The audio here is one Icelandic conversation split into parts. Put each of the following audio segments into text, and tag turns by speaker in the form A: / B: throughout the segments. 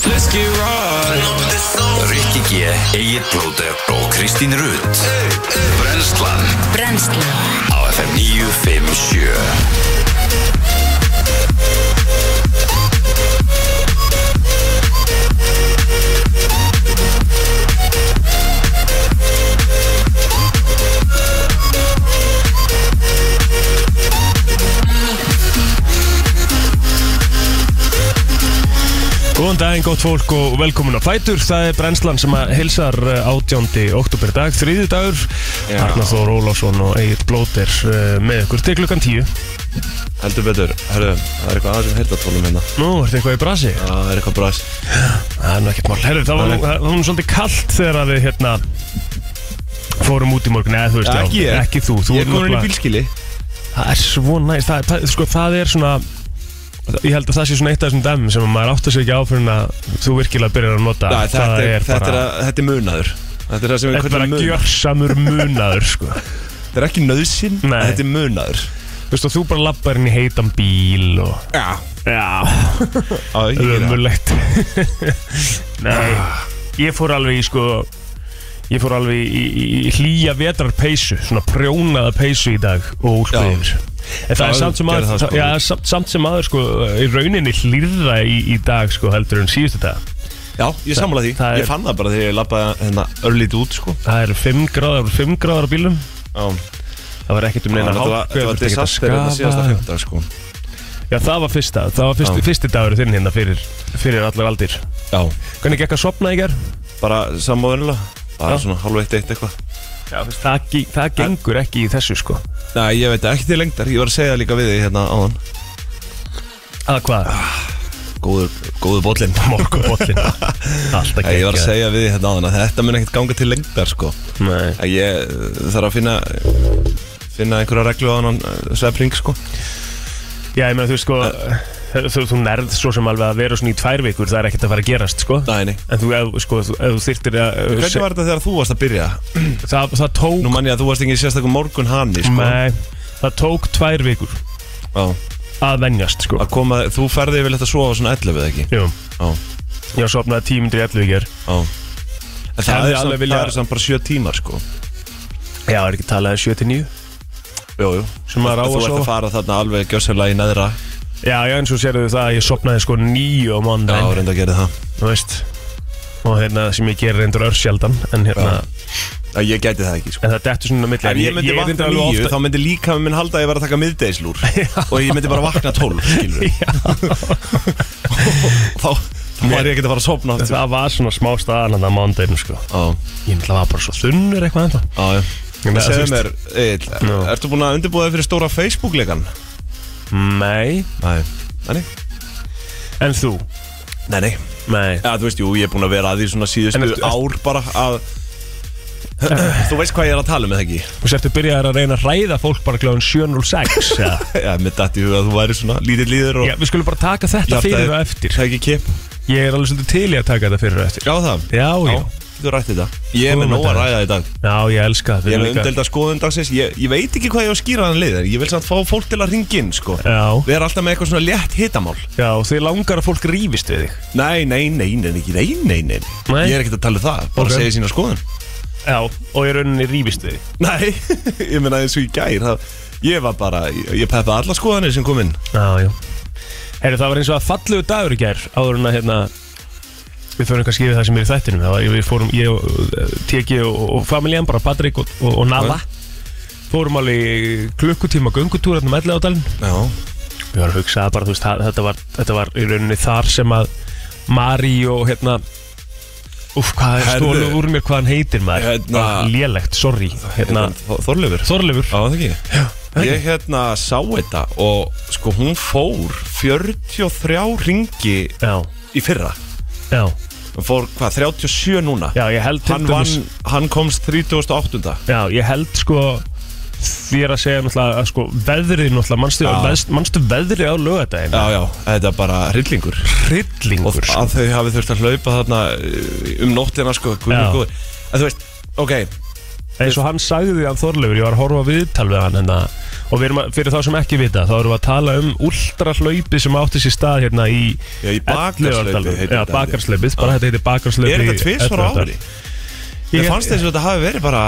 A: kannski ráð
B: Rikki G, Egil Blóter og Kristín Rutt Brenslan
C: Brennslan
B: á FM 957
A: Góðan daginn, gott fólk og velkomin á Fætur Það er brennslan sem að hilsar átjóndi oktober í dag, þriði dagur Arnar Þór Ólásson og Egil Blóter eh, með ykkur til klukkan tíu
D: Heldur betur, herru, það er eitthvað aðeins sem heyrðartólum hérna
A: Nú, ertu eitthvað í brasi?
D: Já, það er eitthvað bræs
A: Það er nú ekkert mál Herru, það var nú- það var nú svolítið kallt þegar að við hérna fórum út í morgun Nei, þú veist,
D: Já, ekki ég.
A: ekki þú, þú
D: Ég er
A: ert
D: komin inn í
A: náttúrulega-
D: bílskili
A: Það er svo næst, það, það, sko, það er svona Ég held að það sé svona eitt af þessum dæmum sem að maður áttar sig ekki á fyrir en að þú virkilega byrjar að nota
D: Nei, þetta,
A: Það
D: er, þetta, er,
A: bara-
D: að- þetta er munaður Þetta er það sem við
A: Þetta er
D: köllum
A: bara
D: mun
A: gjörsamur munaður sko.
D: Þetta er ekki nöðsinn,
A: Nei.
D: þetta er munaður
A: Þú veist og þú bara lappar inn í heitan bíl og
D: Já,
A: Já,
D: á, ég gera það.
A: ömulegt Nei, ég fór alveg í sko Ég fór alveg í, í, í hlýja vetrarpeysu Svona prjónaða peysu í dag og
D: Já.
A: úlpiður En það
D: Já,
A: er samt sem
D: gerði
A: aður,
D: það, sko.
A: já, samt, samt sem aður sko, í rauninni hlýrra í, í dag sko, heldur en síðustu dag.
D: Já, ég samla því,
A: það er-
D: ég fann það bara þegar ég lappaði hérna örlítið út sko
A: Það eru 5 gráðar, 5 gráðar á bílum.
D: Já,
A: Það var ekkert um neina
D: þetta var, þetta
A: hálku,
D: var
A: þurfti ekkert að
D: disaster þetta
A: skafa.
D: síðasta fymta sko
A: Já, það var fyrsta, það var fyrsti,
D: Já.
A: fyrsti dagur þinn hérna fyrir, fyrir allar aldir
D: Já,
A: Hvernig gekk að sopna í ger?
D: bara sammáðunilega
A: Já.
D: Bara svona hálf eitt eitt eitthvað
A: Já, það, ge- það gengur ekki í þessu sko
D: Nei, ég veit það, ekki til lengdar, ég var að segja það líka við því hérna áðan
A: Að hvað?
D: Góður, góður bóllinn
A: Morgunbollin
D: Ég var
A: Alltaf
D: að
A: geggjað.
D: segja við því hérna áðan að þetta mun ekkert ganga til lengdar sko
A: Nei.
D: að ég uh, þarf að finna finna einhverja reglu á hann svefling sko
A: Já, ég meina þú veist sko þú, þú nærð svo sem alveg að vera svona í tvær vikur Það er ekkert að fara að gerast sko
D: Næni
A: En þú, ef, sko, þú- ef þú þyrtir að
D: Hvernig var þetta þegar þú varst að byrja?
A: það, það tók
D: Nú mann ég að þú varst ekki sérstakum morgun hanni sko
A: Nei, það tók tvær vikur
D: Já
A: að venjast sko
D: Að koma, þú ferði yfir þetta að sofa svona 11 eða ekki
A: Jú,
D: Já
A: ég var sopnaði tímindri 11 í ger
D: Já En það
A: Hefði
D: er
A: alveg
D: samt,
A: vilja-
D: það er samt bara 7 tímar sko
A: Já, er ekki talaði 7-9
D: Jú, jú
A: Sem maður á að
D: Þú ert
A: sofa.
D: að fara þarna alveg gjössalega í neðra
A: Já, já, eins og sérðu það að ég sopnaði sko nýju á
D: Já,
A: mondan,
D: reynda að gera það
A: þú veist og hérna sem ég gerir reyndur örsjaldan en hérna,
D: Já, ég gæti það ekki sko
A: en það dettur svona á milli
D: Ef ég myndi vakna nýju, þá myndi líka minn halda að ég var að taka miðdeislúr og ég myndi bara vakna tólf, skilur þá, þá var ég ekkert að fara að sopna
A: þá
D: aftur
A: það var svona smá staðan hann að mondan sko.
D: Á,
A: ég ætla var bara svo þunnur eitthvað ennþá
D: á, já
A: Ég meina,
D: Segðu
A: þú
D: mér, Egil,
A: Já.
D: ertu búin að undirbúa þig fyrir stóra Facebook-leikan?
A: Nei,
D: Nei Nei,
A: en þú
D: nei, nei.
A: Nei,
D: Ja, þú veist, jú, ég er búin að vera að því svona síðustu
A: En ertu-
D: ár bara að Þú veist hvað ég er að tala um, eða ekki?
A: þú sértu byrjaðar að reyna að ræða fólk bara kláðan 706 eða?
D: Já, mér dætti í huga að þú væri svona lítill líður og
A: Já, við skulum bara taka þetta
D: Hjartað-
A: fyrir og eftir
D: Það ekki kip
A: Ég er alveg svolítið til í að taka þetta fyrir og eftir
D: Já, það
A: Já, já,
D: Þú rætti þetta Ég er
A: Þú
D: með nóg
A: myndaðir.
D: að ræða í dag
A: já, ég elska það
D: Ég er með
A: líka-
D: umdelda skoðun dagsins ég, ég veit ekki hvað ég á að skýra hann lið en Ég vil samt fá fólk til að ringa inn sko.
A: Já,
D: Við erum alltaf með eitthvað svona létt hitamál
A: já, þið langar að fólk rífist við þig
D: Nei, nei, nei, nei, nei, nei, nei, nei.
A: Nei.
D: Ég er ekkert að tala um það Bara
A: Ok.
D: okay. segja sína skoðun
A: Já, og í rauninni rífist við þig
D: Nei, ég meina eins og í gær það, Ég var bara, ég, ég peppa alla skoðanir sem kom inn
A: Já, já Herri, það var eins og að fallegu dagur í gær áður en að hérna við förum kannski yfir það sem er í þættinum það var, við fórum, ég og eh, TG og, og familjan, bara Patrik og, og, og Nala fórum alveg í klukkutíma göngutúr hérna um elli ádalinn
D: Já,
A: við varum að hugsa að bara, þú veist, það, þetta, var, þetta var í rauninni þar sem að Mari og hérna Úf, hvað er
D: Herðu.
A: stólu úr mér hvað hann heitir maður
D: Hérna.
A: Ah, Lélegt, sorry hérna,
D: Þorleifur Já,
A: Þorleifur
D: það ekki Ég hérna sá þetta og sko hún fór 43 ringi
A: Já,
D: í fyrra
A: já,
D: Hún fór hvað, 37 núna
A: já, ég held til
D: Hann,
A: dæmis-
D: vann, hann komst 38.
A: Já, ég held sko Því er að segja náttúrulega að sko veðrið náttúrulega, manstu,
D: Já.
A: veðst, manstu veðrið á lögadaginn?
D: Já, já, þetta er bara hryllingur Og
A: Rillingur sko.
D: að þau hafi þurft að hlaupa þarna uh, um nóttina sko, guð,
A: Já.
D: guð. En þú veist, ok
A: eins og hann sagði því að Þorleifur, ég var að horfa á viðtal við hann hérna, og við erum að, fyrir þá sem ekki vita þá erum við að tala um ultrahlaupi sem átti sér stað hérna í
D: Já, í bakarhlaupið
A: 11.
D: heitir
A: Já,
D: þetta.
A: bakarslaupið, bara þetta heitir bakarslaupið
D: Er
A: í
D: þetta tvisvar á
A: 11.
D: ári? Ég fannst þess að þetta hafi verið bara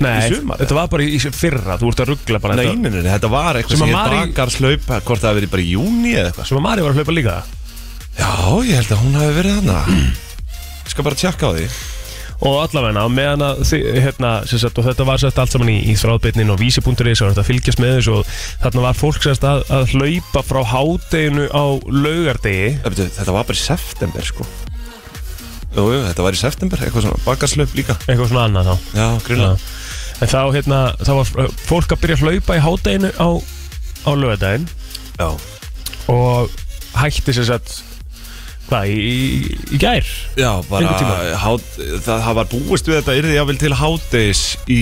A: Nei,
D: í sumar
A: þetta var bara í í fyrra, þú ert að ruggla bara
D: Nei,
A: þetta
D: minni, þetta var eitthvað
A: Sem
D: sem
A: að
D: ég
A: Mari-
D: bakar slaupa Hvort það hafi verið bara í júni eða eitthvað
A: sem að Mari var að hlaupa líka
D: Já, ég held að hún hafi verið þarna Ég skal bara tjekka á því
A: og allavegna, á meðan að þi, hérna, sem sagt, og þetta var sett allt saman í, í þráðbytnin og vísi.is og þetta fylgjast með þessu og þarna var fólk sérst að, að hlaupa frá hádeginu á laugardegi
D: Eh, byrju, Þetta var bara í september sko Jú, jú, þetta var í september Eitthvað svona bakarslaup líka
A: eitthvað svona annað þá
D: Já, grunna
A: en þá, hérna, þá var eh, fólk að byrja að hlaupa í hádeginu á, á laugardegin
D: Já,
A: og hætti sem sagt hvað, í, í, í gær
D: já bara
A: Einhvern tímann.
D: hát, það, það var búist við þetta Yrði jáfnvel til hátdeis í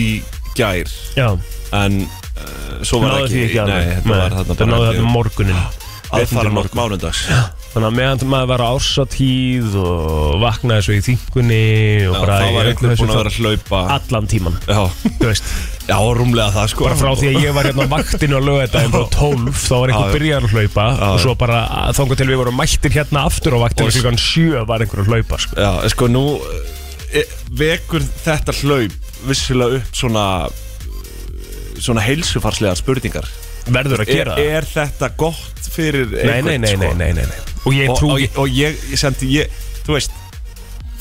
D: gær
A: já,
D: En uh, svo var
A: náðu því ekki
D: Nei,
A: alveg
D: þetta var þarna
A: þetta náðu
D: bara Ah,
A: þarna morgunin
D: Aðfara nótt mánundags
A: Þannig að meðan maður var á ársatíð og vaknaði svo í þingunni og
D: Já,
A: bara
D: það var
A: í öllu
D: einhver
A: þessu
D: búin að vera að hlaupa
A: allan tíman,
D: Já,
A: þú veist
D: já, rúmlega það sko
A: bara frá því að ég var hérna á vaktinu að löga þetta en bara 12, þá var
D: Já,
A: einhver
D: já.
A: byrjar að hlaupa og svo bara uh, þangað til við vorum mættir hérna aftur á vaktinu
D: Og-
A: klukkan 7 var einhver að hlaupa sko.
D: Já, sko nú eh, vekur þetta hlaup vissulega upp svona eh, svona heilsufarslegar spurningar
A: verður að
D: er,
A: gera það
D: er þetta gott fyrir sko?
A: nei, nei, nei, nei, nei, nei, nei og ég
D: Og,
A: trú
D: og, og ég, ég sendi, ég, þú veist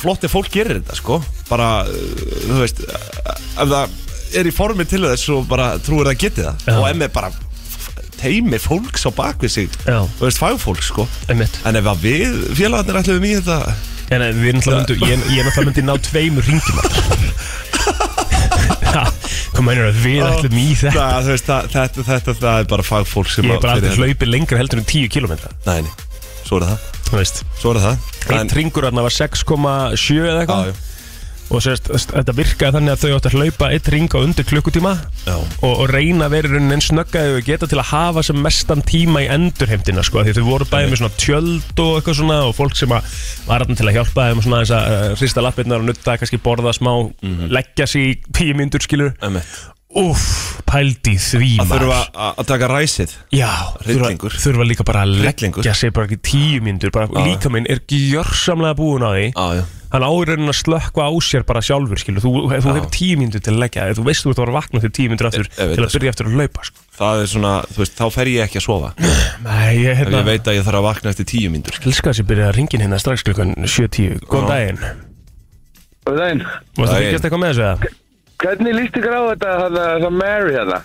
D: flott ef fólk gerir þetta, sko bara, uh, þú veist ef það er í formi til þess og bara trúir það getið það
A: Já.
D: og ef með bara teimi fólks á bakvið sig
A: Já.
D: þú veist, fagfólk, sko
A: Einmitt.
D: en ef að við félagarnir ætlum í þetta
A: En en við náttúrulega myndum, ég, ég náttúrulega myndi ná tveimur ringjum Hvað mænir að við ætlum í þetta?
D: það, þú veist, það, þetta, þetta, það er bara fagfólk sem
A: Ég er bara
D: fyrir hérna.
A: aldrei hlaupið lengra heldur en 10 km
D: Nei, nei, svo er það,
A: Þú veist
D: svo er það
A: Eitt ringur hann var 6,7 eða
D: já,
A: eitthvað
D: já,
A: Og sérst, þetta virkaði þannig að þau áttu að hlaupa eitt ring á undir klukkutíma
D: já,
A: og, og reyna að vera í rauninni eins snöggaði og geta til að hafa sem mestan tíma í endurheimtina sko, af því þau voru bæði með svona tjöld og eitthvað svona og fólk sem að var hann til að hjálpa þeim og svona eins að uh, hrista lappirnar og nutta, kannski borða smá,
D: Mhm.
A: leggja sig í tíu myndur skilur
D: emmitt
A: Úff, pældi því
D: Að
A: maður.
D: þurfa að að taka ræsið
A: Já,
D: Hryllingur.
A: þurfa, þurfa líka bara að
D: Hryllingur.
A: leggja sig bara ekki tíu mínútur bara,
D: Já.
A: líka minn er gjörsamlega búin á því
D: Já, já,
A: hann áriðin að slökka á sér bara sjálfur skilur, þú, þú hefur tíu mínútur til að leggja þig, þú veist þú ert að vera vakna til tíu mínútur aftur
D: ég veit
A: til
D: það,
A: að byrja eftir að laupa sko.
D: það er svona, þú veist, þá fer ég ekki að sofa
A: Nei, ég
D: Ef ég
A: hérna,
D: veit að ég þarf að vakna eftir tíu mínútur sko.
A: elska þess að byrja að ringin hérna strax klukkan 7.10, góðan daginn
C: Góðan daginn.
A: Varst það
D: Daginn.
A: fylgjast eitthvað með þessu eða?
C: Hvernig líst ykkur á þetta þarna, þessa Mary þarna?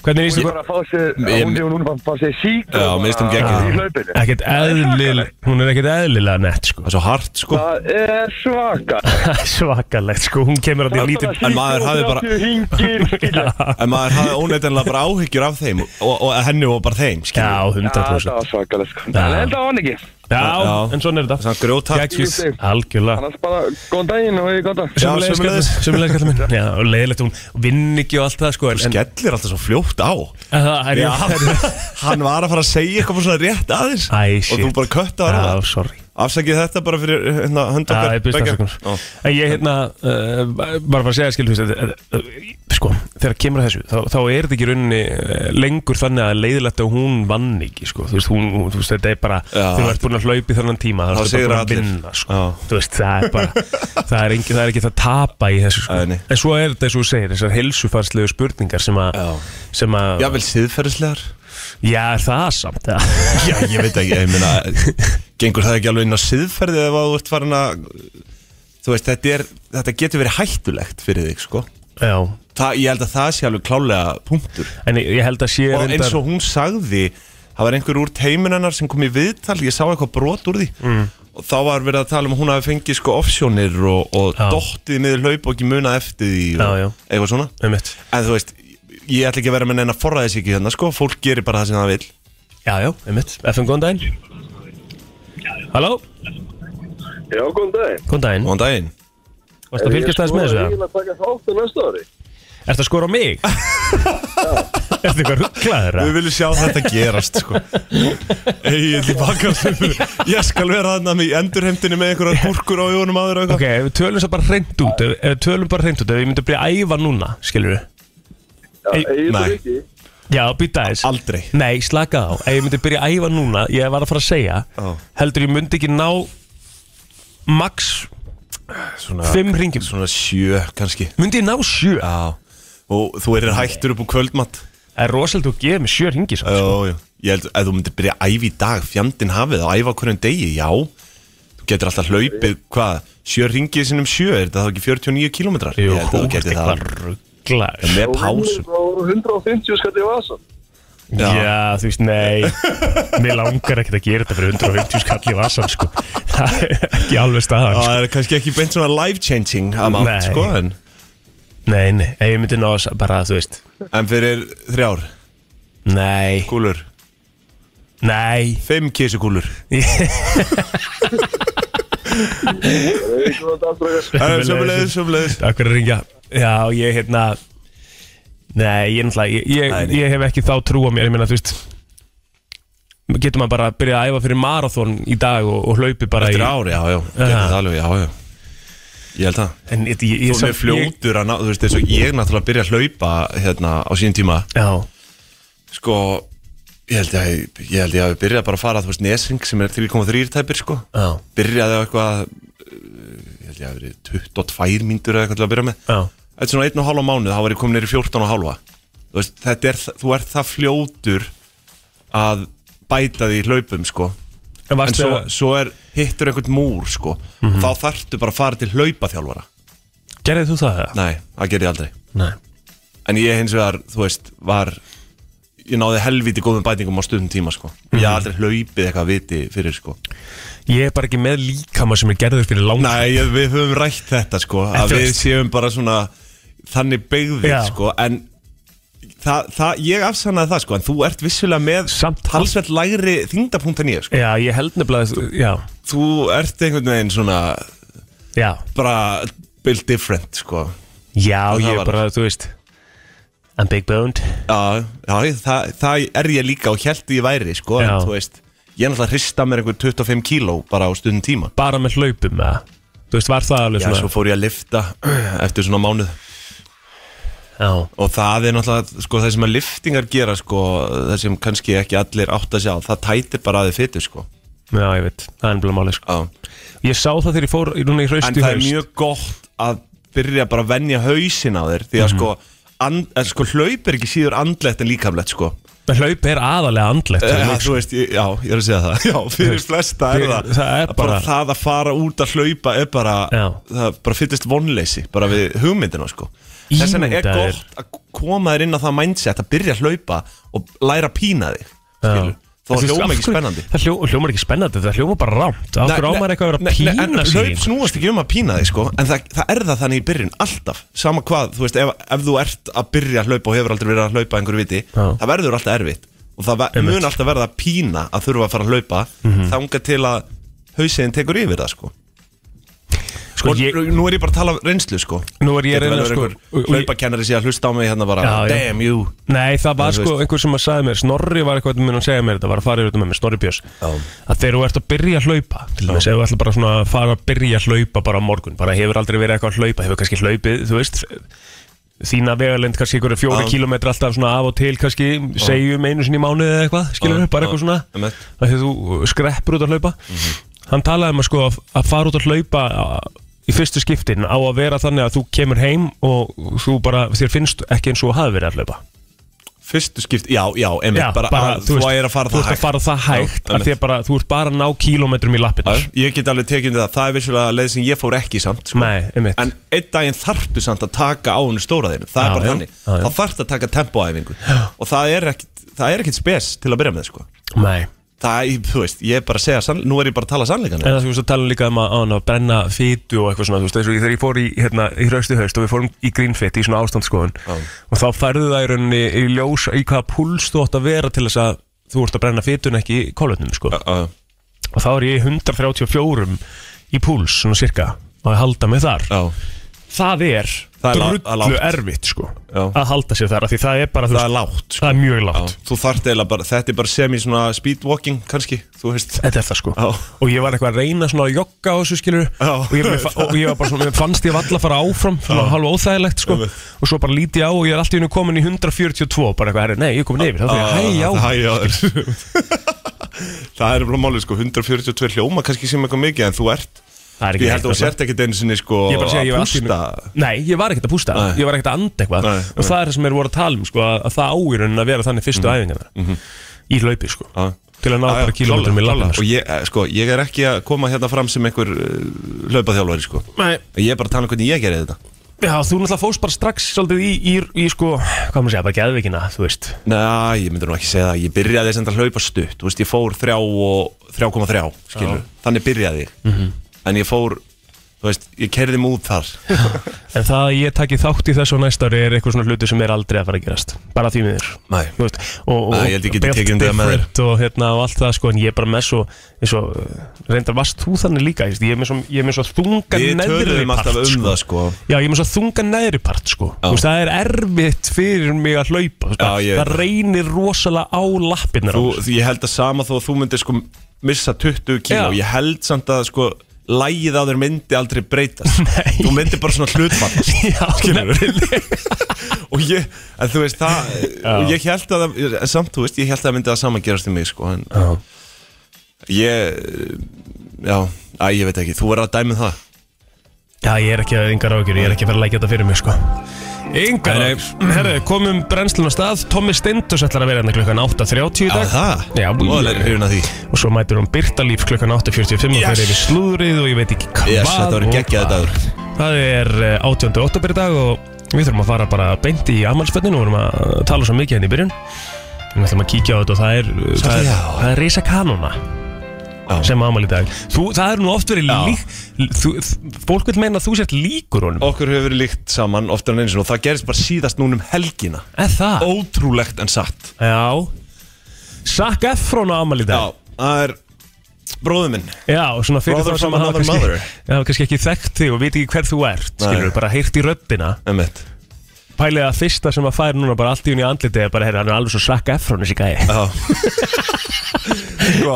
A: Hvernig
C: Hún
A: lýst þú?
C: er bara að fá sér,
D: Ég-
C: hún er hún er bara að fá sér sík
D: Já, mér finnst hún geggjuð.
C: Í hlaupinu.
A: Ekkert eðlilega, hún er ekkert eðlilega nett sko
D: Það er svo hart, sko
C: Það er svaka.
A: Svakalegt sko, hún kemur að því lítið
D: En maður hafði bara-
C: Hingir, skilja.
D: En maður hafði óneitanlega bara áhyggjur af þeim og, og henni og bara þeim, skilja
A: Já,
C: Það
A: 100%
C: var svakalegt sko.
A: Já.
C: En þetta var hann ekki.
A: Já, en svona er þetta
D: Svona grjótart
A: Gekkið,
C: Ég segi.
A: algjörlega
C: Annars bara, góðan daginn og góðan dag.
D: Já, sömuleiðis.
A: Sjömmulegis kallar minn Já, og leiðilegt hún vinn ekki og allt það sko En, en
D: Skellir alltaf svo fljótt á
A: en það er
D: Já,
A: já
D: hann var að fara að segja eitthvað svona rétt aðeins
A: Æ,
D: Og þú
A: shit.
D: bara kötta
A: Já,
D: það
A: sorry
D: Afsakið þetta bara fyrir hérna, hönd
A: Já,
D: okkar
A: ég byrst
D: beggja.
A: afsökunar
D: Já.
A: En ég hérna uh, Bara bara að segja skilfist eh, Sko, þegar kemur að þessu Þá, þá er þetta ekki í rauninni eh, lengur þannig að leiðilegt að hún vann ekki sko. Þú veist, hún, hún- þú veist, þetta er bara
D: Já.
A: Þegar þú ert búin að hlaupi þannan tíma
D: Þá
A: Þá ertu
D: sigra
A: bara búin
D: allir.
A: að vinna sko.
D: Já.
A: Þú veist, það er bara Það er, engin, það er ekki það að tapa í þessu sko.
D: Nei, nei.
A: En svo er þetta, eins og þú segir, þessar helsufarslegu spurningar sem að
D: Já.
A: sem að,
D: Jafnvel siðferðislegar
A: já, er það samt eða?
D: Já, ég veit ekki, ég meina Gengur það ekki alveg inn á siðferði ef að þú ert farin að Þú veist, þetta, er, þetta getur verið hættulegt fyrir þig, sko
A: Já,
D: það, Ég held að það sé alveg klálega punktur
A: en ég ég held að sé
D: Og eins og hún sagði Það var einhver úr teimin hennar sem kom í viðtal Ég sá eitthvað brot úr því mm. Og þá var verið að tala um að hún hafi fengið sko offsjónir Og, og
A: Já.
D: dottið niður hlaup og ekki munað eftir því og,
A: Já, já.
D: Eitthvað svona
A: Einmitt.
D: En þú veist, ég ætla ekki að vera með neina forræðis ekki hérna sko Fólk gerir bara það sem það vil
A: Já, já, einmitt, FM góðan daginn Halló,
C: Já, góðan daginn.
A: góðan daginn
D: Góðan daginn
A: Varst að fylgjast aðeins með þessu?
C: að taka þátt á næsta ári.
A: Er það skora á mig? Ertu eitthvað rugglaður?
D: Við viljum sjá þetta gerast sko. Egil í bakkarsöfu Ég skal vera þarna í endurheimtinu með einhverjar gúrkur á jónum áður og eitthvað
A: Ok, ef við tölum svo bara hreint út Ef ef við tölum bara hreint út Ef við myndum að byrja að æfa núna, skilur við
C: Egil og
D: Nei.
C: Rikki
A: Já, býta þess
D: Aldrei
A: Nei, slaka þá Ef ég myndi byrja að æfa núna Ég var að fara að segja
D: Já.
A: Heldur ég myndi ekki ná Max
D: Svona,
A: Fimm hringjum.
D: Svona sjö kannski
A: Myndi ég ná sjö
D: Já Og þú erir hættur upp úr kvöldmatt
A: Það er rosalega að gefa mig sjö sko. ringi
D: Já, já Ég held að þú myndir byrja að æfa í dag Fjandinn hafið að æfa á hverjum degi Já Þú getur alltaf hlaupið Hvað? Sjö ringið sinnum sjö Er þetta þá ekki 49 kilometrar?
A: Jú,
D: Ég held að
A: þú
D: þú
A: ert
D: getur það
A: eitthvað rugglaður
D: Með
C: Og
D: pásum
C: vinnur frá 150 skall í vasan
A: Já. þú veist, nei Mér langar ekkert að gera þetta fyrir 150 skall í vasan sko. Það er ekki alveg staðan sko.
D: Það er kannski ekki beint svona life changing
A: Nei.
D: amount sko en,
A: Nei, nei, ef ég myndi ná að s- bara, þú veist
D: en fyrir þrjár
A: Nei,
D: kúlur
A: nei
D: Fimm kísukúlur
C: Egil og Daldragar
D: Eh, Sömulegðis, sömulegðis
A: Takk fyrir að ringja Já, ég hérna Nei, ég náttúrulega Ég, ég,
D: Nei, nei.
A: ég hef ekki þá trú á mér Ég meina, þú veist Getur maður bara að byrja að æfa fyrir marathón í dag og, og hlaupi bara
D: Eftir
A: í
D: ár, já, já, getur
A: Aha.
D: það alveg, já, já Ég held það
A: En ég, ég, ég,
D: Þú er
A: samt- ég,
D: fljótur að ná, þú veist, þess að ég náttúrulega byrja að hlaupa hérna á sín tíma
A: Já,
D: Sko, ég held ég, ég held ég að við byrja bara að fara, þú veist, Nesring sem er 3,3 tæpir, sko
A: já,
D: Byrjaði á eitthvað, uh, ég held ég að verið 22 mínútur eða eitthvað til að byrja með
A: já
D: Þetta er svona einn og hálfa mánuð, þá var ég komin neyri 14 og hálfa Þú veist, þetta er, þú ert það fljótur að bæta því í hlaupum, sko
A: En
D: en
A: varstu
D: svo,
A: að
D: svo er hittur einhvern múr sko.
A: Mhm.
D: þá þarftu bara að fara til hlaupaþjálfara
A: Gerðið þú það? eða?
D: nei, það gerði ég aldrei
A: Nei
D: en ég hins vegar, þú veist, var ég náði helviti góðum bætingum á stundum tíma sko. ég haf aldrei hlaupið eitthvað viti fyrir sko.
A: Ég er bara ekki með líkama sem er gerður fyrir langt
D: nei, ég- við höfum rætt þetta sko,
A: En
D: að
A: þú
D: við
A: veist-
D: séum bara svona þannig
A: Já.
D: beigðið sko, en Það, það, ég afsannaði það sko, en þú ert vissulega með
A: Samt-
D: talsvert lægri þingdapunkt en ég sko.
A: Já, ég held nefnilega þú, Já,
D: Þú ert einhvern veginn svona
A: já
D: bara built different sko.
A: Já,
D: það
A: ég er
D: var-
A: bara, þú veist I'm big boned
D: Já, já ég- það, það er ég líka og held ég væri sko,
A: Já.
D: en þú veist ég er náttúrulega að hrista mér einhver 25 kíló bara á stundum tíma
A: Bara með hlaupum, eða Þú veist, var það alveg
D: Já, svo
A: svona
D: fór ég að lifta eftir svona mánuð
A: Já,
D: og það er náttúrulega, sko, það sem að liftingar gera, sko, það sem kannski ekki allir átt að sjá, það tætir bara að þið fytu, sko
A: já, ég veit Það er nefnilega máli, sko
D: Já.
A: Ég sá það þegar ég fór í- núna í
D: en
A: hraust í
D: það er
A: haust
D: mjög gott að byrja bara að venja hausin á þér
A: Mhm.
D: því að, sko, and, en, sko, hlaup er ekki síður andlegt en líkamlegt, sko
A: En hlaup er aðalega andlegt fyrir
D: Já,
A: mig,
D: Eh, þú veist, ég- já, ég er að segja það Já, fyrir
A: veist,
D: flesta er
A: fyrir-
D: það
A: það er
D: Að
A: bara-
D: það að fara út að hlaupa er bara
A: Já.
D: það bara fyllist vonleysi bara við hugmyndina, sko Þess vegna er
A: Ímyndaðu þér.
D: gott að koma þér inn á það mindset að byrja að hlaupa og læra að pína þig skilur. Þó
A: En þú veist,
D: hljóma
A: af
D: ekki
A: hverju-
D: spennandi
A: Það hljó, hljómar ekki spennandi, það hljómar bara rámt Af hverju ámar eitthvað að vera
D: Nei, nei,
A: að
D: en
A: pína sig
D: Hlaup snúast ekki um að pína þig sko En það, það er það þannig í byrjun alltaf Sama hvað, þú veist, ef, ef þú ert að byrja að hlaupa Og hefur aldrei verið að hlaupa einhverju viti
A: Já.
D: Það verður alltaf erfitt Og það ver, mun alltaf verða að pína að þurfa að fara að hlaupa mm
A: Mhm.
D: Þanga til að hausiðin tekur yfir það sko
A: Sko,
D: Og
A: ég,
D: nú er ég bara að tala af reynslu sko
A: Nú er ég
D: Getur
A: að reyna,
D: verið
A: sko,
D: einhver
A: og- og-
D: Hlaupakennari sé að hlusta á mig hérna bara
A: Já, já.
D: Damn you
A: Nei, það var
D: En þú
A: sko einhver sem að sagði mér Snorri var eitthvað minn að segja mér þetta var að fara yfir þetta með mér, Snorri Björns að þegar þú ert að byrja að hlaupa til dæmis, ef þú ætlar bara svona að fara að byrja að hlaupa bara á morgun, bara hefur aldrei verið eitthvað að hlaupa hefur kannski hlaupið, þú veist þína vegalend kannski einhverju fjóri
D: Já.
A: kílometra alltaf svona af og til kannski segjum einu sinni í mánuði eða eitthvað, skilur
D: Já,
A: bara
D: já,
A: eitthvað svona
D: einmitt. Mhm.
A: að því þú skreppur út að hlaupa hann talaði um að sko að, að fara út að hlaupa að, í fyrstu skiptin á að vera þannig að þú kemur heim og þú bara, þér finnst ekki eins og þú hafi verið að hlaupa
D: Fyrstu skipt, já, já, emitt
A: Já,
D: bara, að, Þú er að fara
A: þú
D: það
A: ert að fara það hægt
D: Já,
A: að því að bara, þú ert bara að ná kílómetrum í lappirnar
D: Já, Ég get alveg tekið undir það, það er vissulega leið sem ég fór ekki samt sko.
A: Nei, einmitt.
D: En einn daginn þarftu samt að taka á hennu stóraðinu Það
A: Já,
D: er bara
A: já,
D: þannig,
A: já, já.
D: þá þarftu að taka tempoæfingu Og það er ekkit, það er ekkit spes til að byrja með sko.
A: Nei,
D: Það, er- þú veist, ég er bara að segja, sann, nú er ég bara að tala sannleikan
A: en það sem við svo talum líka um að, að, að brenna fytu og eitthvað svona, þú veist, þess að þegar ég fór í, hérna, í raustu haust og við fórum í grínfit í svona ástandskoðun og þá færðu það í rauninni í ljós í hvaða púls þú átt að vera til þess að þú ert að brenna fytun ekki í kólöfnum, sko
D: Já,
A: og þá er ég í 134 í púls, svona cirka og að halda mig þar það er
D: Það er lá- það er
A: drullu
D: lágt.
A: erfitt sko
D: Já.
A: að halda sér þar af því það er bara þú
D: Það
A: veist,
D: er lágt sko.
A: það er mjög lágt
D: Þú þarft eiginlega bara, þetta er bara sem í svona speedwalking kannski, þú veist
A: Þetta er það sko
D: Já.
A: Og ég var eitthvað að reyna svona að jogga á þessu skilur
D: Já.
A: og, ég, mér fa- og ég var bara svona, mér fannst ég valla að fara áfram Svona halva óþægilegt sko
D: Einmitt.
A: Og svo bara líti á og ég er alltaf innu komin í 142 Bara eitthvað, herri, nei, ég er komin yfir Þá fyrir ég, hæ, já
D: Hæ, já Það er bara málið sko, 142 hljóma kannski sem eitthvað mikið en þú ert
A: Það er ekki
D: Ég held að þú
A: neitt,
D: sért ekkert einu sinni sko
A: Ég er bara að segja, ég var allt í einu-
D: pústa.
A: Nei, ég var ekkert að pústa,
D: Nei.
A: ég var ekkert að anda eitthvað
D: Nei,
A: Og það er það sem er voru að tala um, sko, að að það áýrunin að vera þannig fyrstu mm Í hlaupi, sko
D: Já.
A: Til að
D: Mhm.
A: ná
D: Ah. Já, já,
A: bara kilómetrum í
D: klálega,
A: lappina
D: klálega. Og ég, eh, sko, ég er ekki að koma hérna fram sem einhver uh, hlaupaþjálfari sko.
A: Nei,
D: Ég er bara að tala um hvernig ég gerði þetta
A: já, þú náttúrulega fóst bara strax svolítið í, í, í sko, hvað maður segja, bara geðvikina, þú veist
D: Næ, ég myndi nú ekki segja það Ég byrjaði sem að hlaupa stutt Þú veist, ég fór 3 og 3,3 skilur. Þannig byrjaði ég
A: Mhm.
D: En ég fór, þú veist, ég kerði mig út þar
A: En það að ég taki þátt í þessu á næsta ári er eitthvað svona hluti sem er aldrei að fara að gerast Bara því miður
D: Nei.
A: Þú veist, og, og,
D: Nei, ég held ég geti
A: built
D: tekið undir það með þér.
A: different og, hérna, og allt það sko En ég er bara með svo, eins og uh, Reyndar varst þú þannig líka ég veist, Ég er með svo, ég er með svo þungan
D: Við
A: neðri
D: töluðum
A: part
D: alltaf um
A: sko.
D: það sko
A: Já, ég er með svo þungan neðri part sko. Þú veist, Það er erfitt fyrir mig að hlaupa sko.
D: Já, ég veit
A: Það reynir rosalega á lappirnar
D: þú,
A: á mér.
D: Ég held að sama þó að þú myndir sko missa 20 kíló
A: Já.
D: Ég held samt að sko Lægið á þér myndi aldrei breytast
A: Nei.
D: Þú myndir bara svona hlutfallast
A: Já, nefnilega.
D: og ég, en þú veist það og ég held að, það- en samt þú veist ég held að það myndi að saman gerast í mig sko en
A: Já.
D: ég já, æ, ég veit ekki, þú verður að dæmi það
A: Já, ég er ekki að yngar ágjur, ég er ekki að fara að leggja þetta fyrir mig, sko. Yngar
D: Nei,
A: ágjur. Herru, komum brennslun á stað. Tommi Stendus ætlar að vera hérna klukkan 8.30 í dag. Já,
D: það er hrifin að því
A: Og svo mætur hún Byrtalíf klukkan 8.45 og
D: Yes.
A: fer yfir slúðrið og ég veit ekki hvað.
D: yes, þetta
A: og
D: verður geggjaði
A: hvað.
D: dagur
A: Það er eh, 18. oktober í dag og við þurfum að fara bara beint í amalspöndinu og vorum að tala svo mikið henni í byrjun. Við ætlum að kíkja á þetta og það er, eh, það er,
D: já.
A: það er Risa Kanona
D: Já.
A: sem amal í dag. Þú, það er nú oft verið
D: Já.
A: lík, þú, fólk vil meina að þú sért líkur honum.
D: okkur hefur verið líkt saman oftar en einu sinni og það gerist bara síðast núna um helgina
A: Er það?
D: ótrúlegt en satt
A: Já Zac Efron á afmæli í dag
D: já, það er bróður minn
A: Já, og svona fyrir
D: Brother
A: þá sem
D: from
A: hafa
D: another
A: kannski,
D: mother.
A: já, kannski ekki þekkt þig og veit ekki hver þú ert
D: Nei.
A: skilur, bara heyrt í röddina
D: Emmett
A: Pælið að fyrsta sem að færa núna bara allt í hún í andliti er bara, heyrðu, hann er alveg svo Zac Efron þessi gæði
D: Já Sko,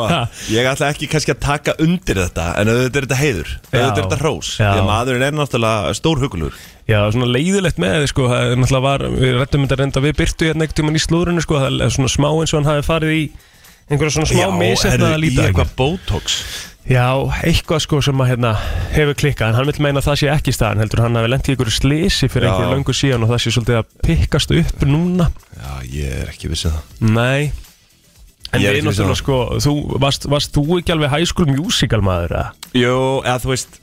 D: ég ætla ekki kannski að taka undir þetta En auðvitað er þetta heiður Auðvitað er þetta hrós
A: Já.
D: Því að maðurinn er náttúrulega stórhugulur
A: Já, svona leiðilegt með þið, sko það er náttúrulega var, við rettum þetta reynda við byrtu hérna ekkert um hann í slúðrunni, sko það er svona smá eins og hann hafi farið í einhverja svona smá misefna að líta
D: eitthvað botox
A: Já, eitthvað sko sem að hérna hefur klikkað, en hann vil meina að það sé ekki staðan heldur hann hafi lent í einhverju slisi fyrir
D: Já.
A: einhverju löngu síðan og það sé svolítið að pikkast upp núna.
D: Já, ég er ekki vissið það
A: Nei En
D: Ég er
A: við
D: ekki viss um
A: náttúrulega
D: það.
A: sko, þú, varst, varst þú ekki alveg high school musical maður að?
D: Jó, eða þú veist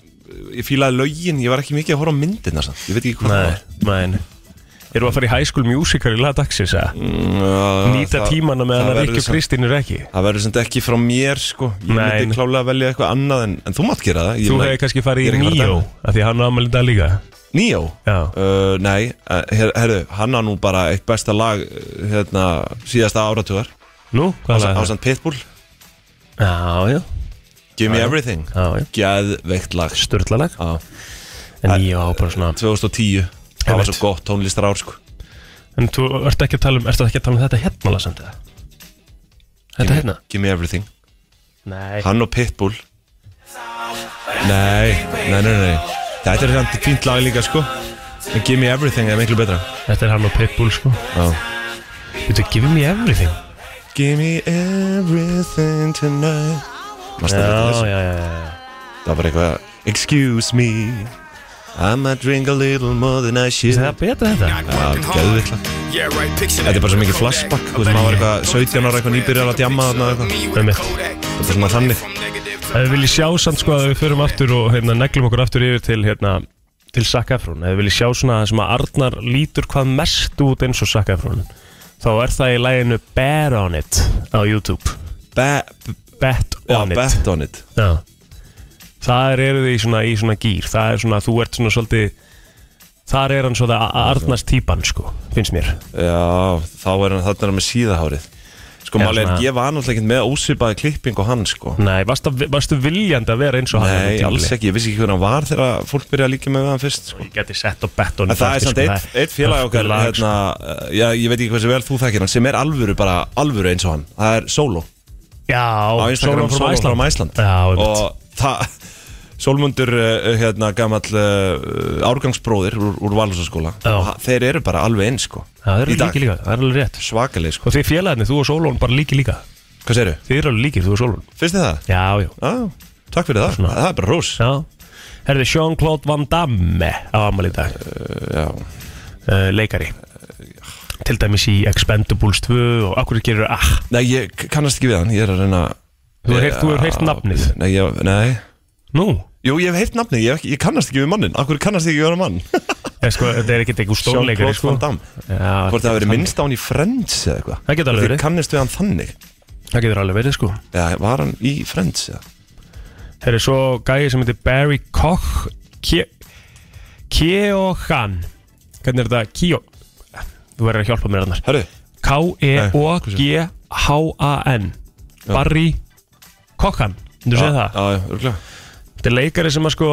D: Ég fílaði lögin, ég var ekki mikið að horfa á myndina samt. Ég veit ekki hvað
A: Nei, nei Erum við að fara í high school musical í lagdagsins að?
D: það var
A: Nýta
D: Mm, Það-
A: tímana með
D: það
A: hann að
D: verður
A: Ríkju
D: samt-
A: Kristín er ekki
D: Það verður sem ekki frá mér sko Ég
A: Nei.
D: myndi klálega velja eitthvað annað en, en þú mátt gera það Ég
A: Þú
D: meina-
A: hefði kannski
D: ég
A: farið
D: er
A: í
D: ekki að fara að
A: Nýjó
D: dæma.
A: af því að hann á afmæli í dag líka
D: Nýjó?
A: Já.
D: Uh, nei, eh, her, herru, hann á nú bara eitt besta lag eh, hérna, síðasta áratugar
A: Nú, hvað er það?
D: Ásand Pitbull,
A: Já, já,
D: Give Me Everything
A: já, já
D: Geðveikt lag
A: Sturlalag
D: Já.
A: En Nýjó á bara svona
D: 2010, það var
A: Einmitt.
D: svo gott tónlistar ár sko
A: En þú ert ekki að tala um, ert ekki að tala um þetta hérna lasandi það? Þetta hérna?
D: Give Me Everything,
A: Nei
D: hann og Pitbull Nei, nei, nei, nei Þetta er samt fínt lag líka sko En Give Me Everything er miklu betra
A: Þetta er hann og Pitbull sko
D: Já.
A: Þetta er Give Me Everything
D: Give me everything tonight Mastu þetta þessu?
A: já, já, já
D: Það var eitthvað Excuse me I might drink a little more than I should
A: Það er betra þetta
D: Gæðvill Þetta er bara svo mikið flashback Þú veist, maður var eitthvað 17 ára eitthvað nýbyrjar að djamma þarna eitthvað
A: Einmitt.
D: Þetta er svona þannig
A: Ef við viljið sjá samt sko að við förum aftur og hérna neglum okkur aftur yfir til hérna til Zac Efron Ef við viljið sjá svona það sem að Arnar lítur hvað mest út eins og Zac Efron Þá er það í læginu Bear on it á YouTube
D: Be-
A: Bet
D: Já,
A: on it
D: bet on it
A: Já Þar eru þið í svona, í svona gýr Það er svona, þú ert svona svolítið Þar er hann svona að- að arnast típan sko Finnst mér
D: Já, þá er hann þarna er hann með síðahárið Sko,
A: Eða
D: máli er,
A: svona-
D: ég var náttúrulega ekkert með ósipaði klippingu hann, sko
A: Nei, varstu, varstu viljandi að vera eins og hann á
D: Nei,
A: tímabili?
D: alls ekki, ég vissi ekki hvernig hann var þegar fólk byrjaði að líka með hann fyrst, sko
A: Ég geti sett á bettun
D: En það er samt
A: sko,
D: eitt, eitt félag okkar hérna, eh, já, ég veit ekki hversu vel þú þekkir hann sem er alvöru bara, alvöru eins og hann það er Solo á
A: Já,
D: Instagram,
A: Sólum frá
D: Solo
A: Æsland
D: from Iceland
A: Já, einmitt.
D: og það Solmundur, eh, hérna, gamall uh, árgangsbróðir úr, úr Valhúsaskóla
A: Já.
D: Og ha- þeir eru bara alveg eins sko
A: það er
D: Í dag.
A: líki líka, það er alveg rétt
D: Svakaleg sko
A: Og þið félagarnir, þú og Sólun bara líki líka
D: Hvað segirðu?
A: Þið eru alveg líkir, þú og Sólun
D: Finnst þið það?
A: Já, já,
D: Já, takk fyrir það,
A: Svona.
D: það er bara rós
A: já Herði, Jean-Claude Van Damme á ammali í dag
D: Já,
A: uh, Leikari Til dæmis í Expendables 2 og akkur gerir ah
D: Nei, ég kannast ekki við hann, ég er að reyna
A: Þú hefur heyrt- þú hefur heyrt
D: Já,
A: nafnið.
D: Nei, ég, nei
A: Nú,
D: Jú, ég hef heyrt nafnið, ég, hef ekki- ég kannast ekki við mannin Akkur kannast ég ekki við hann mann
A: ég, sko, þetta er ekkert einhver stórleikari
D: Jean-Claude
A: sko.
D: Van Damme
A: Já,
D: Hvort það hafi verið
A: þannig.
D: minnst á hann í Friends eða eitthvað
A: Það getur alveg
D: Hvort þið
A: verið.
D: kannist við hann þannig
A: Það getur alveg verið sko
D: Já, var hann í Friends eða
A: Það er svo gæði sem heitir Barry Koch Ke- Keoghan Hvernig er þetta? Keo Þú verður að hjálpa mér annar
D: Herru,
A: K-E-O-G-H-A-N Barry Kochhan Þú segir það?
D: Já, já, örgulega
A: Þetta er leikari sem að sko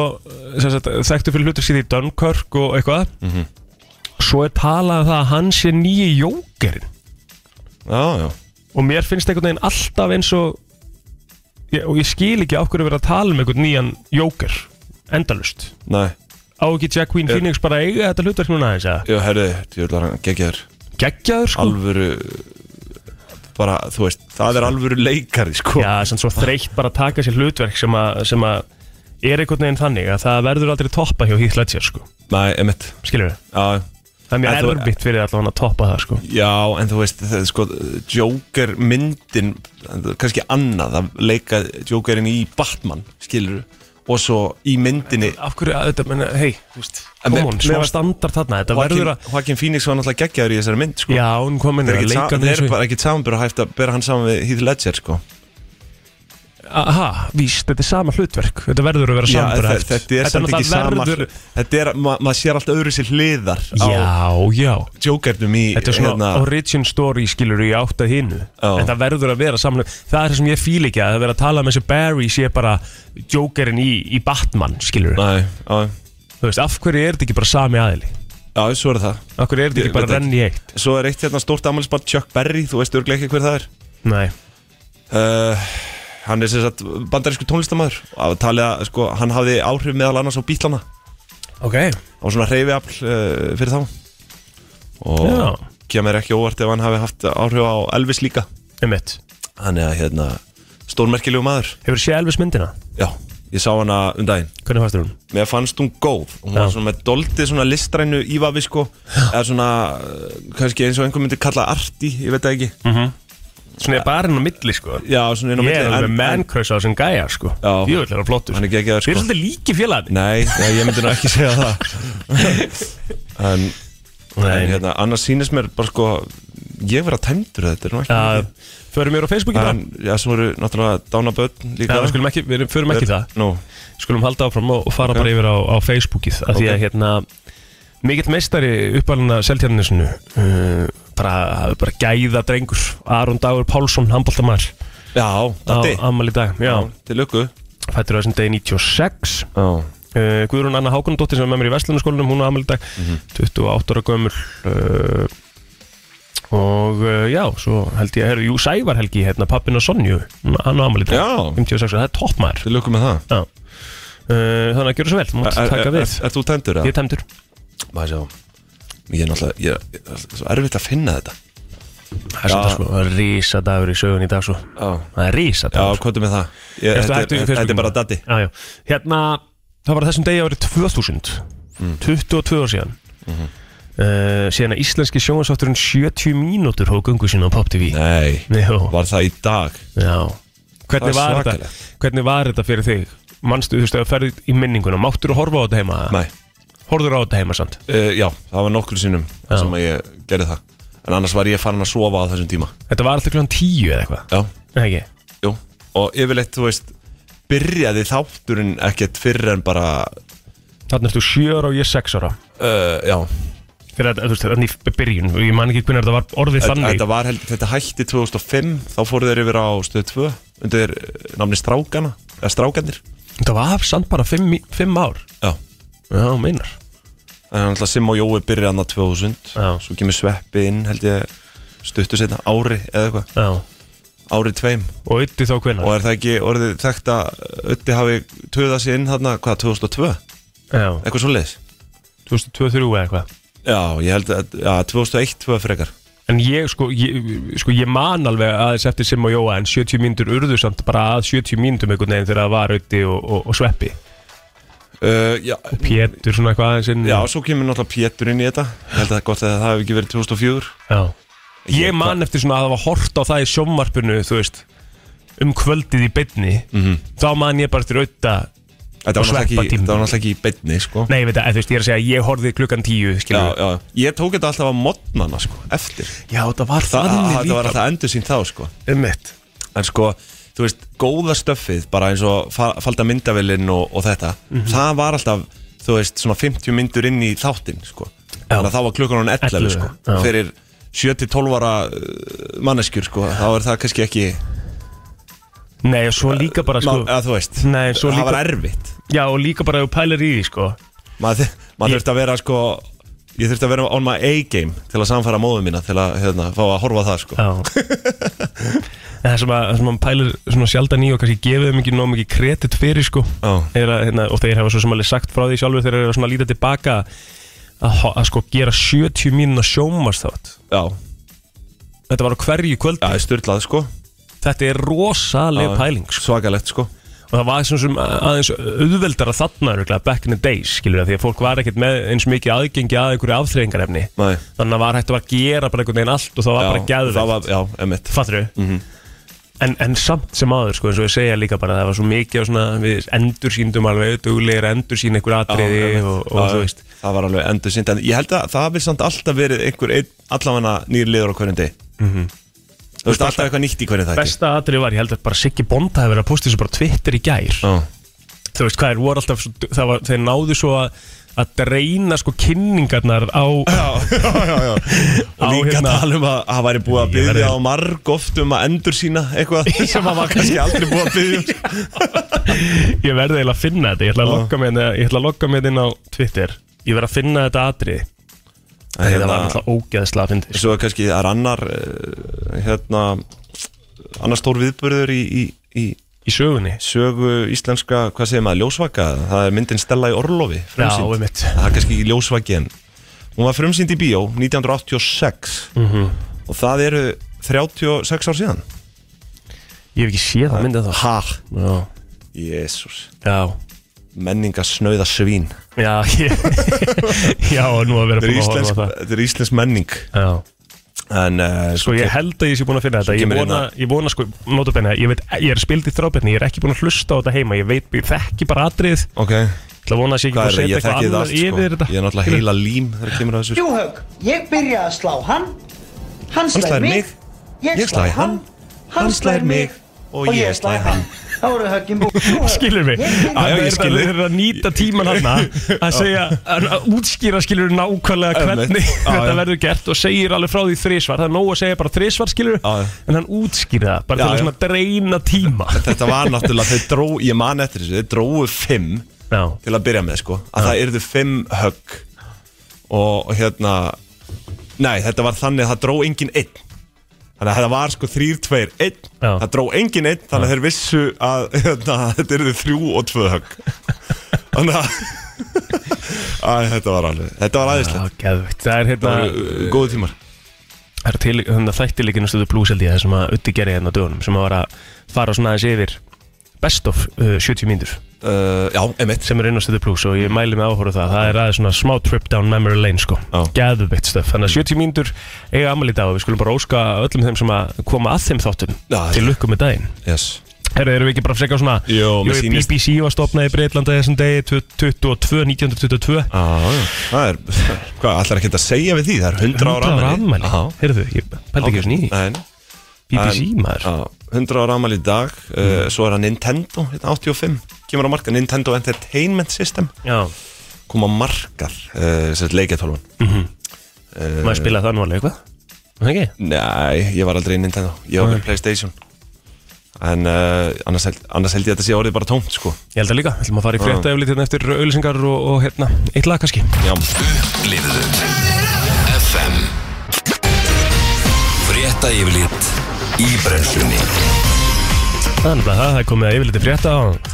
A: sem sagt, þekktu fyrir hlutur síði í Dunkirk og eitthvað Svo er talað um það að hann sé nýji jókerinn
D: Já, já
A: og mér finnst einhvern veginn alltaf eins og ég, og ég skil ekki á hverju verið að tala um einhvern nýjan jóker endalust
D: Nei,
A: á ekki Jack Queen Phoenix bara að eiga þetta hlutverk núna aðeins að
D: já, herru, ég vil að hann gegja þér
A: geggjaður sko
D: Alvöru Bara, þú veist, það er alvöru leikari, sko
A: já, sem svo þreytt bara að taka sér hlutverk sem að, sem að er einhvern veginn þannig að það verður aldrei toppa hjá Heath Ledger sko
D: Nei, emitt
A: skilur við,
D: Já,
A: það er
D: En
A: mjög
D: þú-
A: erfitt fyrir allavega að toppa það sko
D: já, en þú veist, það, sko Joker myndin Kannski annað að leika Jokerinn í Batman, skilur Og svo í myndinni
A: af hverju að þetta, menna, hei, þú veist
D: mér-
A: komón,
D: mér
A: svona
D: varst-
A: standard þarna, þetta verður að
D: Joaquin Phoenix var náttúrulega geggjaður í þessari mynd, sko
A: já, hún kom inn
D: Það er,
A: að
D: ekki,
A: leika
D: sam, það er bara ekki samanbyrðahæft að bera hann saman við Heath Ledger sko.
A: aha, víst, þetta er sama hlutverk þetta verður að vera
D: Já,
A: samanbæra
D: þetta, þetta er samt ekki sama verður... Þetta er, ma maður sér alltaf öðru sér hliðar á
A: já, já,
D: Jokernum í
A: þetta er svona origin story skilur í átt að hinu
D: Hérna. Já.
A: en það verður að vera samanlega það er það sem ég fíl ekki að það verður að tala um þessi Barry sé bara Jokerinn í, í Batman skilur,
D: Nei, á,
A: þú veist, af hverju er þetta ekki bara sami aðili,
D: já, svo er það
A: af hverju er þetta
D: Ég
A: ekki
D: veit
A: bara
D: ekki.
A: renni í eitt,
D: Svo er eitt hérna stórt ammælisbarn Chuck Berry, þú veist örglega ekki hver það er
A: nei
D: uh, Hann er sem sagt bandarísku tónlistamæður talið að sko, hann hafði áhrif meðal annars á bílana
A: ok,
D: og svona reyfiafl uh, fyrir þá og
A: Já.
D: kemur ekki óvart ef hann hafi haft áhrif á Elvis líka
A: um mitt
D: Hann er hérna stórmerkilegu maður
A: hefur séð Elvis myndina,
D: Já, ég sá hana um daginn
A: hvernig fannst þér hún
D: Mér fannst hún góð Hún var
A: Já.
D: svona með doldið svona listrænu ívafi sko Eða svona, uh, kannski eins og einhver myndi kalla arti, ég veit það ekki
A: svona er bara inn á milli, sko
D: Já, svona inn á
A: Hm. Ég er
D: milli,
A: alveg
D: en- en-
A: mannkvæs á þessum gæja sko
D: Já.
A: Jöfull er hann flottur
D: Hann er geggjaður,
A: Þeir eru
D: sko.
A: svolítið líki félagni
D: Nei, nei, ég myndi nú ekki segja það En, en
A: Nei.
D: hérna, annars sýnist mér bara sko Ég vera tæmdur þetta er nú ekki
A: Já,
D: mikið.
A: Förum mér á Facebooki það
D: En, já, svo eru náttúrulega dánaböðn
A: Já,
D: líka
A: við skulum ekki, við förum ekki í það
D: Nú,
A: Skulum halda áfram og og fara bara yfir á, á Facebookið af Því að
D: Ok.
A: hérna Mikill meistari uppalina Seltjarnisinu uh, bara, bara gæða drengur Aron Dagur Pálsson, handbóltamar
D: já,
A: á
D: datti
A: ammali dag, já,
D: Til lukku
A: fættur á þessum degi 96
D: Já,
A: uh, Guðrún Anna Hákonadóttir sem er með mér í Vestlunarskólanum hún á ammali dag,
D: Mhm.
A: 28 ára gömul uh, og uh, já, svo held ég herru, jú, Sævar Helgi, hérna, pappin og Sonju hann á ammali dag,
D: Já.
A: 56 ára, það er toppmaður
D: til lukku með það
A: Já. Uh, þannig að gera svo vel, þú mátt
D: Er-
A: taka
D: er-
A: við
D: er- Ert þú tæmdur? eða?
A: Ég er tæmdur
D: maður sjá ég er náttúrulega, ég ég- það er svo erfitt að finna þetta
A: Það er svolítið sko, það er rísadagur í sögun í dag svo
D: já,
A: Það er
D: já,
A: rísadagur
D: hvað er með það ég,
A: Ertu
D: þetta,
A: ættu í
D: er-
A: Facebookinu?
D: þetta er bara daddi
A: Já, já Hérna, það var á þessum degi árið 2000
D: Mm.
A: 22 ár síðan
D: Mhm.
A: mm Síðan að íslenski sjónvansátturinn 70 mínútur hóð gungu sína á Pop TV
D: nei,
A: Jó,
D: var það í dag
A: já Hvernig
D: Það er
A: var þetta,
D: svakalegt.
A: hvernig var þetta fyrir þig? Manstu, þú veist, að ferði í minninguna Máttur að horfa á þetta heima?
D: nei,
A: Horfður á þetta heima, sant?
D: uh, já, það var nokkru sinnum
A: Já.
D: sem að ég gerði það en annars var ég farin að sofa á þessum tíma
A: Þetta var alltaf kljóðan 10 eða eitthvað
D: já,
A: Nei, ekki?
D: jú, og yfirleitt, þú veist byrjaði þátturinn ekkert fyrir en bara
A: Þannig ertu 7 ára og ég 6 ára
D: uh, já,
A: Þegar þetta, þú veist, þannig í byrjun Ég man ekki hvernig þetta var orðið þannig
D: Þetta, var, held- þetta hætti 2005 Þá fóru þeir yfir á stöð 2 Undir eh, namni Strákana Eða Strákanir
A: Þetta var samt bara fimm, í- fimm ár
D: Já
A: Já, meinar
D: Það er alltaf Sim og Jói byrja annað 2000
A: Já.
D: Svo kemur Sveppi inn held ég Stuttu setna ári eða eitthvað
A: Já
D: Ári tveim
A: Og ytti þá
D: Og
A: hvenar
D: er það ekki orðið þekkt að Ötti hafi töðað sér inn þarna Hvað, 2002?
A: Já,
D: Eitthvað svo leiðis
A: 2023 eða eitthvað
D: Já, ég held að já, 2001, 2002 frekar
A: En ég sko, ég, sko, ég man alveg aðeins eftir Sim og Jóa En 70 mínútur urðu samt bara að 70 mínútum einhvern veginn Þegar það var ytti og, og, og sveppi
D: uh, já,
A: Pétur svona eitthvað aðeins inn
D: já, sko. svo kemur náttúrulega Pétur inn í þetta Ég held að það er gott að það hafi ekki verið 2004
A: Já. Ég man eftir svona að það var hort á það í sjónvarpinu Þú veist Um kvöldið í beinni
D: Mhm.
A: Þá man ég bara eftir auðta
D: Þetta var
A: Og
D: náttúrulega ekki,
A: sveppatímabil.
D: þetta var náttúrulega ekki í beinni sko.
A: Nei, veit að, þú veist, ég er að segja Ég horfði klukkan tíu,
D: já,
A: skilur
D: já. Ég tók þetta alltaf á modnana sko, eftir
A: Já, það var
D: Þa, Það var alltaf endur sín þá sko.
A: um mitt
D: En sko, þú veist, góða stöffið bara eins og fa falda myndavillin og, og þetta
A: Mhm.
D: Það var alltaf, þú veist, svona 50 myndur inn í þáttinn sko. Þannig að þá var klukkan hún 11
A: 11,
D: sko.
A: já.
D: Fyrir 7-12 ára uh, manneskjur sko. Þá er það kannski ekki
A: Nei, og svo líka bara, sko
D: Má- eða, Þú veist,
A: Nei, svo
D: það
A: líka-
D: var erfitt
A: Já, og líka bara ef þú pælar í því, sko
D: maður, þi- maður
A: Ég-
D: þurfti að vera sko ég þurfti að vera on my A-game til að samfara móðu mína til að hérna, fá að horfa á það sko
A: Já En Það sem, að, það sem maður pælar svona sjaldan í og kannski gefið þeim ekki nóg mikið kredit fyrir sko
D: Já.
A: er að, hérna, og þeir hafa svo sem alveg sagt frá því sjálfur þegar þeir eru svona að líta tilbaka að, ho- að sko gera 70 mínuna sjómas þátt
D: já,
A: Þetta var á hverju kvöld
D: já, ég styrlað sko
A: Þetta er rosaleg pæling sko.
D: svakalegt sko
A: og það var svona sem aðeins auðveldara þarna örugglega, back in the days skilur það því að fólk var ekkert með eins mikið aðgengi að einhverju afþreyingarefni
D: Nei.
A: þannig að var hægt að bara gera bara einhvern veginn allt og það var
D: já,
A: bara gæðvegt
D: það var, Mhm. já, emitt
A: Fattur þau? en, en samt sem aður, sko, eins og ég segja líka bara það var svo mikið á svona, við endursýndum alveg duglegir endursýn einhver atriði og, og þú veist
D: það var alveg endur sínt en ég held að það hafi samt alltaf verið einhver ein, allavega nýr liður á hverjum deg
A: Mhm.
D: þú veist alltaf eitthvað nýtt í hverjum þætti
A: Besta atrið var, ég held að bara Siggi Bonda hefur verið að posta þessu bara á Twitter í gær
D: Já.
A: Þú veist hvað er, voru alltaf, svo, það var, þeir náðu svo að að dreina sko kynningarnar á
D: og
A: Á,
D: líka
A: hérna-
D: tala um að að það væri búið að
A: Ég verði-
D: byggja á marg oft um að endur sína eitthvað sem að var kannski aldrei búið að um. byggja
A: Ég verði eiginlega að finna þetta, ég ætla að lokka mig hérna- ég ætla að lokka mig hérna inn á Twitter Ég verði að finna þetta atrið
D: hérna-
A: Þetta var alltaf ógeðslega að finna
D: Svo er kannski það er annar eh, hérna annar stór viðbörður í, í, í
A: Í sögunni
D: sögu íslenska, hvað segir maður, ljósvaka það er myndin Stella í Orlofi
A: Já,
D: frumsýnd.
A: einmitt.
D: það er kannski ekki ljósvaki en hún var frumsýnd í bíó 1986
A: Mhm.
D: og það eru 36 ár síðan
A: Ég hef ekki séð það myndið þá
D: Ha,
A: Já,
D: jésús
A: já
D: menningasnauða svín
A: Já, ég, já, og nú að
D: þetta
A: vera
D: er
A: búin að
D: íslensk,
A: horfa á það
D: þetta er íslensk menning
A: Já,
D: en uh,
A: sko ég held að ég sé búin að finna þetta Ég
D: kemur hérna-
A: vona, ég vona sko, notabenni Ég veit, ég er spild í þrábenni, ég er ekki búin að hlusta á þetta heima Ég veit, ég þekki bara atrið
D: ok,
A: Það vona að sé ekki
D: hvað er það,
A: búin að setja
D: ég
A: eitthvað
D: þekki það
A: annað
D: allt sko.
A: yfir þetta
D: ég er náttúrulega heila lím þegar kemur að þessu sko.
E: Júhaug, ég byrja að slá hann, hann
D: Hann slær
E: slær mig,
D: mig,
E: ég slæ hann, hann slær mig og ég slæ hann. Þá eru höggin búið. Júhaug,
A: Skilur mig
E: ég byrja-
D: já, ég skil
A: Þeir
D: þig.
A: eru að nýta tíman hann að segja, að að útskýra skilur nákvæmlega
D: Einmitt. Já,
A: hvernig
D: já.
A: þetta verður gert og segir alveg frá því þrisvar það er nóg að segja bara þrisvar skilur
D: Já, já.
A: en hann útskýra það, bara
D: Já,
A: til að
D: já.
A: svona dreina tíma
D: þetta var náttúrulega þau dró, ég man eftir þessu, þau dróu fimm
A: Já,
D: til að byrja með sko, að það yrðu fimm högg og, og hérna nei, þetta var þannig að það dró engin einn þannig að þetta var sko þrýr, tveir, einn
A: Já.
D: það dró engin einn, þannig að þeir vissu að hérna, þetta yrðu þrjú og tvö högg þannig að Æ, þetta var alveg, þetta var
A: Já,
D: aðeinslega
A: geðvægt Það er hérna
D: það var uh, góðu tímar
A: Það er til hérna, þannig að þætti líkinu stöðu blúseldi það sem að Utti gerði hérna á dögunum sem að var að fara svona aðeins yfir best of uh, 70 mínútur
D: uh, já, emitt
A: sem er inn á stöðu blús og ég mæli mig áhóru það það er aðeins svona smá trip down memory lane sko
D: Já. Mm.
A: geðveikt stöf þannig að 70 mínútur eiga amal í dag og við skulum bara óska öllum þeim sem að koma að þeim þáttum
D: Já,
A: til lukku með daginn
D: yes.
A: Herra, erum við ekki bara að freka svona
D: Jó, mér sýnist-
A: BBC var stopnað í Breitlanda þessum degi 22, 1922
D: ah, það er, hvað, allar ekki að segja við því það er 100 ára afmæli.
A: afmæli
D: Já.
A: Herðu, ég pældi ekki svona í
D: Nei, nei.
A: BBC maður
D: Já, 100 ára amal í dag uh, Svo er það Nintendo, hérna 85 Kemur á markað, Nintendo Entertainment System
A: Já,
D: eh, Kom á markað, uh, sem leikjartólfan mm
A: Maður spilaði það nú alveg eitthvað Það ekki?
D: Nei, ég var aldrei í Nintendo Ég var með Playstation En uh, annars, held, annars held ég að þetta sé orðið bara tómt sko
A: Ég held að líka, ætlum að fara í frétta eflit hérna eftir auðlýsingar og, og hérna, eitt lag kannski
D: Já,
B: Upplifðu FM Frétta yfirlit í brennslunni
A: Það er nefnilega það, það er komið að yfirleiti frétta og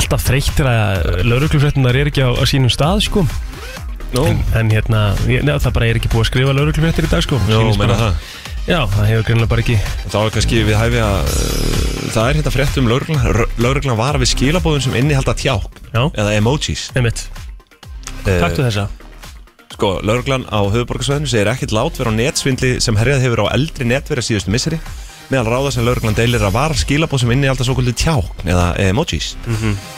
A: alltaf þreyttir að lauruglufréttunar er ekki á, á sínum stað sko
D: Nú,
A: En hérna, ég, neða, það bara er ekki búið að skrifa lauruglufréttir í dag sko
D: Jú,
A: Sýnist
D: meina
A: bara-
D: það.
A: Já, það hefur greinlega bara ekki
D: Þá er kannski við hæfi að uh, Það er hérna frétt um lauruglan Lauruglan var við skilabóðum sem innihalda tják
A: Já.
D: Eða emojis
A: Einmitt,
D: Eh,
A: taktu þessa
D: Sko, lauruglan á höfuborgarsvæðinu segir ekkert lát vera á netsvindli sem herjað hefur á eldri netverja síðustu misseri meðal ráða sem lauruglan deilir að var skilabóð sem inni alltaf svo kvöldi tjákn eða emojis mm -hmm.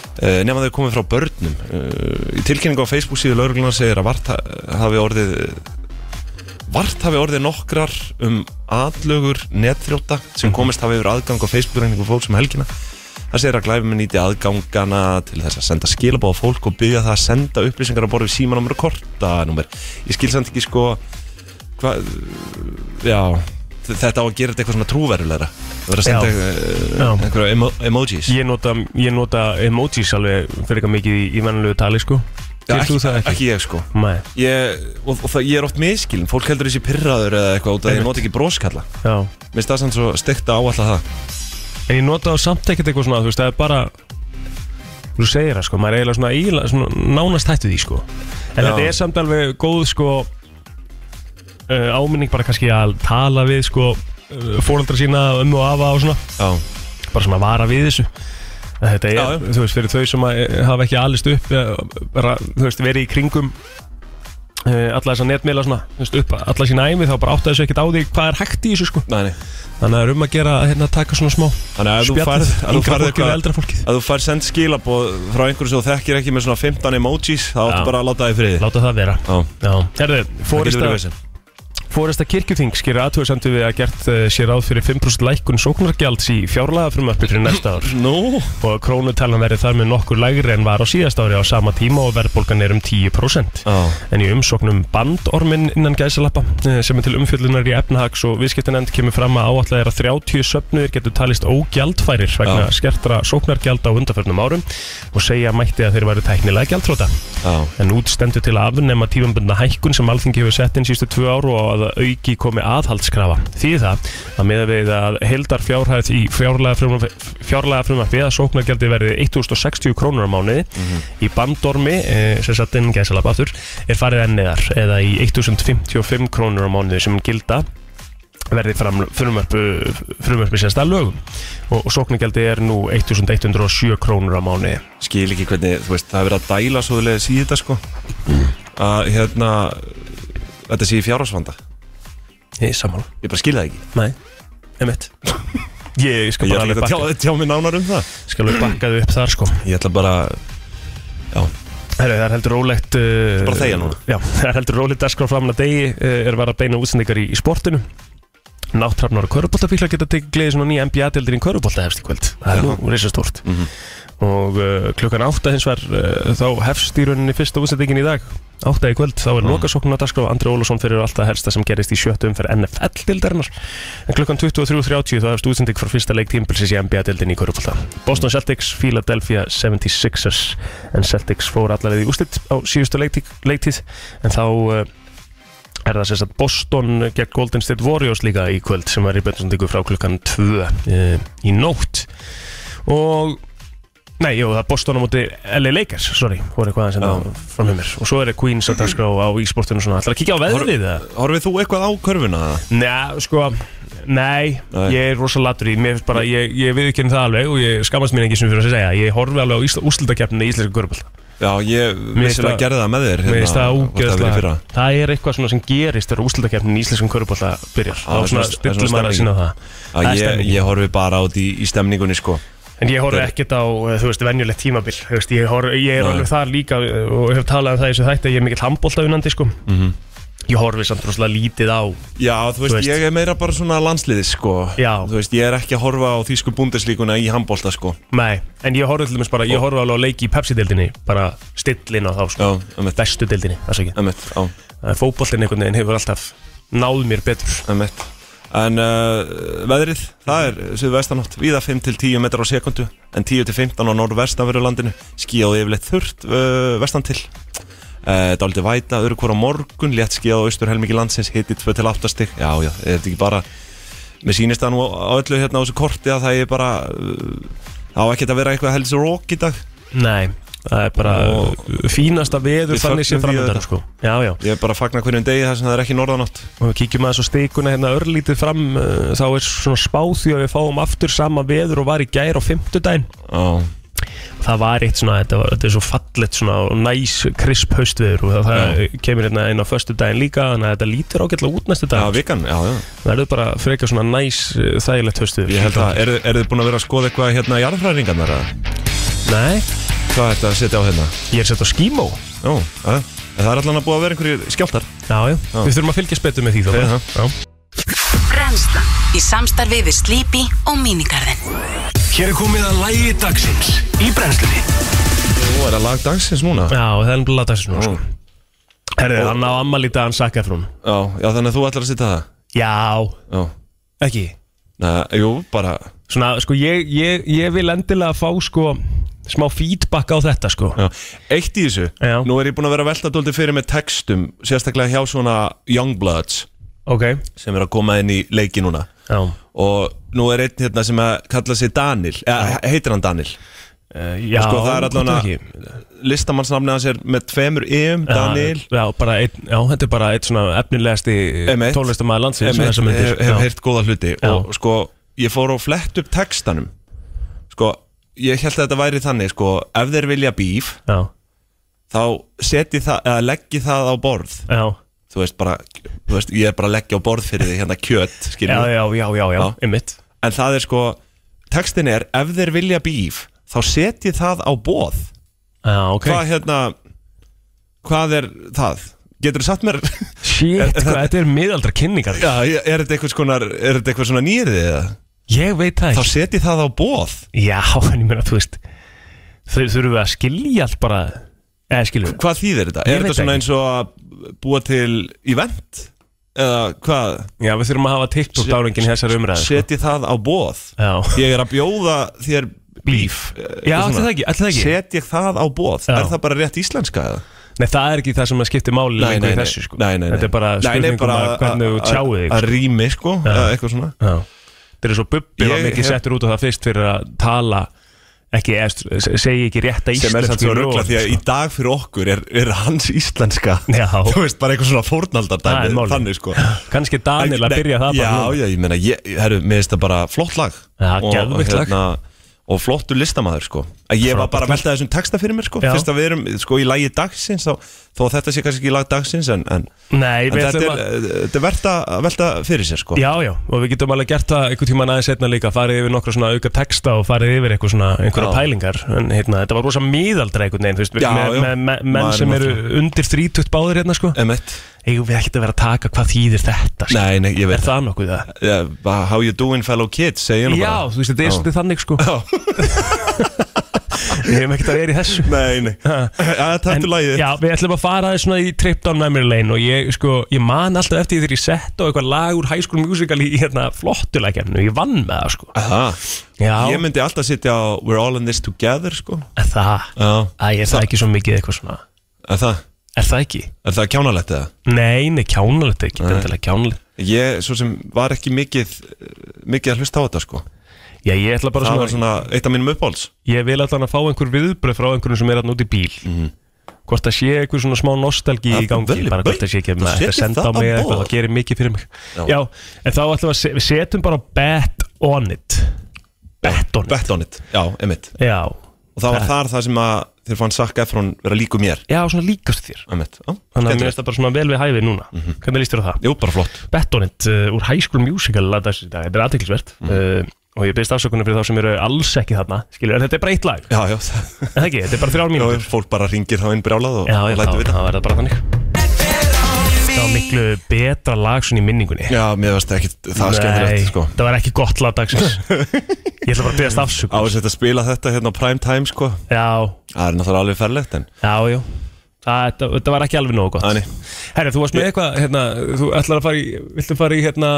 D: nema þau komið frá börnum uh, í tilkynningu á Facebook síðu lauruglan segir að vart ha- hafi orðið vart hafi orðið nokkrar um aðlögur netþrjóta sem
A: Mhm.
D: komist hafi yfir aðgang á Facebook-reiningu fólks um helgina Það segir að glæfum nýti aðgangana til þess að senda skilabóð á fólk og byggja það að senda upplýsingar á borð við símanúmer og kortanúmer. Ég skil samt ekki sko, hvað, já, þ- þetta á að gera þetta eitthvað svona trúverulegra. Það verður að
A: Já.
D: senda
A: Já.
D: uh, einhverja emo emojis.
A: Ég nota, ég nota emojis alveg fyrir eitthvað mikið í, í mennlegu tali sko
D: Já,
A: Gerir þú það ekki?
D: Ekki ég sko.
A: Nei,
D: Ég, og, og það, ég er oft miskilin, fólk heldur þessi pirraður eða eitthvað út að ég
A: Einmitt.
D: noti ekki broskalla.
A: já
D: Mér finnst það samt svo steikt að áalla það.
A: En ég nota á samt ekkert eitthvað svona, þú veist, það er bara Þú segir það sko, maður er eiginlega svona, eiginlega, svona nánast hættu því sko En
D: Já.
A: þetta er samt alveg góð sko uh, Áminning bara kannski að tala við sko uh, Fóraldra sína, ömmu og afa og svona
D: Já.
A: Bara svona vara við þessu En Þetta er,
D: Já, já.
A: þú veist, fyrir þau sem að, eh, hafa ekki alist upp eh, bara, Þú veist, verið í kringum uh, Alla þessa netmiðla svona, þú veist, upp alla sína æmi Þá bara áttaðu þessu ekkert á því hvað er hægt í þessu sko
D: Nei, nei.
A: Þannig að það er um að gera að hérna, taka svona smá
D: Þannig að ef þú
A: spjallið,
D: færð- ef þú
A: yngra
D: færð
A: fólkið
D: eitthvað-
A: við eldra fólkið
D: að þú fær send skilabóð frá einhverju sem þú þekkir ekki með svona 15 emojis þá
A: Já.
D: áttu bara að láta það í friði
A: Láta það vera
D: Já,
A: Já, herðu,
D: það getur verið
A: fórista,
D: vesen.
A: fórista kirkjuþing skýrir aðtöðsendu við að gert uh, sér áð fyrir 5% lækkun sóknargjalds í fjárlagafrumöppi fyrir næsta ár
D: Nú,
A: og krónutalan verði þar með nokkur lægri en var á síðast ári á sama tíma og verðbólgan er um 10%.
D: Já.
A: En í umsóknum bandormin innan gæsalappa eh, sem er til umfjöllunar í efnahags og viðskiptanend kemur fram að áallega er að 30 söfnuðir getur talist ógjaldfærir vegna
D: Já.
A: skertra sóknargjald á undarförnum árum og segja mætti að þeir væru tæknilega gjaldtróta.
D: Já.
A: En út stendur til að afnema tímambundna hækkun sem alþingi hefur sett inn sístu tvö ár og að auki komi aðhaldskrafa. Því það að meða við að heldar fjárhæð í fjárlega frumvarfi að sóknargjaldi verði 1060 krónur á mánuði í bandormi, eh, sem satt inn gæsalab aftur, er farið enn neðar eða í 1055 krónur á mánuði sem gilda verði fram frumvarpu, frumvarpu sérst að lögum og, og sóknargjaldi er nú 1107 krónur á mánuði.
D: skil ekki hvernig, þú veist, það hefur verið að dæla svo leiðis í þetta sko
A: Mm.
D: að hérna þetta sé í fjárhásvanda,
A: Í sammála.
D: ég bara skil það ekki
A: Nei, einmitt Ég skal
D: Ég
A: bara
D: ætla
A: alveg
D: ekki að
A: bakka
D: tjá, tjá mig nánar um það
A: Skal alveg bakka þau upp þar sko
D: Ég ætla bara,
A: Herru, það er heldur rólegt uh,
D: Bara þegja núna.
A: Já, það er heldur rólegt dagskrá framan að degi uh, Er var að beina útsendingar í, í sportinu Náttrafnar og körubóltafíklar geta tekið gleði svona nýja NBA-deildir í körubólta hefst í kvöld Það er nú reysa stórt Og uh, klukkan átta hins vegar uh, þá hefst í rauninni fyrsta útsendingin í dag Átta í kvöld, þá er mm. lokasóknuna dagskrá Andri Ólafsson fyrir alltaf helsta sem gerist í sjöttu umferð NFL-deildarinnar En klukkan 23.30 þá hefst útsending frá fyrsta leik tímbilsis í NBA-deildin í körubólta Boston Celtics, Philadelphia 76ers En Celtics fór allaveg í úslit á síðustu leiktí- leiktíð En þá... Uh, er það sem sagt Boston gegn Golden State Warriors líka í kvöld sem er í beinsundiku frá klukkan 2 e, í nótt og nei, jú, það er Boston á móti LA Lakers, sorry, voru eitthvað aðeins hérna fram með mér og svo er það Queens að dagskrá á e-sportinu og svona, ætlar að kíkja á veðrið það?
D: horfið þú eitthvað á körfuna?
A: Nei, sko, nei,
D: Nei.
A: ég er rosa latur í, mér finnst bara, ég, ég við ekki það alveg og ég skammast mér ekki sem fyrir að segja, ég horfi alveg á Ísla, úslitakeppninu í Íslenska Görubald
D: Já, ég
A: finnst
D: vissilega
A: það-
D: gerði það með þér hérna
A: Mér finnst það
D: hvort hafi verið í
A: ógeðslega
D: fyrra.
A: Það er eitthvað svona sem gerist þegar úslitakeppnin í íslenskum körubólta byrjar
D: það
A: Þá
D: er
A: svona
D: svona- það er
A: stillum
D: svona
A: maður
D: stemning.
A: að sína það Það
D: Að
A: er
D: Ég,
A: stemning.
D: ég horfi bara á því í stemningunni sko
A: En ég horf
D: Þeir-
A: ekkert á, eh, þú veist, venjulegt tímabil Þú veist, ég, horf, ég er
D: Nei.
A: alveg þar líka eh, og hef talað um það í þessu þætti að ég er mikill handbóltaunandi, sko
D: Mhm.
A: Ég horfi samt rosalega lítið á
D: Já, þú veist,
A: veist.
D: ég er meira bara svona landsliðis sko
A: Já.
D: Þú veist, ég er ekki að horfa á þýsku bundeslíkuna í handbólta sko
A: Nei, en ég horfi til dæmis bara, ég horfi alveg á leiki í Pepsi-deildinni bara stillin á þá, sko
D: Já, um
A: Bestu deildinni, það sé ekki
D: Emmett, já
A: að fótboltin einhvern veginn hefur alltaf náð mér betur
D: Einmitt. En uh, veðrið, það er suðvestanátt, víða 5 til 10 metrar á sekundu en 10 til 15 á norðvestanveru landinu skíðað yfirleitt þurrt uh, vestan til uh, Dálítið væta, öru hvora morgun, létt skíðað á austur helmingi landsins hiti 2 til 8 stig Já, já, er þetta ekki bara Mér sýnist það nú á öllu hérna á þessu korti að það er bara uh, á ekkert að vera eitthvað helst rók í dag
A: Nei, það er bara
D: Og-
A: fínasta veður
D: Við
A: þannig sé
D: fögnum því
A: framöndan
D: auðvitað.
A: sko Já, já,
D: Ég er bara að fagna hverjum degi þar sem það er ekki norðanátt
A: og við kíkjum aðeins á stikuna hérna örlítið fram uh, þá er svona spáð því að við fáum aftur sama veður og var í gær á fimmtudaginn
D: Já,
A: það var eitt svona, þetta, var, þetta er svo fallet svona og næs krisp haustveður og það, það kemur hérna inn á föstudaginn líka þannig að þetta lítur ágætlega út næstu
D: já
A: dag
D: vikan, já, já
A: það verður bara frekar svona næs uh, þægilegt haustveður
D: Ég held að, eru er þið búin að vera að skoða eitthvað hérna jarðfræðingarnar eða?
A: Nei,
D: Hvað er þetta að setja á hérna?
A: ég er sett á skímó
D: Ó, eh? að, það er allan að búa að vera einhverjir skjáltar
A: Já, já, við þurfum að fylgjast betur með því þá
D: Já, já.
A: bara. Já.
F: Brennslan í samstarfi við Sleepy og Minigarden
B: Hér er komið að lægi dagsins í brennslunni
D: Nú er það lag dagsins núna Já,
A: Já, það er ennbúin að lata þessu nú sko.
D: Mm.
A: Herðu, hann á ammali í dag, hann sakkaði frá hún
D: já þannig að þú ætlar að setja það
A: Já,
D: Já,
A: ekki
D: Nei, jú, bara
A: Svona, sko, ég, ég, ég vil endilega fá sko smá feedback á þetta sko
D: já. Eitt í þessu,
A: Já.
D: nú er ég búin að vera að velta dóldi fyrir með textum Sérstaklega hjá svona Youngbloods
A: Ok
D: sem er að koma inn í leiki núna
A: Já
D: Og nú er einn hérna sem að kalla sig Danil eða, Heitir hann Danil
A: uh, Já,
D: Sko, það er allan að-
A: ekki.
D: Listamannsnafnið hans er með tveimur ym, Danil
A: Já, já, bara einn, já, þetta er bara einn svona efnilegasti
D: Einmitt.
A: tónlistamæður landsins
D: Einmitt,
A: þessar myndir.
D: hef, hef
A: Já.
D: heyrt góða hluti
A: Já.
D: og sko, ég fór og flett upp textanum sko, ég held að þetta væri þannig sko, ef þeir vilja bíf
A: Já,
D: þá seti það, eða leggi það á borð
A: já,
D: þú veist bara, þú veist, ég er bara að leggja á borð fyrir því hérna kjöt,
A: já,
D: skiljum
A: já, já, já, já,
D: Já.
A: einmitt
D: en það er sko, textin er ef þeir vilja bíf, þá seti það á borð,
A: Já, ok
D: hvað hérna hvað er það? Getur þú satt mér
A: Shit, hvað, þetta er miðaldra kynningar
D: Já, er þetta eitthvað svona, er þetta eitthvað svona nýrið eða?
A: Ég veit það
D: Þá
A: ekki
D: seti það á borð
A: Já, en ég meina, þú veist Þau þurfum við að skilja allt bara Eða skiljum
D: Hvað þýðir þetta?
A: Ég
D: Er
A: veit
D: þetta svona
A: ekki.
D: eins og að búa til event? Eða hvað?
A: Já, við þurfum að hafa TikTok dálingin í þessari umræðu sko.
D: Setji það á bóð?
A: Já,
D: Ég er að bjóða þér bíf
A: já ætli það ekki, ætli það ekki
D: Setji það á bóð?
A: Já.
D: Er það bara rétt íslenska eða?
A: Nei, það er ekki það sem að skipti máli
D: Nei,
A: lengur
D: nei,
A: í
D: nei.
A: þessu sko.
D: Nei, nei, nei.
A: Þetta er bara
D: Nei, nei,
A: spurning um
D: bara
A: að
D: að-
A: hvernig þú
D: að-
A: tjáu þig
D: Að
A: sko.
D: rými sko,
A: Já.
D: eða eitthvað svona
A: Já. Þetta er svo bubbi var
D: Ég
A: mikið
D: hef-
A: settur út á það fyrst fyrir að tala ekki, eða st- segi ekki rétta
D: sem
A: íslensku
D: er samt svo ruggla
A: lög,
D: því að
A: sko.
D: í dag fyrir okkur er, er hans íslenska
A: Já.
D: þú veist bara eitthvað svona
A: Það er
D: fórnaldardæmi
A: málið.
D: þannig sko
A: Kannski Daniel að
D: Nei,
A: byrja það
D: já,
A: bara núna.
D: já, ég meina, ég, herru, mér finnst það bara flott lag
A: Já,
D: Og-
A: geðveikt
D: og hérna,
A: lag.
D: Og flottur listamaður, sko að Ég var bara að velta þessum texta fyrir mér, sko
A: Já.
D: Fyrst að við erum, sko, í lagi dagsins þá, Þó að þetta sé kannski ekki í lag dagsins En, en,
A: Nei,
D: en
A: við
D: þetta, er,
A: ætlum að
D: eh, þetta er verðt að velta fyrir sér, sko
A: Já, já, og við getum alveg gert það einhvern tíma aðeins setna líka, farið yfir nokkra svona auka texta og farið yfir eitthvað svona, einhverja
D: Já.
A: pælingar en hérna, þetta var rosa miðaldra einhvern veginn, þú veist,
D: Já,
A: með,
D: já.
A: með, með menn
D: Maður er
A: sem eru
D: náttúrulega-
A: undir 30 báðir hérna, sko,
D: Emmett
A: eigum við ekkert að vera að taka hvað þýðir þetta, sko,
D: Nei, nei, ég veit
A: er það nokkuð það?
D: yeah, How you doing fellow kids, segir nú
A: Já,
D: bara
A: þú veist, þetta er
D: Já.
A: svolítið þannig sko Við hefum ekkert að vera í þessu
D: Nei, nei, ja,
A: En-
D: taktu lagið
A: Já, við ætlum að fara aðeins svona í trip down memory lane og ég, sko, ég man alltaf eftir því þegar ég sett á eitthvað lag úr High School Musical í hérna flottulækjarnu, ég vann með það sko
D: Aha.
A: Já,
D: Ég myndi alltaf sitja á We're all in this together, sko
A: er það,
D: Já,
A: Æ, er það ekki svo mikið eitthvað svona
D: er það,
A: Er það ekki?
D: er það kjánalegt eða?
A: Nei, nei, kjánalegt er ekki, þetta er kjánalegt
D: Ég svo sem var ekki mikið mikið að hlusta á þetta sko
A: Já, ég ætla bara
D: Það
A: svona,
D: var svona eitt af mínum uppáhalds
A: ég vil alltaf að fá einhver viðbröð frá einhverjum sem er alltaf úti í bíl Hvort það sé einhver svona smá nostalgi
D: Það
A: í
D: er
A: gangi,
D: vel í
A: bara hvort
D: beit.
A: það sé ekki
D: Þú
A: að þetta
D: setur
A: senda á
D: það á
A: mig eða eitthvað,
D: borð.
A: það gerir mikið fyrir mig Já,
D: Já.
A: en þá ætlum við að se- við setjum bara bet on it Bet on it
D: Bet on it, já, emitt
A: Já,
D: Og það var þar það sem að þér fann Sakka Efron vera líku mér
A: já svona líkast þér Mhm.
D: Emitt, já,
A: Þannig að mér
D: skemmtilegt.
A: finnst það bara svona vel við hæfið núna Hvernig líst þér á það?
D: Jú, bara flott
A: Bettonit uh, úr High School Musical að þessu í dag, þetta er aðteklisvert
D: Mhm.
A: uh, og ég byrst afsökunar fyrir þá sem eru alls ekki þarna skilur, en þetta er breytt lag,
D: Já, já, það-
A: en það ekki, þetta er bara þrjár
D: já,
A: mínútur
D: fólk bara ringir þá inn brjálað og,
A: Já,
D: og
A: já, þá
D: lætur við
A: þá
D: það
A: er það bara þannig Það var miklu betra lag svona í minningunni
D: Já, mér varst ekki það
A: Nei,
D: skemmtilegt sko
A: það var ekki gott lag dagsins Ég ætla bara að byrjast
D: Á
A: afsökunar
D: þess að spila þetta hérna á prime time sko
A: Já,
D: Það er náttúrulega alveg ferlegt en
A: já, já Það, þetta, þetta var ekki alveg nógu gott
D: Nei.
A: Herra, þú varst með eitthvað, hérna, þú ætlar að fara í Viltu fara í, hérna,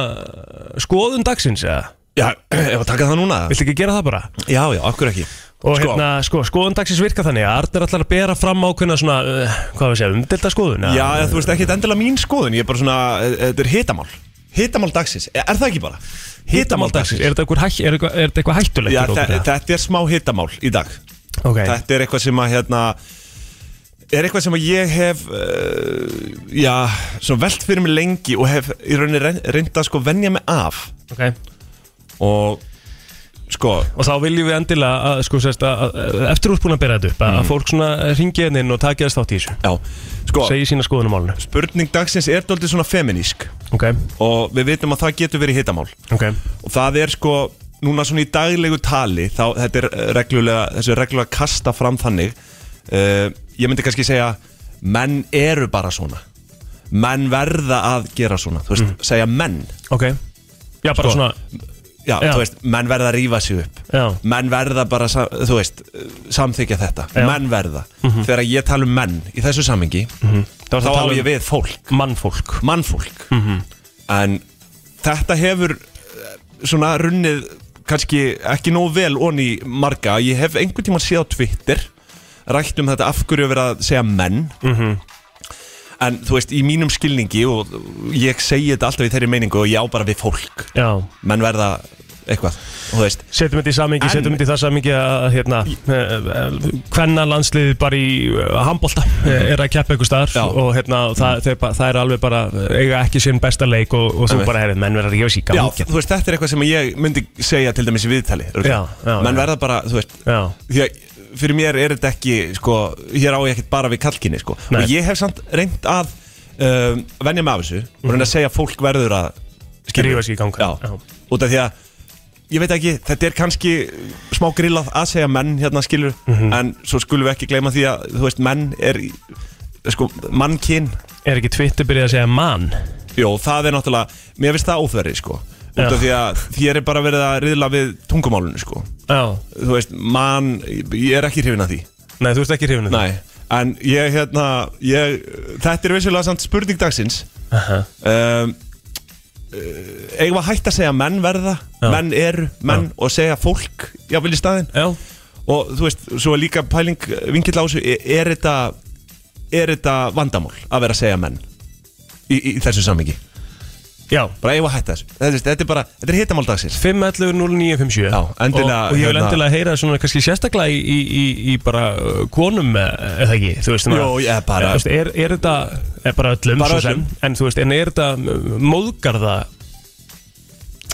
A: skoðun dagsins, eða?
D: Já, ef að taka það núna
A: Viltu ekki gera það bara?
D: Já, já, okkur ekki
A: Og hérna, sko, skoðun dagsins virka þannig að Arnar ætlar að bera fram ákveðna svona, uh, hvað við segja, umdelta skoðun eða?
D: Já, eða þú veist ekki endilega mín skoðun Ég er bara svona, e- e- þetta er hitamál Hitamál dagsins, er er það ekki bara?
A: Hitamál dagsins, er þetta eitthvað, hæ, er eitthvað, er þetta eitthvað hættulegt?
D: Já,
A: fyrir okkur,
D: þe-
A: eða?
D: þetta er smá hitamál í dag
A: Ok,
D: Þetta er eitthvað sem að hérna Er eitthvað sem að ég hef uh, Já, svona velt fyrir mig lengi Og hef í rauninni reyn- reynt að sko venja mig af
A: ok
D: Og sko
A: Og þá viljum við endilega að, sko, sérst, að, að eftir úr búin að bera þetta upp,
D: Mm.
A: að, að fólk svona ringi henni inn og taki þess þátt í þessu,
D: Já, sko
A: segi sína skoðun á málinu.
D: Spurning dagsins er daldið svona feminísk
A: Ok,
D: Og við vitum að það getur verið hitamál
A: ok,
D: og það er sko núna svona í daglegu tali þá þetta er eh, reglulega, þessu er reglulega kasta fram þannig uh, ég myndi kannski segja menn eru bara svona menn verða að gera svona þú
A: Mm.
D: veist, segja menn
A: ok. Já, bara
D: Sko,
A: svona,
D: já,
A: Já.
D: þú veist, menn verða að rífa sig upp
A: Já.
D: menn verða bara, sa- þú veist eh, samþykja þetta,
A: Já. Mhm.
D: menn verða þegar ég tala um menn í þessu samingi
A: Þá ertu
D: þá
A: að tala
D: á
A: um-
D: ég við fólk
A: mannfólk.
D: mannfólk en þetta hefur eh, svona runnið kannski ekki nóg vel onni marga ég hef einhvern tímann séð á Twitter rætt um þetta af hverju að vera að segja menn en þú veist í mínum skilningi og ég segi þetta alltaf í þeirri meiningu og ég á bara við fólk
A: Já,
D: menn verða eitthvað og þú veist
A: Setjum þetta í samingi,
D: En-
A: setjum þetta í það samingi að hérna, hvenna landsliðið bara í eh, handbolta eh, er að keppa einhver
D: Já.
A: staðar og hérna, það, þeir, ba- það er alveg bara eh, eiga ekki sinn besta leik og, og þú
D: Einmitt.
A: bara heyrið, menn verður að gefa sér í
D: Já,
A: gangi
D: þú veist, þetta er eitthvað sem ég myndi segja til dæmis í viðtali
A: Já, já,
D: menn
A: já.
D: verða bara, þú veist,
A: Já,
D: því að fyrir mér er þetta ekki sko, hér á ég ekkert bara við kalkinni sko.
A: Nei.
D: og ég hef samt reynd að um, venja mig af þessu og reynd að segja að fólk verður að skilur.
A: Rífa sig í gang.
D: já.
A: Já.
D: út af því að ég veit ekki, þetta er kannski smá grillað að segja menn hérna skilur
A: Mhm.
D: en svo skulum við ekki gleyma því að þú veist, menn er í- sko, mannkinn
A: er ekki Twitter byrjað að segja mann?
D: Jó, það er náttúrulega, mér finnst það óþverri sko út af
A: Já.
D: því að þér er bara verið að riðla við tungumálunni sko
A: Já,
D: þú veist, mann, ég er ekki hrifin að því
A: nei þú ert ekki hrifinu
D: Nei, en ég hérna ég, Þetta er vissulega samt spurning dagsins um, uh, Eigum að hætta að segja menn verða
A: Já.
D: Menn eru, menn og segja fólk Jáfnvel í staðinn
A: Já,
D: Og þú veist, svo er líka pæling eh, vinkill á þessu Er, er þetta Er þetta vandamál að vera að segja menn Í, í, í þessu samhengi
A: já
D: Bara eigum að hætta þessu Þetta, er- þetta er bara, þetta er hitamál dagsins
A: 5.11.09.57
D: Já, endilega,
A: og, og ég vil
D: hérna-
A: endilega heyra svona kannski sérstaklega í, í, í, í bara uh, konum eh, eða ekki, þú veist
D: Jó, ég er bara-
A: Þú veist, er, er þetta, er bara öllum
D: Bara
A: svo sem,
D: öllum.
A: en þú veist, en er þetta uh, móðgarða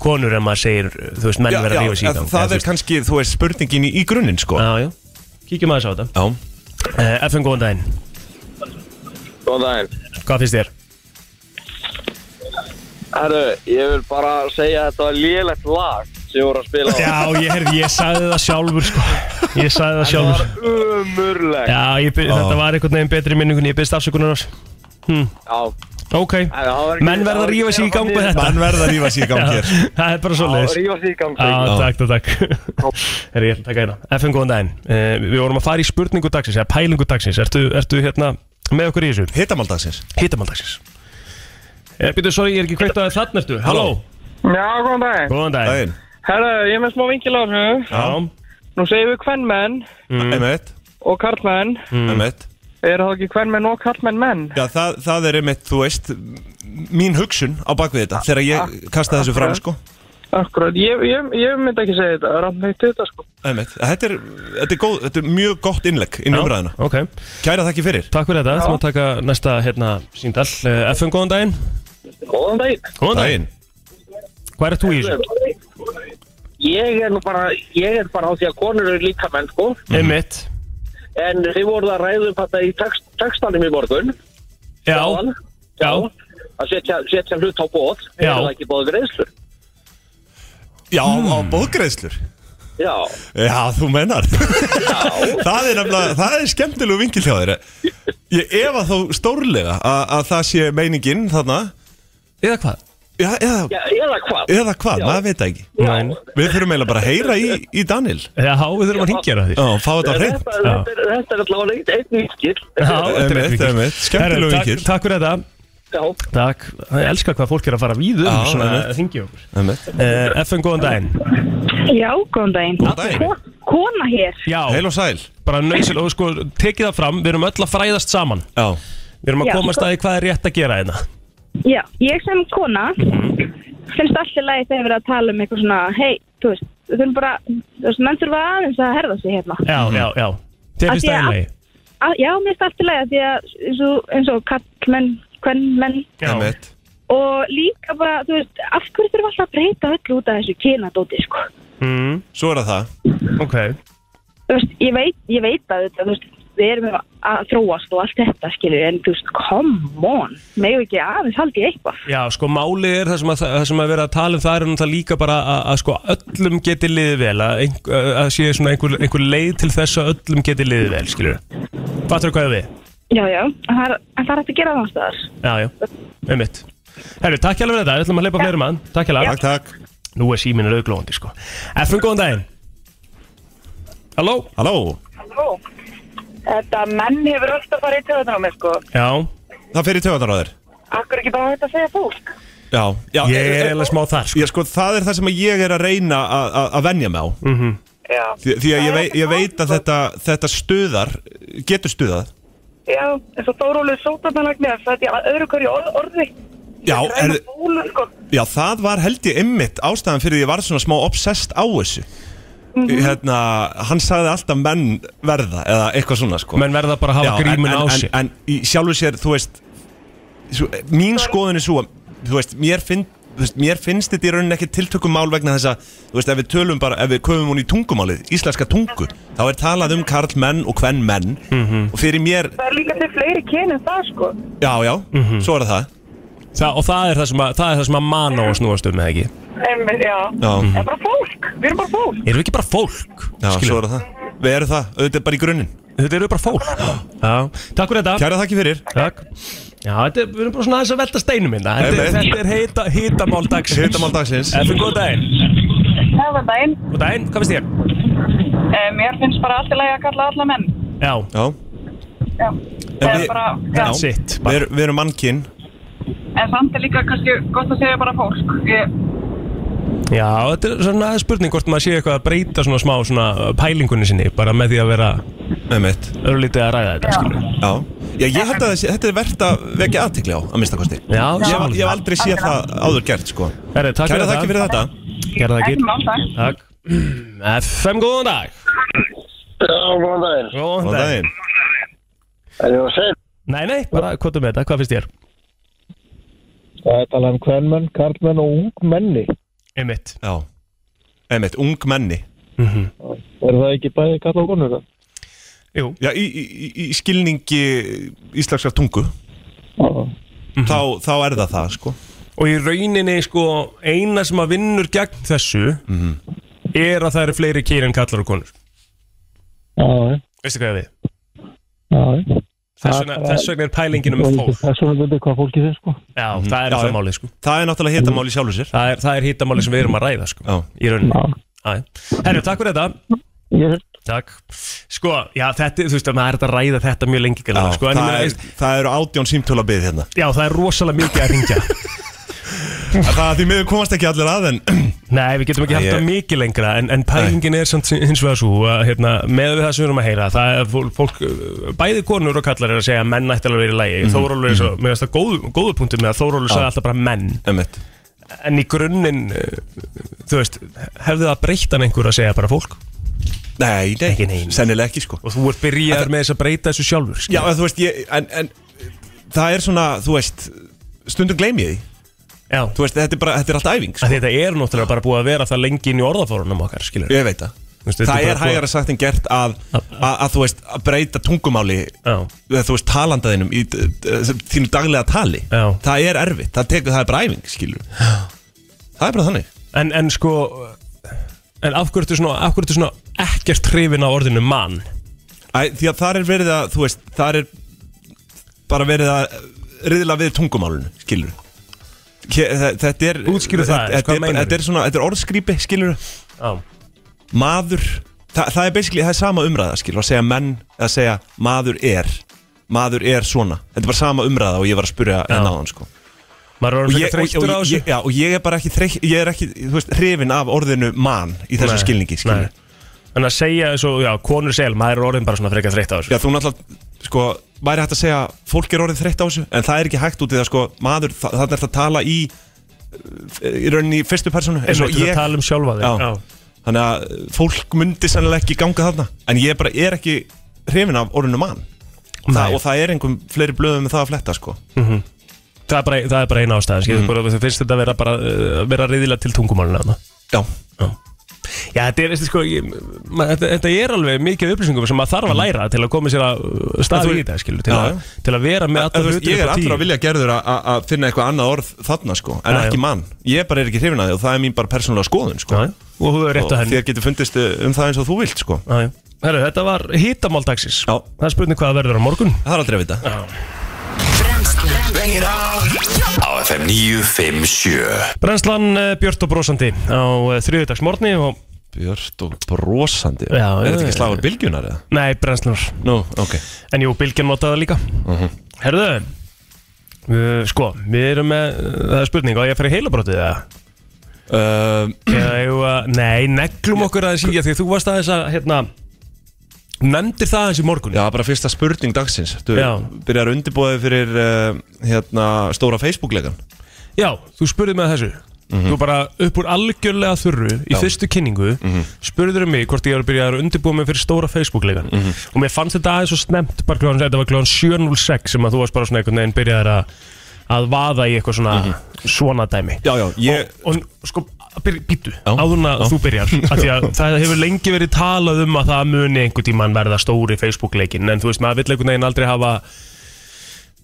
A: konur en maður segir, uh, þú veist, menn verða að rífa
D: en
A: síðan
D: það er kannski, þú veist, spurningin í, í grunninn sko
A: Já, já, kíkjum aðeins á þetta
D: Já.
A: uh, FN, góðan daginn,
C: Góðan daginn.
A: hvað finnst þér?
C: Herru, ég vil bara segja að þetta var lélegt lag sem ég voru að spila á.
A: Já, ég, heyrði, ég sagði það sjálfur, sko Ég sagði það
C: Það
A: sjálfur
C: var umurlegt.
A: Já, ég, by- þetta var einhvern veginn betri í minningunni, ég byrst afsökunar ás
C: Já.
A: Ok,
C: það var ekki-
A: menn verða að rífa sig í gangu þetta
D: Menn verða að rífa sig í gang
A: Já,
D: hér
A: Það er bara svo leiðis
C: Rífa sig í gang.
A: Já, takk, takk, takk Herri, ég ætla að taka hérna FM, góðan daginn uh, Við vorum að fara í spurningu dagsins, eða pælingu dagsins Ertu, ertu hérna með okkur í þessu?
D: Hitamál dagsins
A: Hittamál dagsins eh, Býtu, sorry, ég er ekki kveikt að þarna ertu Halló,
G: Já, góðan daginn.
A: góðan daginn
D: Daginn
G: Herra, ég er með smá vingil á þessu.
A: Já,
G: Nú segjum við kvennmenn
D: Emmett
G: og karlmenn.
C: Mm.
D: Emmett
G: Er það ekki kvennmenn og karlmenn menn?
D: Já, það, það er einmitt, þú veist, mín hugsun á bakvið þetta þegar ég kasta þessu fram, sko.
G: Akkurat, ég, ég, ég myndi ekki segja þetta. Rann heitt þetta, sko.
D: Einmitt. Þetta er, þetta er, góð, þetta er mjög gott innlegg inn í
A: já,
D: umræðina.
A: ok
D: Kæra þakki fyrir.
A: Takk fyrir þetta, þú maður taka næsta hérna síndal uh, FM, góðan daginn
C: Góðan daginn.
A: Góðan daginn, hvað er þú í þessu?
C: Ég er nú bara, ég er bara á því að konur eru líka menn sko
A: Einmitt
C: en þið voruð að ræða upp þetta í text, textanum í morgun
A: Já,
C: áðan.
A: já,
C: að setja, setja hlut á bóð er
A: Já.
C: það ekki bóð greiðslur
D: Já, á bóðgreðslur.
C: já,
D: Mm. Já, þú mennar. það er nefnilega, það er skemmtilegu vingil hjá þér. Ég efa þó stórlega að, að það sé meiningin þarna.
A: eða hvað?
D: Já, eða,
C: Já, eða hvað?
D: eða hvað, maður veit það ekki
A: Næn.
D: Við þurfum eiginlega bara að heyra í, í Daniel
A: Já, við þurfum að hingja það
D: Já, fá þetta á
C: Þetta,
D: hreint
C: þetta, er- þetta er allavega einn- einn vinkill.
D: Einmitt, einmitt. Skemmtilegur
A: Herra, takk-
D: vinkill.
A: Takk fyrir þetta
C: Já,
A: Takk, ég elska hvað fólk er að fara víðum
D: Já,
A: svona
D: einmitt.
A: að þingja okkur
D: Einmitt.
A: uh, FN góðan daginn
H: Já, góðan daginn.
D: Góðan daginn.
H: Ko- Kona hér.
A: Já,
D: Heil og sæl
A: bara nöðsil og sko, tekið það fram, við erum öll að fræðast saman
D: Já,
A: Við erum að
H: Já.
A: komast að því hvað er rétt að gera hérna
H: Já, ég sem kona finnst allir lagi þegar við erum að tala um eitthvað svona, hei, þú veist, við þurfum bara, þú veist, menn þurfa aðeins að herða sig hérna.
A: Já, já, já, þér
H: Af
A: finnst
H: því
A: það
H: að-
A: einlegi
H: Að, já, mér finnst allir lagi því að eins og, eins og kallmenn, kvennmenn
D: einmitt
H: og líka bara, þú veist, af hverju þurfum alltaf að breyta öll út af þessu kynadóti, sko?
A: mm,
D: Svo er það það
A: Ok,
H: Þú veist, ég veit, ég veit að þetta, þú veist, við erum að þróast og allt þetta, skilur, en þú veist, come on, megu ekki aðeins haldið eitthvað.
A: já, sko máli er það sem að, það sem að vera að tala um það er náttúrulega líka bara að, að sko öllum geti liðið vel að, ein, að sé svona einhver, einhver leið til þess að öllum geti liðið vel, skilur Fattur hvað er við?
H: Já, já, en það er, en það er hægt að gera það annars staðar.
A: Já, já, einmitt Herru, takk hjá fyrir þetta, við ætlum að hleypa fleiri mann Takk hjá
D: Takk, takk
A: Nú er síminn auðglóðandi sko FM, góðan daginn Halló
D: Halló
I: Ó, Þetta menn hefur alltaf farið í töðan á mig sko.
A: Já,
D: Það fyrir töðanar á þér
I: Akkur ekki bara þetta að segja fólk?
D: Já, já eh,
A: ég er eiginlega smá þar sko.
D: Ég sko, það er það sem ég er að reyna að- að að venja mig á
I: Já.
D: Því, því að ég, vei, ég veit að þetta, þetta stuðar, getur stuðað
I: Já, eins og Þórólið sótarnalagnir, það er ég að öðru hverju orð, orði.
D: Já, er,
I: Búlu, sko.
D: já, það var held ég ymmit ástæðan fyrir því ég var svona smá obsessed á þessu Hérna, hann sagði alltaf menn verða eða eitthvað svona sko
A: Menn verða bara að hafa
D: Já,
A: grímun
D: en,
A: á
D: en,
A: sér
D: En, en í sjálfu sér, þú veist svo, eh, Mín skoðun er svo að, Þú veist, mér finn Þú veist, mér finnst þetta í rauninni ekki tiltökumál vegna þess að, þú veist, ef við tölum bara, ef við köfum hún í tungumálið, íslenska tungu, þá er talað um karlmenn og kvennmenn
A: Mhm.
D: og fyrir mér,
I: Það er líka til fleiri kyn en það sko.
D: já, já,
A: Mhm.
D: svo er það,
A: Þa, Og það er það sem að, það er það sem að mana og snúast um eða ekki
I: En, já.
D: já,
I: En bara fólk, við erum bara fólk.
A: Erum við ekki bara fólk?
D: já, svo
A: Mhm. Skilur,
D: er það, við erum það, auðvitað er bara í grunninn.
A: þetta eru bara fólk Já, takk fyrir þetta
D: Kæra þakki fyrir,
A: Takk Já, þetta er, við erum bara svona aðeins að velta steinum minna Þetta, er-
D: Einmitt.
A: þetta er heita, hitamál dagsins
D: hitamál dagsins,
A: FM, góðan daginn
I: Það var daginn.
A: Góðan daginn, hvað finnst þér?
I: Eh, Mér finnst bara alltaf að kalla alla menn.
A: Já,
D: já,
I: Já. Það
D: við-
I: er bara,
A: that's
I: já.
A: it
D: við, erum- við erum mannkinn,
I: En samt er líka kannski gott að segja bara fólk. Ég,
A: Já, þetta er svona spurning hvort maður sé eitthvað að breyta svona smá svona pælingunni sinni bara með því að vera
D: einmitt,
A: örlítið að ræða þetta, skilur
D: já, já, ég held að þessi, þetta er verðt að vekja aðtikli á, að minnsta kosti. Ég,
A: Já,
D: hef- ég hef
A: samanlega
D: aldrei séð það áður gert, sko.
A: Herri, takk
D: Kæra
A: fyrir
D: þakki
A: það,
D: fyrir þetta.
A: Gerða það
I: ekki
A: ekki
I: mál það.
A: Takk FM, góðan dag
C: já, góðan daginn.
A: Góðan
D: Góðan daginn
C: Er ég að segja?
A: Nei, nei, bara hvað er með þetta, hvað finnst þér?
G: Það er talað um kvennmenn, karlmenn og ungmenni.
A: Einmitt
D: Já Einmitt, ung menni
G: Er það ekki bæði kalla og konur það?
A: Jú
D: Já, í, í, í- í skilningi íslenskar tungu þá, þá er það það, sko
A: Og í rauninni, sko, eina sem að vinnur gegn þessu
D: Mhm.
A: er að það eru fleiri kýr en kallar og konur
G: Já,
A: Veistu hvað ég á við?
G: já.
A: Þess vegna, þess vegna er pælinginum með fólk
G: Það er svona þetta hvað fólki finnst sko.
A: Já, það er
D: Já,
A: það
D: já.
A: málið, sko
D: Það er náttúrulega hitamál í sjálfu sér
A: Það er, það er hittamáli sem við erum að ræða sko,
D: Já.
A: í rauninni. Já. Herru, takk fyrir þetta.
G: Ég
A: Takk. Sko, já, þetta, þú veist að maður er hægt að ræða þetta mjög lengi
D: Já,
A: gæla, sko, en
D: það,
A: ég meina,
D: er,
A: veist,
D: það eru átjón símtöla byggð hérna
A: já, það er rosalega mikið að ringja.
D: Það er því miður komast ekki allir að en
A: Nei, við getum ekki haft
D: Ég-
A: það mikið lengra, en, en pælingin er samt hins vegar svo að, hérna, með við það sem við erum að heyra, það er fól- fólk, uh, bæði konur og kallar er að segja að menn ætti alveg að vera í lægi.
D: Mhm.
A: Mm. Þórólur er svo, mér finnst það góð, góðu punktum með að Þórólur sagði alltaf bara menn,
D: Einmitt
A: en í grunninn, uh, þú veist, hefði það breytt hann einhver að segja bara fólk?
D: Nei, nei,
A: Ekki nein.
D: sennilega ekki, sko
A: Og þú ert byrjaður með þess að breyta þessu sjálfur, skilur.
D: Já, en þú veist, ég, en, en það er svona, þú veist stundum gleymi ég því
A: Já,
D: Þú veist, þetta er bara, þetta er allt æfing,
A: Af
D: sko
A: því þetta er náttúrulega bara búið að vera það lengi inn í orðafórunum okkar, skilur
D: Ég veit það
A: veist, þetta
D: Það
A: er
D: er
A: bara-
D: hægara sagt en gert að, að, að, þú veist, að breyta tungumáli
A: Já,
D: eða þú veist talandaðinum í eh, eh, þínu daglega tali
A: Já.
D: það er erfitt, það tekur, það er bara æfing skilur það er bara þannig
A: en, en sko En af hverju ertu svona, af hverju ertu svona ekkert hrifin á orðinu mann?
D: Æ, því að þar er verið að, þú veist, þar er bara verið að riðla við tungumálun skilur Hér- þe- Þetta er
A: Útskýrðu það,
D: þetta-
A: hvað
D: Þetta er,
A: meinarðu?
D: þetta er svona, þetta er orðskrýpi, skilur
A: Já.
D: Maður það, það er basically, það er sama umræða, skilur Að segja menn, að segja maður er Maður er svona Þetta er bara sama umræða og ég var að spurja
A: Já.
D: enn á sko
A: Maður er
D: Og
A: orðinn
D: ég,
A: frekar
D: og, og,
A: þreyttur á
D: og,
A: þessu
D: ég, já, og ég er bara ekki, þreytt, ég er ekki þú veist, hrifin af orðinu mann í þessum
A: Nei,
D: skilningi
A: nei.
D: skilur.
A: En að segja eins og, já, konur segja Maður er orðin bara svona frekar þreytt á þessu
D: Já, þú náttúrulega sko, væri hægt að segja fólk er orðið þreytt á þessu en það er ekki hægt út í það sko, maður, þa- þarna er það að tala í eh, í rauninni í fyrstu personu
A: En þú ég... tala um sjálfa þig
D: Já. þannig að eh, fólk myndi sannlega ekki ganga þarna en ég bara er ekki hrifin af orðinu mann það,
A: Nei.
D: og það er einhverjum fleiri blöðum með það að fletta sko.
A: Það er bara, það er bara eina ástæðan
D: Mhm.
A: mm. bara, Þau finnst þetta vera bara uh, vera riðilega til tungumálina þarna.
D: já,
A: Já, þetta er, veistu, sko, ég, ma, þetta, þetta er alveg mikið af upplýsingum sem maður þarf að læra til að koma sér að uh,
D: En
A: staða
D: Mhm. þú-
A: í þetta skilur, til,
D: Já,
A: að, til að vera með
D: Þú
A: allar
D: veist,
A: hlutir
D: ég
A: upp
D: er
A: á tíu.
D: allra vilja gerður að- að að finna eitthvað annað orð þarna sko, en
A: Já, já.
D: ekki mann ég bara er ekki hrifin af því og það er mín bara persónulega skoðun sko.
A: Já, já. Og þú hefur rétt á
D: og
A: henni
D: þér getur fundist eh, um það eins og þú vilt sko.
A: Já, já. Herru, þetta var hitamáldagsins
D: Já.
A: Það er spurning hvað það verður á morgun
D: það er aldrei að vita
F: Brennslan
B: Á FM 957
A: Brennslan eh, Björt og Brósandi á þriðudagsmorni og
D: Björt og brosandi
A: Já,
D: Er
A: já,
D: þetta ekki
A: já,
D: slagur bylgjunar eða?
A: Nei, brennslunar
D: Nú, ok
A: En jú, Bilgjan notaði það líka Herðu uh, Sko, við erum með eh, Það er spurning, á ég að fara í heilabrótið eða?
D: um,
A: Eða eigum að- Nei, neglum okkur aðeins í að því þú varst aðeins að hérna, Nefndir það aðeins í morgun
D: Já, bara fyrsta spurning dagsins Þú
A: Já.
D: byrjar undirbúið fyrir uh, hérna, stóra Facebook-leikan
A: Já, þú spurði mig að þessu Þú bara upp úr algjörlega þurru í fyrstu kynningu spurður mig hvort ég var að byrja að undirbúa mig fyrir stóra Facebook-leikan og mér fannst þetta aðeins svo snemt bara kljóðan, þetta var kljóðan 7.06 sem að þú varst bara svona einhvern veginn byrjaðar að að vaða í eitthvað svona svona dæmi
D: Já, já, ég
A: og, og sko, býtu, áðurna
D: já.
A: þú byrjar af því að það hefur lengi verið talað um að það muni einhvern tíman verða stóri Facebook-leikin en þú veist, maður vill einhvern veginn aldrei hafa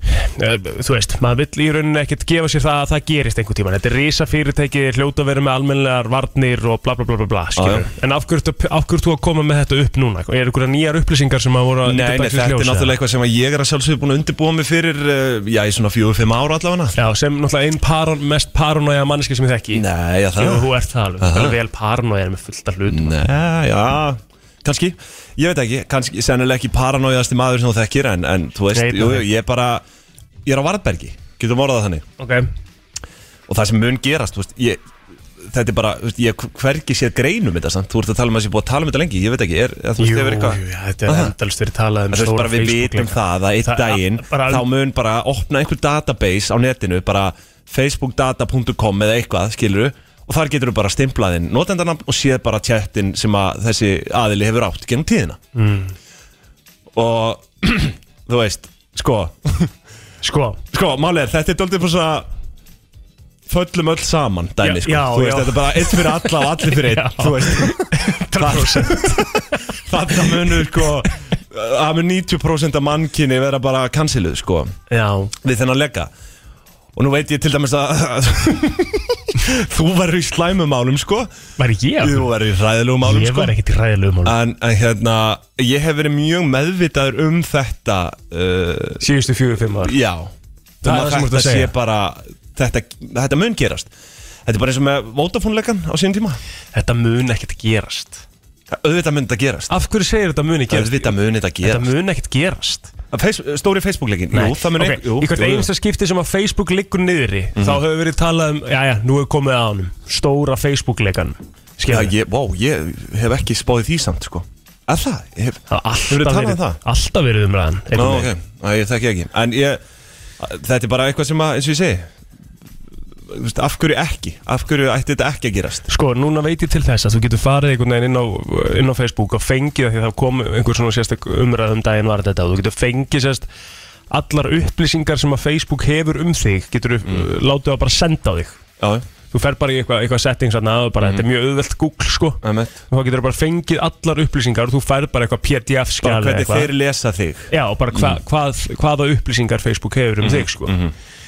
A: eh, þú veist, maður vill í rauninni ekkert gefa sér það að það gerist einhvern tíman þetta er risa fyrirtæki, hljóta að vera með almennilegar varnir og bla bla bla bla, bla skilur
D: já.
A: en af hverju ertu- af hverju ert þú að koma með þetta upp núna er einhverja nýjar upplýsingar sem að voru að
D: Nei, nei,
A: dagsins
D: þetta er
A: ljós, eða?
D: náttúrulega eitthvað sem að ég er að sjálfsögðu búin að undirbúa mig fyrir uh, Já, í svona fjögur, fimm ára allavega
A: Já, sem náttúrulega einn paron, mest paranoja manneski sem ég þekki
D: Nei, já,
A: Jú,
D: það
A: þú ert það alveg,
D: Aha.
A: það er vel paranoja með fullt af hlutum
D: Nei, já, kannski Ég veit ekki, kannski, sennilega ekki paranóiðasti maður sem þú þekkir En, en þú veist,
A: Nei,
D: jú,
A: nei.
D: jú, ég er bara Ég er á Varðbergi, getum orðað það þannig
A: okay.
D: og það sem mun gerast þú veist, ég, þetta er bara, þú veist, ég hef hvergi séð greinum þetta, sant? þú ert að tala um að sé búið að tala um þetta lengi ég veit ekki, er, eða þú
A: Jú,
D: veist,
A: jú,
D: hefur eitthvað
A: já, þetta er
D: Aha.
A: endalist verið talað um
D: En þú veist
A: stóra
D: bara við
A: Facebook-leika.
D: vitum það að einn
A: Það-
D: daginn
A: bara-
D: þá mun bara opna einhver database á netinu bara facebookdata.com eða eitthvað, skilur og þar getur þú bara stimplaðinn notendanamn og séð bara chattin sem að þessi aðili hefur átt gennum tíðina mm. og þú veist, sko
A: Sko,
D: Sko, málið er, þetta er doldið bara svona Föllum öll saman dæmi,
A: Já,
D: sko
A: já,
D: Þú veist,
A: já.
D: þetta er bara einn fyrir alla og allir fyrir
A: Já.
D: einn Þú veist,
A: um
D: þetta munur, sko Það mun 90% af mannkinni vera bara canceluð, sko
A: já,
D: Við þennan lega Og nú veit ég til dæmis að Þú verður í slæmum málum, sko
A: var ég
D: Þú verður í hræðilegum málum,
A: Ég
D: sko
A: var ekkert í ræðilegum málum
D: En, en hérna, ég hef verið mjög meðvitaður um þetta uh,
A: Síðustu fjögur, fimm ár
D: Já Um
A: Það er það sem þú ert að
D: þetta
A: segja.
D: sé bara, þetta, þetta mun gerast Þetta er bara eins og með Vodafone-legan á sínum tíma
A: Þetta mun ekkert gerast
D: Það- Auðvitað mun þetta gerast
A: Af hverju segir þetta mun ekki gerast?
D: Auðvitað mun þetta
A: Þetta
D: gerast
A: mun ekkert gerast
D: Að Face, Stóri Facebook-legin Jú, það mun
A: Ok,
D: ein- jú,
A: Í hvert
D: jú, Mhm. jú.
A: einasta skipti sem að Facebook liggur niðri Þá hefur verið talað um, já, já, nú er komið að honum Stóra Facebook-leikan
D: Já,
A: Skilur
D: ég, wow, ég hef ekki spáðið því samt sko Er það? Ég hef,
A: Það
D: Hefurðu
A: hefur
D: talað um
A: verið,
D: það?
A: alltaf verið umræðan
D: Ná,
A: einhvern
D: ok,
A: veginn.
D: Æ, ég þekki ekki En ég, þetta er bara eitthvað sem að, eins og ég segi þú veist, Af hverju ekki? Af hverju ætti þetta ekki að gerast?
A: Sko, núna veit ég til þess að þú getur farið einhvern veginn inn á, inn á Facebook og fengið það því það kom einhver svona sérstök umræðum daginn var þetta og þú getur fengið sérst allar upplýsingar sem að Facebook hefur um þig getur þú mm. látið að bara senda á þig
D: Já,
A: þú fer bara í eitthvað, eitthvað settings þarna og bara
D: Mm.
A: þetta er mjög auðvelt Google sko og
D: emmett
A: þá getur þú bara fengið allar upplýsingar og þú fer bara eitthvað
D: Bara
A: pdf skjali
D: hvernig þeir lesa þig
A: Já, og bara
D: Mm.
A: hva, hvað, hvaða upplýsingar Facebook hefur um
D: Mm-hmm.
A: þig,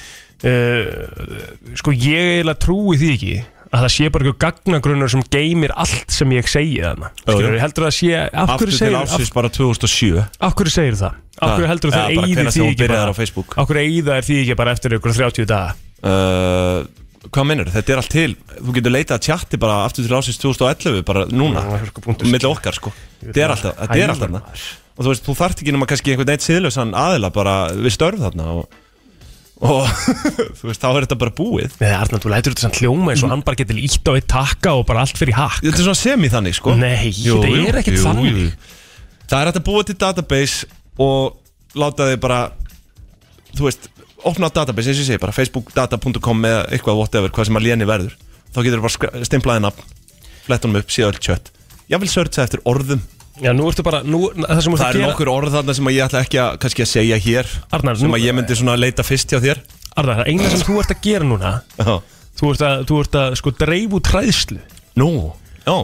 A: sko. uh, sko, ég eiginlega trúi því ekki að það sé bara eitthvað gagnagrunnur sem geymir allt sem ég segi þarna.
D: Jú, jú.
A: Skilur, heldur það sé, af
D: Aftur
A: hverju
D: til
A: segir, af,
D: ásins bara 2007
A: af hverju segir það? Af
D: Ha,
A: hverju heldur það
D: eða bara
A: eigið
D: hvenær
A: því
D: sem hún
A: ekki
D: byrjaði
A: bara,
D: á Facebook?
A: af hverju eigið það því ekki bara eftir ykkur 30 daga?
D: Uh, Hvað mennur? Þetta er allt til Þú getur leitað að chatti bara aftur til ásins 2011 bara núna
A: Já, það er sko punktur.
D: Milli okkar sko Þetta er alltaf Þetta er alltaf þarna Og þú veist, þú þarft ekki nema kannski einhvern eitt siðlausan aðila bara við störf þarna og, og þú veist, þá er þetta bara búið
A: Nei, Arnar, þú lætur þetta samt hljóma eins og hann bara getur ítt á eitt takka og bara allt fyrir hakk
D: Þetta er svona semi þannig sko
A: Nei, þetta er ekkert þannig.
D: Það er hægt að búa til database og láta þið bara þú veist, opna á database eins og ég segi bara facebookdata.com eða eitthvað whatever, hvað sem að léni verður þá getur þið bara stimplaðið nafn flett honum upp, síða öll kjött ég vil searcha eftir orðum
A: Já, nú ertu bara, nú, það sem þú ert
D: Það
A: að
D: eru
A: gera
D: nokkur orð þarna sem að ég ætla ekki að, kannski að segja hér
A: Arnar,
D: sem
A: nú-
D: að ég myndi svona leita fyrst hjá þér
A: Arnar, það eina sem þú ert að gera núna
D: Já.
A: Þú ert að, þú ert að sko dreifu træðslu
D: Nú, já,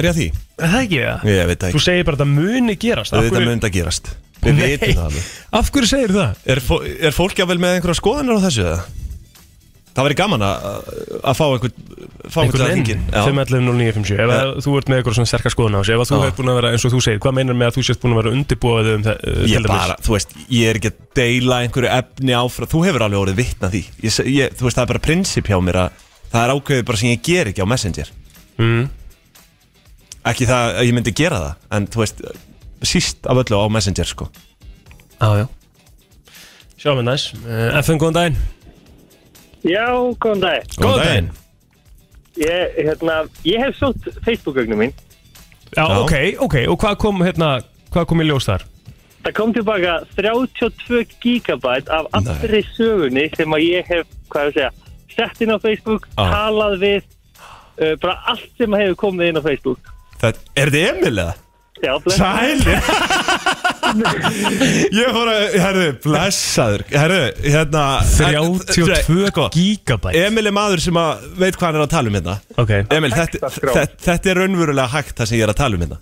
D: er ég að því?
A: Er það ekki það?
D: Ég veit það
A: Þú
D: ekki,
A: segir bara að það muni gerast af
D: þetta
A: hverju-
D: mun þetta gerast Við
A: Nei.
D: veitum það alveg
A: Af hverju segir það?
D: Er, fó- er fólk jáfnvel með einhverja skoðanir á þessu eða? Það væri gaman að, að fá einhvern fá einhvern til að hringja inn. Já.
A: um 511-0957 Ef að þú ert með eitthvað svona sterkar skoðun á þessu Ef að þú
D: Já.
A: ert búin að vera, eins og þú segir Hvað meinar með að þú sést búin að vera undirbúið um það uh, til
D: Ég
A: dæmis?
D: bara, þú veist, ég er ekki að deila einhverju efni áfram Þú hefur alveg orðið vitna því ég, se- ég, Þú veist, það er bara prinsip hjá mér að Það er ákveðið bara sem ég ger ekki á Messenger
A: Mm.
D: Ekki það að ég myndi gera það En þú veist, síst af öllu á Messenger sko
A: Já, já Sjáum við næs
D: Eh,
A: uh, FN, góðan daginn
C: Já, góðan dag
A: Góðan daginn.
C: Ég, hérna, ég hef sótt Facebook-gögnum mín
A: Já,
D: Já.
A: ok, ok Og hvað kom, hérna, hvað kom í ljós þar?
C: Það kom tilbaka 32 gigabæt af
D: Nei.
C: allri sögunni sem að ég hef, hvað ég að segja, sett inn á Facebook,
D: Ah.
C: talað við, uh, bara allt sem að hefur komið inn á Facebook.
D: Það, Er þetta Emil eða?
C: Já, bless.
D: Sæl Ég fór að, herðu, blessaður Herðu, hérna
A: 32
D: sko,
A: gigabæt
D: Emil er maður sem að veit hvað hann er að tala um hérna
A: Ok,
D: Emil, þetta,
C: Textaskrá.
D: þetta, þetta er raunverulega hægt það sem ég er að tala um hérna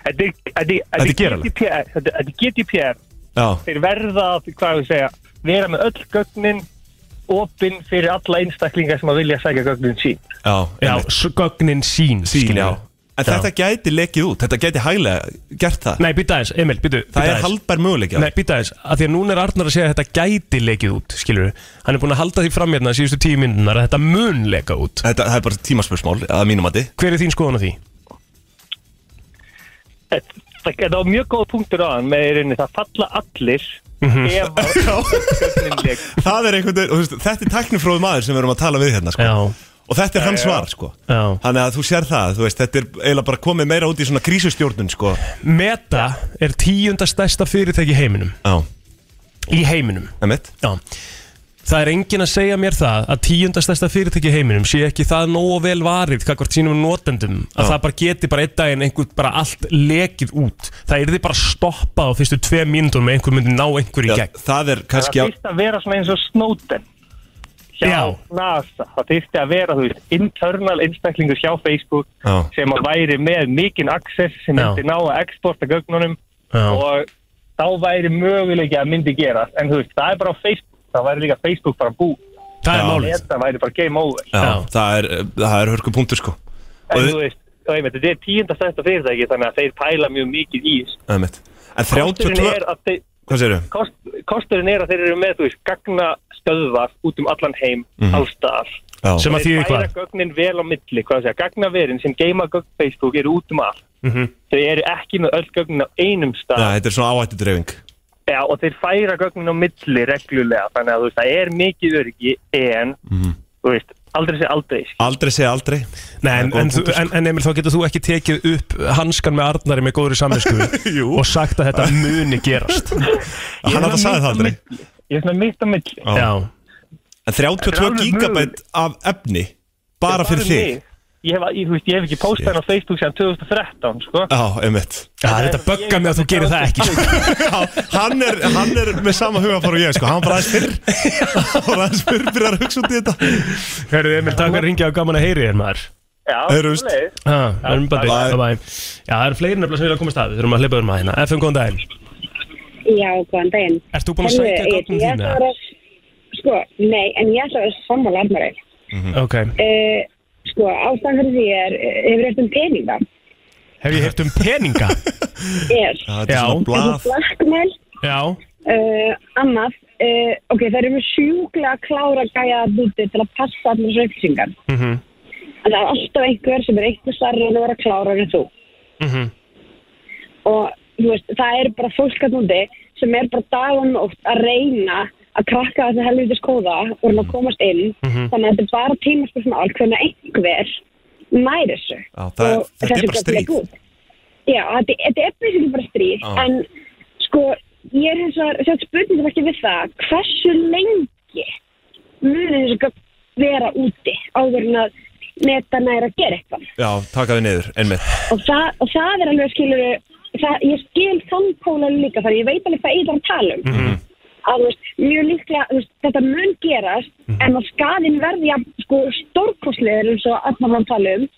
C: Þetta er- þetta er-
D: Þetta er
C: þetta er
D: geralegt.
C: GDPR, þetta- þetta er GDPR,
D: Já,
C: þeir verða að, hvað ég að segja, vera með öll gögnin opinn fyrir alla einstaklingar sem að vilja sækja gögnin sín.
D: já,
A: já,
D: Emil,
A: s- gögnin sín
D: sín,
A: skilur
D: já
A: við.
D: En þetta gæti lekið út, þetta gæti hæglega gert það
A: Nei, býta þess, Emil, býtu
D: Það er haldbær möguleik
A: Nei, býta þess, að því að núna er Arnar að segja að þetta gæti lekið út, skilur við Hann er búin að halda því fram hérna síðustu tíu myndunar að þetta mun leka út
D: Þetta það er bara tímaspörsmál, að mínum mati
A: Hver er þín skoðan á því?
C: Þetta þetta var mjög góð punktur á hann með í rauninni, það falla allir ef að gögnin leik.
D: Það er einhvern veginn, og þú veist, þetta er tæknifróð maður sem við erum að tala við hérna sko.
A: Já.
D: Og þetta er hans svar sko.
A: Já.
D: Þannig að þú sér það, þú veist, þetta er eiginlega bara komið meira út í svona krísustjórnun sko.
A: Meta er tíunda stærsta fyrirtæki í heiminum
D: Já,
A: Í heiminum,
D: emitt
A: já Það er enginn að segja mér það að tíunda stærsta fyrirtæki í heiminum sé ekki það nógu vel varið kakvart sínum notendum að
D: Já.
A: það bara geti bara einn daginn einhver bara allt lekið út Það yrði bara stoppað á fyrstu tve mínútur með einhver myndi ná einhver í
D: Já,
A: gegn
D: það er kannski á,
C: Það þýrst að vera svona eins og Snowden hjá
A: Já.
C: NASA, það þýrst að vera þú veist, internal einstaklingur hjá Facebook
D: Já.
C: sem að væri með mikinn access sem
A: Já.
C: myndi ná að exporta gögnunum
A: Já.
C: og þá væri möguleiki að myndi gerast en þú veist, það er bara á Facebook, það væri líka Facebook bara bú,
D: Já.
A: Það er málið
C: þetta væri bara game over
D: já,
A: Já.
D: Það er, það er hörku punktur sko.
C: en
D: Og-
C: þú veist, og einmitt, þetta er tíunda stærsta fyrirtæki þannig að þeir pæla mjög mikið í þessu.
D: Emitt. En
C: Kosturinn
D: 32,
C: er að þeir
D: hvað segirðu?
C: kost, kosturinn er að þeir eru með, þú veist, gagna út um allan heim,
D: Mhm.
C: mm. allstaðar
D: Já.
A: Sem að þýðir
C: Þeir
A: hvað?
C: færa gögnin vel á milli, hvað að segja, gagnaverin sem geima gögn Facebook eru út um allt.
D: Mhm.
C: Þau eru ekki með öll gögnin á einum stað
D: Já, þetta er svona áhættu dreifing
C: ja, og þeir færa gögnin á milli reglulega, þannig að þú veist, það er mikið öryggi en,
D: Mhm.
C: þú veist, aldrei sé aldrei. skil.
D: Aldrei segja aldrei
A: Nei, en, en, þú- en, en Emil, þá getur þú ekki tekið upp hanskan með Arnari með góðri samvinsku
D: Jú.
A: og sagt að þetta muni gerast
C: Ég er
D: Hann alltaf sagði
C: svona mitt
D: það
C: á
D: aldrei
C: milli. Ég er svona mitt á milli.
D: Já.
A: Já,
D: En
C: Þetta er
D: 32
C: alveg
D: gigabæt af efni Bara fyrir
C: mig.
D: þig
C: Ég hef, ég, þú veist, ég hef ekki postað hann á Facebook sem 2013, sko.
D: Já, einmitt
A: það er þetta bögga mig að þú gerir það ekki
D: Já, hann er, hann er með sama hugafar og ég sko Hann var aðeins fyrr Hann var aðeins fyrr byrjar að hugsa út í þetta
A: Herðu, Emil, takk fyrir að ringja og gaman að heyri þér maður
C: Já,
D: Heyrjumst.
C: svoleiðis.
A: Já, það er umbandi.
D: bye.
A: Bye, bye. Já, það eru fleiri nefnilega sem vilja að koma stað Við þurfum að hleypa um að hérna FM, góðan daginn
J: Já, góðan daginn.
A: Ert þú búin að
J: Herðu,
A: sækja
J: Egill, ég
A: gögnum þín,
J: ætla að vera- Sko, nei, en ég ætla að vera sammála armarinn.
A: Ok,
J: Uh, sko, ástæðan fyrir því er, eh, hefur eftir um peninga.
A: hef ég heyrt um peninga?
J: Er,
D: Já, þetta er
A: Já.
D: svona blað
J: blackmail,
A: Já,
J: uh, annað,
K: uh, Eh, ok, það eru sjúklega klára gæja að úti til að passa allir þessu upplýsingar.
D: Mhm.
K: En það er alltaf einhver sem er eitthvað starri en vera klára en þú.
D: Mhm.
K: Og þú veist, það er bara fólk að núti sem er bara dagun og nótt að reyna að krakka þessi helvitis kóða og reyna að komast inn.
D: Mhm.
K: Þannig að þetta er bara tímaspörsmál hvernig einhver næri þessu.
D: Já, það,
K: Og
D: þetta
K: þessu
D: er bara
K: gögn
D: stríð
K: búið. Já, þetta þetta er basically bara stríð
D: Já.
K: en sko, ég er hins vegar sjátt spurningum ekki við það hversu lengi munir þessu gögn vera úti áður en að netan er að gera eitthvað
D: Já, taka við niður, einmitt
K: og það, og það er alveg skilur það, ég skil þangpólan líka þannig ég veit alveg hvað ég er að tala um að þú veist, mjög líklega þú veist, þetta mun gerast en að skadinn verði að sko stórkostlegur eins og að maður tala um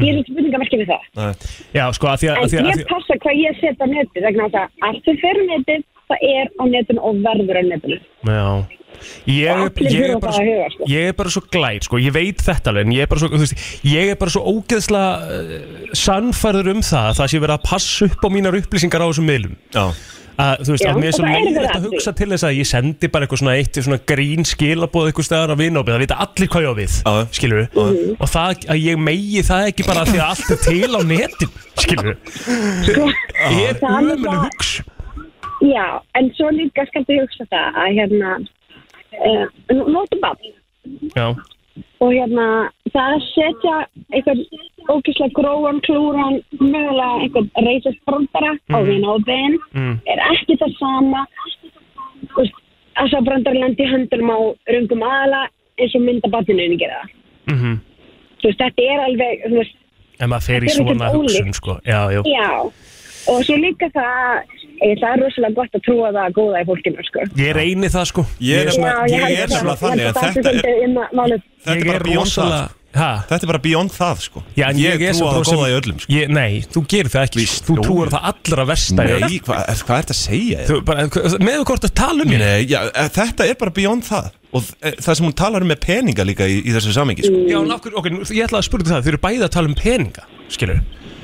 K: ég er spurninga ekki við það
A: Já, sko, að því að,
K: En
A: að, því að, að
K: ég
A: því
K: passa hvað ég set á netið vegna þess að allt sem fer á netið það er á netinu og verður á netinu
A: að Já Ég, er-
K: Allir
A: ég, er
K: þurfa
A: bara
K: það að
A: svo,
K: huga, sko.
A: ég er bara svo glæð sko. ég veit þetta alveg en ég er bara svo, þú veist, ég er bara svo ógeðslega uh, sannfærður um það að það sé verið að passa upp á mínar upplýsingar á þessum miðlum
D: Já.
A: að þú veist,
K: Já,
A: að mér er
K: og
A: svo
K: það er verið
A: leiðilegt
K: að
A: að
K: því.
A: hugsa til þess að ég sendi bara eitthvað svona eitt svona grín skilabóð eitthvað staðar að vinópið, það vita allir hvað ég á við
D: Já.
A: skilur og það að ég megi það ekki bara af því að allt er til á netin skilur ég er
K: Það er
A: ömuleg
K: bara-
A: hugsun
K: Já, en svo líka skal þið hugsa það að hérna uh, notum bann
A: Já,
K: og hérna það að setja einhvern ógislega gróan, klúran mögulega einhvern reisast brandara á vina og vin
A: Mhm. Mm.
K: er ekki það sama þú veist, að svo brandara lendi í höndunum á röngum aðala eins og mynda banninu gera það
A: mm
K: þú veist, þetta er alveg, þú veist,
A: en maður fer í
K: Þetta er ekkert
A: svona hugsun
K: ólíkt.
A: sko. Já, já,
K: já. Og svo líka það, e, það er rosalega gott að trúa það að góða í fólkinu, sko.
A: ég reyni það sko
D: Ég er nefnilega- ég er nefnilega þannig að þetta er
K: um er...
D: Þetta er
A: Ég
D: bara
A: er
D: beyond það sko.
A: rosalega Ha?
D: Þetta er bara beyond það, sko
A: Já, en
D: Ég,
A: er
D: ég
A: svo
D: trúa
A: bara
D: að
A: sem-
D: góða í öllum, sko
A: ég, Nei, þú gerir það ekki
D: Víst,
A: sko. Þú
D: nú.
A: trúar það allra versta í öllum.
D: Nei, hvað er hva þetta að segja?
A: Þú, bara, Með þú hvort að tala um hérna
D: Nei, já, e, þetta er bara beyond það Og e, það sem hún talar um með peninga líka í, í þessu samingi, sko
A: Já, en af hverju, ok, nú- ég ætla að spurja það Þau eru bæði að tala um peninga, skilur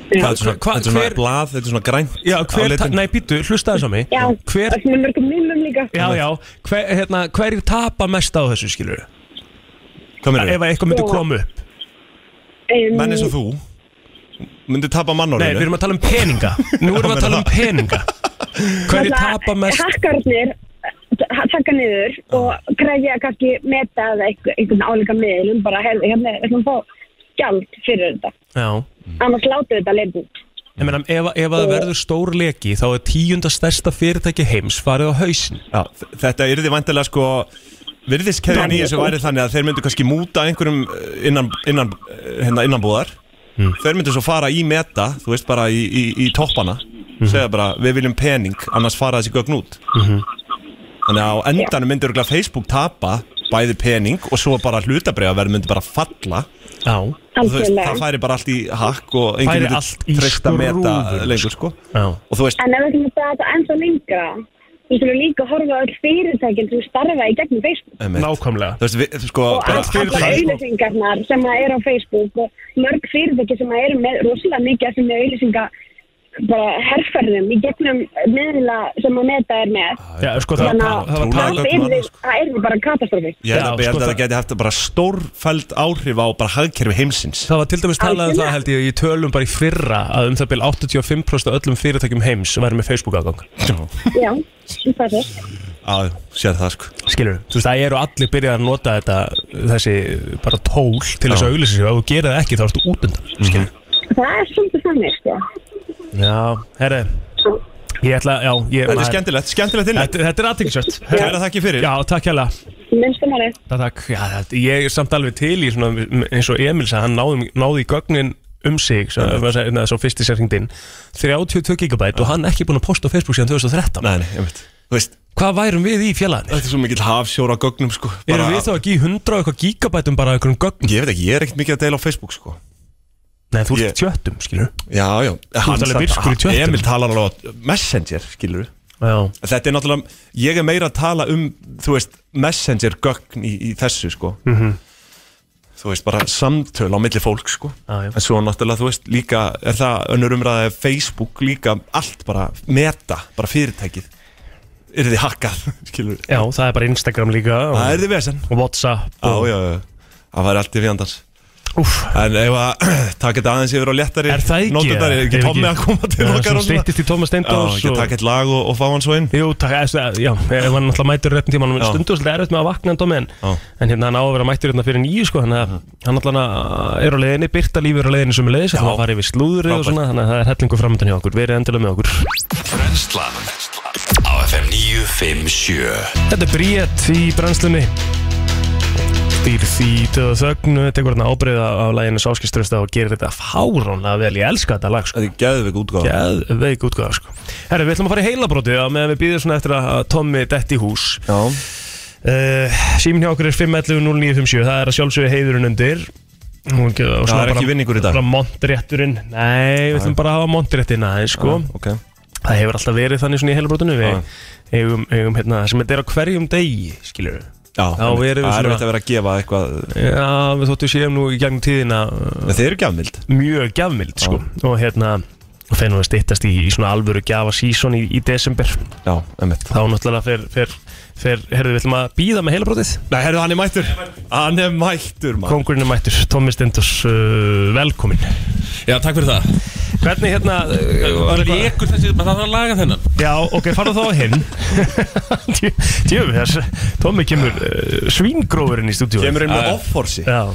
D: Þetta er svona,
A: Hva-
D: þetta er svona
A: hver-
D: blað, þetta er svona grænt
A: Já, hver,
D: á
A: ta-
D: litinn.
A: nei, býttu, hlusta þess á mig
K: Já,
A: hver,
K: það sem er mörgum mínum líka.
A: já, já, hver, hérna, hverjir tapa mest á þessu, skilur
D: Hvað meður
A: Ef að eitthvað myndi
K: Já.
A: koma upp
K: Um,
D: Menn eins og þú myndi tapa
A: Nei, við
D: mannórinu
A: erum að tala um peninga Nú erum við að tala um peninga Hverjir
K: náttúrulega
A: tapa mest
K: Hakkarnir eh, taka niður og krefja kannski meta eða einhver- einhvern álíka miðlum bara, heyrðu, hérna er eitthvað að fá gjald fyrir þetta.
A: Já
D: Mm.
K: Annars látum við þetta leið út.
A: Ég meina, ef, ef að það verður stór leki þá er tíunda stærsta fyrirtæki heims farið á hausin
D: Já, þ- þetta yrði vantilega sko virðiskeðjan í þessu væri þannig að þeir myndu kannski múta einhverjum eh, innan, innan, eh, hérna, innanbúðar
A: Hmm.
D: þeir myndu svo fara í meta þú veist bara í, í, í toppana
A: Hmm.
D: segja bara við viljum pening annars fara þessi gögn út þannig að á endanum myndu örugglega Facebook tapa bæði pening og svo bara hlutabreiða myndi bara falla
A: Já,
D: Og þú veist, það
K: Algjörlega.
D: færi bara allt í hakk og enginn
A: Færi
D: myndi
A: allt í
D: treysta meta
A: skrúfur,
D: lengur sko
A: já,
D: og þú veist,
K: En ef við ætlum að draga þetta ennþá lengra, við þurfum líka að horfa á öll fyrirtækinn sem starfa í gegnum Facebook
D: einmitt,
A: nákvæmlega
D: þú veist við, sko,
K: og
D: bara-
K: allt alla
A: sko.
K: auðlýsingarnar sem að er á Facebook og mörg fyrirtæki sem að eru með rosalega mikið sem er auðlýsinga bara herrferðum í gegnum miðla sem að meta er með.
A: Já, sko, það,
K: Þannig
A: það,
K: að
A: það var um
D: Trúlega
A: talað
K: það
D: gögn
K: yrði-
D: þarna, sko.
K: það yrði bara katastrófi.
D: Ég held
A: Já,
D: að, ég held
A: sko,
D: að
A: það-
D: það geti haft bara stórfæld áhrif á bara hagkerfi heimsins
A: Það var til dæmis talað um það held ég í tölum bara í fyrra að um það byrja 85% af öllum fyrirtækjum heims væri með Facebook aðgang
K: Já, það er.
D: Já, sér það sko
A: Skilur, þú veist, það eru allir byrjað að nota þetta þessi bara tól til þess
D: Já.
A: að auglýsa sig og ef þú gerir það ekki þá ertu út undan Skilur
K: Það er svolítið þannig, sko.
A: Já, herri, ég ætla, já ég,
D: Þetta er
A: maður-
D: skemmtilegt, skemmtilegt inn
A: Þetta, þetta er aðtækisvært
D: Kæra þakki fyrir
A: Já, takk hérlega
K: Minnstum að
A: Já, Takk, já, þetta- ég er samt alveg til í svona, eins og Emil sagði, hann náði, náði í gögnin um sig, svo, mm. sagði, na, svo fyrst í sér hringd inn 32 GB og hann ekki búin að posta á Facebook síðan 2013
D: Nei, nei, ég veit Þú veist,
A: Hvað værum við í fjallaðinni?
D: þetta er svo mikill hafsjóra á gögnum sko
A: Erum við þá ekki í 100 og eitthvað gigabætum bara af einhverjum gögn?
D: Ég veit ekki, ég er ekkert mikið að deila á Facebook sko
A: Nei, þú
D: Ég-
A: ert í tjöttum, skilur
D: Já, já Hann
A: alveg
D: samt-
A: virkur í tjöttum.
D: Emil talar alveg á Messenger, skilur við
A: Já,
D: Þetta er náttúrulega, ég er meira að tala um, þú veist, messenger gögn í, í þessu, sko. -hmm.
A: Mhm.
D: Þú veist, bara samtöl á milli fólk, sko.
A: Já, já.
D: En svo náttúrulega, þú veist, líka, er það önnur umræðið Facebook líka, allt bara meta, bara fyrirtækið. er þið hakkað skilur
A: Já, það er bara Instagram líka
D: Það er þið vesen
A: Og Whatsapp
D: Já, já, já Það var allt í fjandans Úf En ef að taka þetta aðeins yfir á léttari
A: Er það ekki?
D: Nótundar, er ekki
A: Ef
D: Tommi að koma til
A: Já,
D: okkar
A: svona styttist í Tómas Steindórs
D: Já, ekki
A: og-
D: taka eitt lag og, og fá hann svo inn
A: Jú, takk, eða, já, ef hann náttúrulega mætur réttin tíma hann
D: Já.
A: stundur svolítið erfitt með að vakna en dómi en, en hérna hann á að vera mættur hérna fyrir nýju sko, þannig að
D: Mhm.
A: hann náttúrulega eh, er á leiðinni Birta lífur á leiðinni sem er leiðis þannig að fara yfir slúðri og svona þannig að það er hellingu framöndan hjá okkur verið endilega með okkur
B: Brennslan á FM 957
A: Þetta er Bríett í brennslunni Stýr því döða þögn tekur hérna ábreyða á læginu Sáskiströsta og gerir þetta fáránlega vel ég elska þetta lag
D: Þetta
A: sko.
D: er geðveik útgáfa
A: Geðveik útgáfa sko. Herri, við ætlum að fara í heilabrótið á meðan við býðum svona eftir að Tommi detti í hús
D: Já
A: uh, Símin hjá okkur er 511-0957 það er að sjálfsögja heiðurinn undir Og ekki- og
D: Það
A: svona
D: er ekki
A: bara-
D: vinningur í dag.
A: Bara montrétturinn Nei, við ætlum bara að hafa montréttin aðeins sko.
D: Já, ok.
A: Það hefur alltaf verið þannig svona í heilabrótinu Við eigum, eigum hérna, sem þetta er á hverjum degi skilur við
D: Já,
A: Þá
D: það er
A: erum við svona-
D: verið að vera að gefa eitthvað
A: Já, við þóttum séum nú í gegnum tíðina uh,
D: Þeir eru gjafmild
A: Mjög gjafmild, sko Og hérna, og þeir nú að styttast í, í svona alvöru gjafa síson í, í desember
D: Já, emmitt
A: Þá náttúrulega fer, fer, fer herðu, við ætlum að býða með heilabrótið
D: Nei, herðu, hann er mættur Hann er mættur, maður
A: Kongurinn er mættur, Tómi Stendors, uh, velkomin
L: Já, takk fyrir það
A: Hvernig hérna, uh,
L: Það lekur þessi, maður þarf að laga þennan
A: já, ok, farðu þá á hinn Djú- Djöfum þess, Tómi kemur uh, svíngrófurinn í stúdíu
D: Kemur inn með off-horsi
A: Já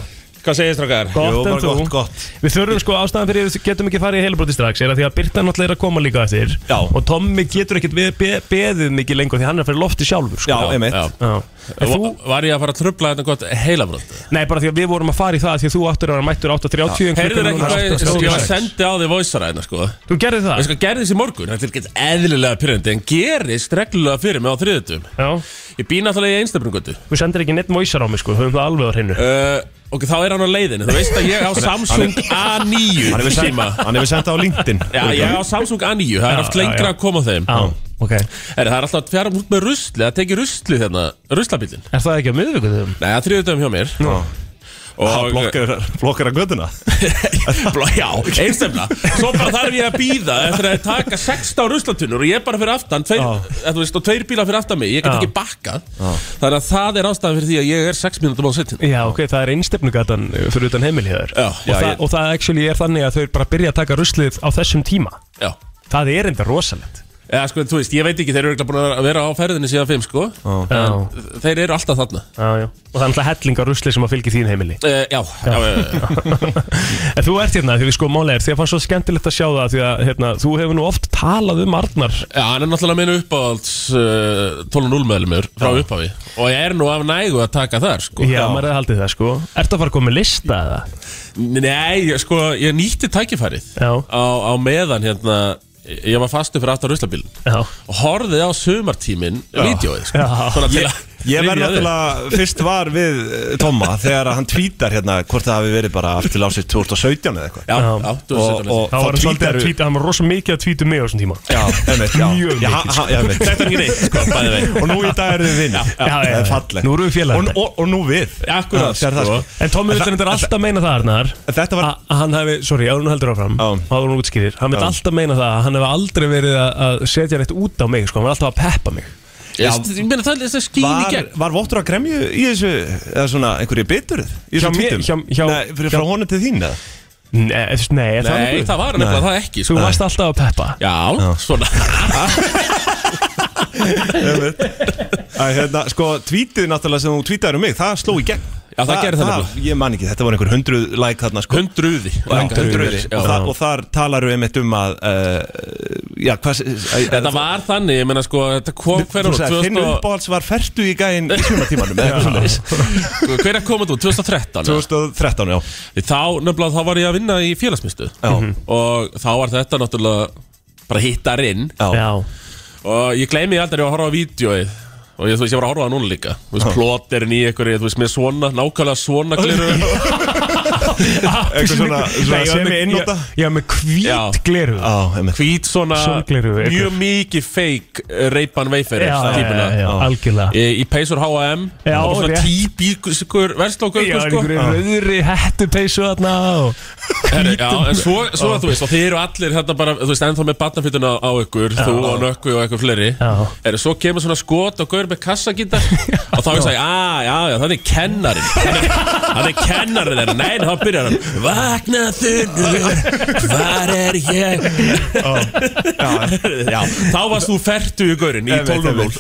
L: Hvað segir strákar?
A: Gott
D: Jú,
A: en
D: bara
A: þú
D: gott, gott.
A: Við þurfum sko ástæðan fyrir við getum ekki farið í heilabróti strax er að því að Birta náttúrulega er að koma líka eftir Já. og Tommi getur ekkert við- be beðið mikið lengur því hann er að fyrir lofti sjálfur sko.
D: Já, emmitt
L: Já.
A: Já. En
L: Va-
A: Þú,
L: Var ég að fara að trubla þetta gott heilabrótt?
A: nei, bara því að við vorum að fara í það því að þú áttur að vera mættur 8.30 en
L: Heyrður ekki
A: klukkan núna
L: hvað ég-
A: 8:36.
L: ég var sendi á því voisaræðina sko
A: Þú gerði
L: Ég
A: það?
L: sko gerði þessi morgun, þetta er ekki eðlilega pyrrandi En gerist reglulega fyrir mig á þriðutum
A: Já,
L: Ég býð náttúrulega í einstöfningötu
A: þú sendir ekki neitt mæsar á mig sko, höfum það alveg á hreinu
L: uh, Ok, þá er hann á leiðinu Þú veist að ég á Samsung A9
D: Hann hefur sent-
L: síma.
D: hann hefur sendt á LinkedIn
L: Já, ég á Samsung A9, það er
A: Já,
L: oft
A: já,
L: lengra
A: já.
L: að koma á þeim
A: Já, ok
L: Er það er alltaf að fjara út með rusli, það tekið rusli þarna, ruslabílinn
A: Er það ekki á miðvíkuðum?
L: Nei, það er þriðutöfum hjá mér
A: Nú.
L: Og,
D: Hann blokkar- blokkar að göduna
L: blá, já, einstefna Svo bara þarf ég að býða eftir að taka 16 ruslatunnur og ég er bara fyrir aftan tveir, eða, þú veist, og tveir bílar fyrir aftan mig, ég get
A: Já.
L: ekki bakkað Þannig að það er ástæðan fyrir því að ég er 6 mínútur á setin
A: Já, ok, það er einstefnugatan fyrir utan heimilíðar
L: Já,
A: og,
L: já,
A: það-
L: ég-
A: og það actually er þannig að þau bara byrja að taka ruslið á þessum tíma
L: Já,
A: Það er enda rosalegt
L: eða sko, þú veist, ég veit ekki, þeir eru örugglega búin að vera á ferðinni síðan 5 sko
A: Já.
L: Þeir eru alltaf þarna
A: Já, já. Og það er alltaf hellingar rusli sem að fylgja þín heimili
L: Uh, já, já, já, já, já.
A: En þú ert hérna, því við sko málega er Því að fannst svo skemmtilegt að sjá það Því að hérna, þú hefur nú oft talað um Arnar
L: já, hann er náttúrulega minn uppáhalds uh, 12.0 meðlumur frá upphafi og ég er nú af nægu að taka þar sko.
A: Já, maður hefði haldið það sko Ertu að fara að koma með lista eða?
L: Nei, ég- sko, ég nýtti tækifærið
A: Já.
L: á, á meðan hérna ég var fastur fyrir aftar ruslabílun
A: Já,
L: og horfið á sumartímin vídjóið sko.
A: Já.
L: Svona til að
D: Ég verð
L: rifja upp.
D: náttúrulega fyrst var við eh, Tomma þegar að hann tvítar hérna hvort það hafi verið bara aftur lásið 2017 eða eitthvað
L: Já,
A: Já.
L: já, þú
D: Og-
L: veist þetta
D: og- Þá
A: þá var hann svolítið að
D: tweetaru-
A: tvíta Hann var rosa mikið að tvíta mig á þessum tíma
D: Já, einmitt, já
A: Mjög sko.
D: Já,
A: mikið,
D: ha- ha- já, einmitt.
L: Þetta er ekki neitt, sko, bæði veginn.
D: Og nú í dag eru við vinn
A: já, já,
D: Það
A: já.
D: er falleg
A: Nú erum við félagar.
D: Og, og, og nú við
L: Akkurat,
D: Já, sér það,
L: sko.
D: sko.
A: En Tommi vill
D: það-
A: þetta alltaf meina það Arnar
D: Þetta var
A: Að að hann hefði, sorry, áður hún heldur áfram
D: Já.
A: Áður hún útskýrir Hann vill
D: Já.
A: alltaf meina það að Hann hefði aldrei verið að- að setja rétt út á mig sko Hann var alltaf að peppa mig
L: Já, ég meina það er þess að skýn í
D: Var,
L: gegn
D: var vottur að gremju í þessu eða svona einhverju biturð í
A: Hjá
D: þessum
A: mér-
D: tvítum
A: hjá- hjá-
D: Nei, fyrir frá honum til þín eða?
A: Nei, þú veist, nei,
L: Nei, það var nefnilega það ekki
A: Þú
L: sko.
A: varst alltaf að peppa
L: Já, svona
D: Að, hérna, sko, tvítið náttúrulega sem þú tvítar um mig það sló í gegn
L: Já, það gerði það
D: Ég man ekki, þetta var einhver hundruð like þarna sko
L: Hundruði
D: Hundruð
L: Já.
D: og, þar- og þar talar við einmitt um að uh, já, hvað
L: Þetta var þannig, ég meina sko, þetta kom hver
D: Þú sagði, þinn uppáhalds var ferdu í gæinn í sumatímanum eða eitthvað svoleiðis.
L: Hver er komið þú? 2013? eða?
D: 2013, já
L: Þá, nefnilega, þá var ég að vinna í félagsmyndstöð
D: Já.
L: Og þá var þetta náttúrulega bara hittarinn
D: Já,
A: Já,
L: Og ég gleymi aldrei að horfa á vídjóið Og ég, þú veist, ég var að horfa á núna líka Þú veist, plotterinn í einhverju, þú veist, með svona, nákvæmlega svona gliru
D: Eitthvað svona, svona
A: Ah, Nei, ég var með-
D: semi-innóta.
A: ég- Ég var með hvít gleru
L: Hvít svona
A: Sólgleru, eitthvað.
L: Mjög mikið fake uh, Reypan Wayfarer
A: Já, já,
L: típuna.
A: já, já, algjörlega.
L: Í, í peysur H&M
A: Já,
L: Og svona sko.
A: rétt.
L: tíbíkur Verslókur
A: Já, einhverju rauðri hættu peysu þarna og
L: Herri, já,
A: hvítum-
L: en svo, svo
A: Já.
L: að þú veist, og þið eru allir hérna bara, þú veist, ennþá með batnafytuna á, á ykkur,
A: Já.
L: þú og Nökkvi og eitthvað fleiri Eh,
A: Já.
L: er, Svo kemur svona skot og gaur með kassagítar og þá er það, já, já, já, það er kennarin Hann er, hann er kennarin þeirra, nei, en þá byrjar hann Vakna þunur, hvar er ég? Já, þá varst þú fertu í gaurin í
D: Einmitt,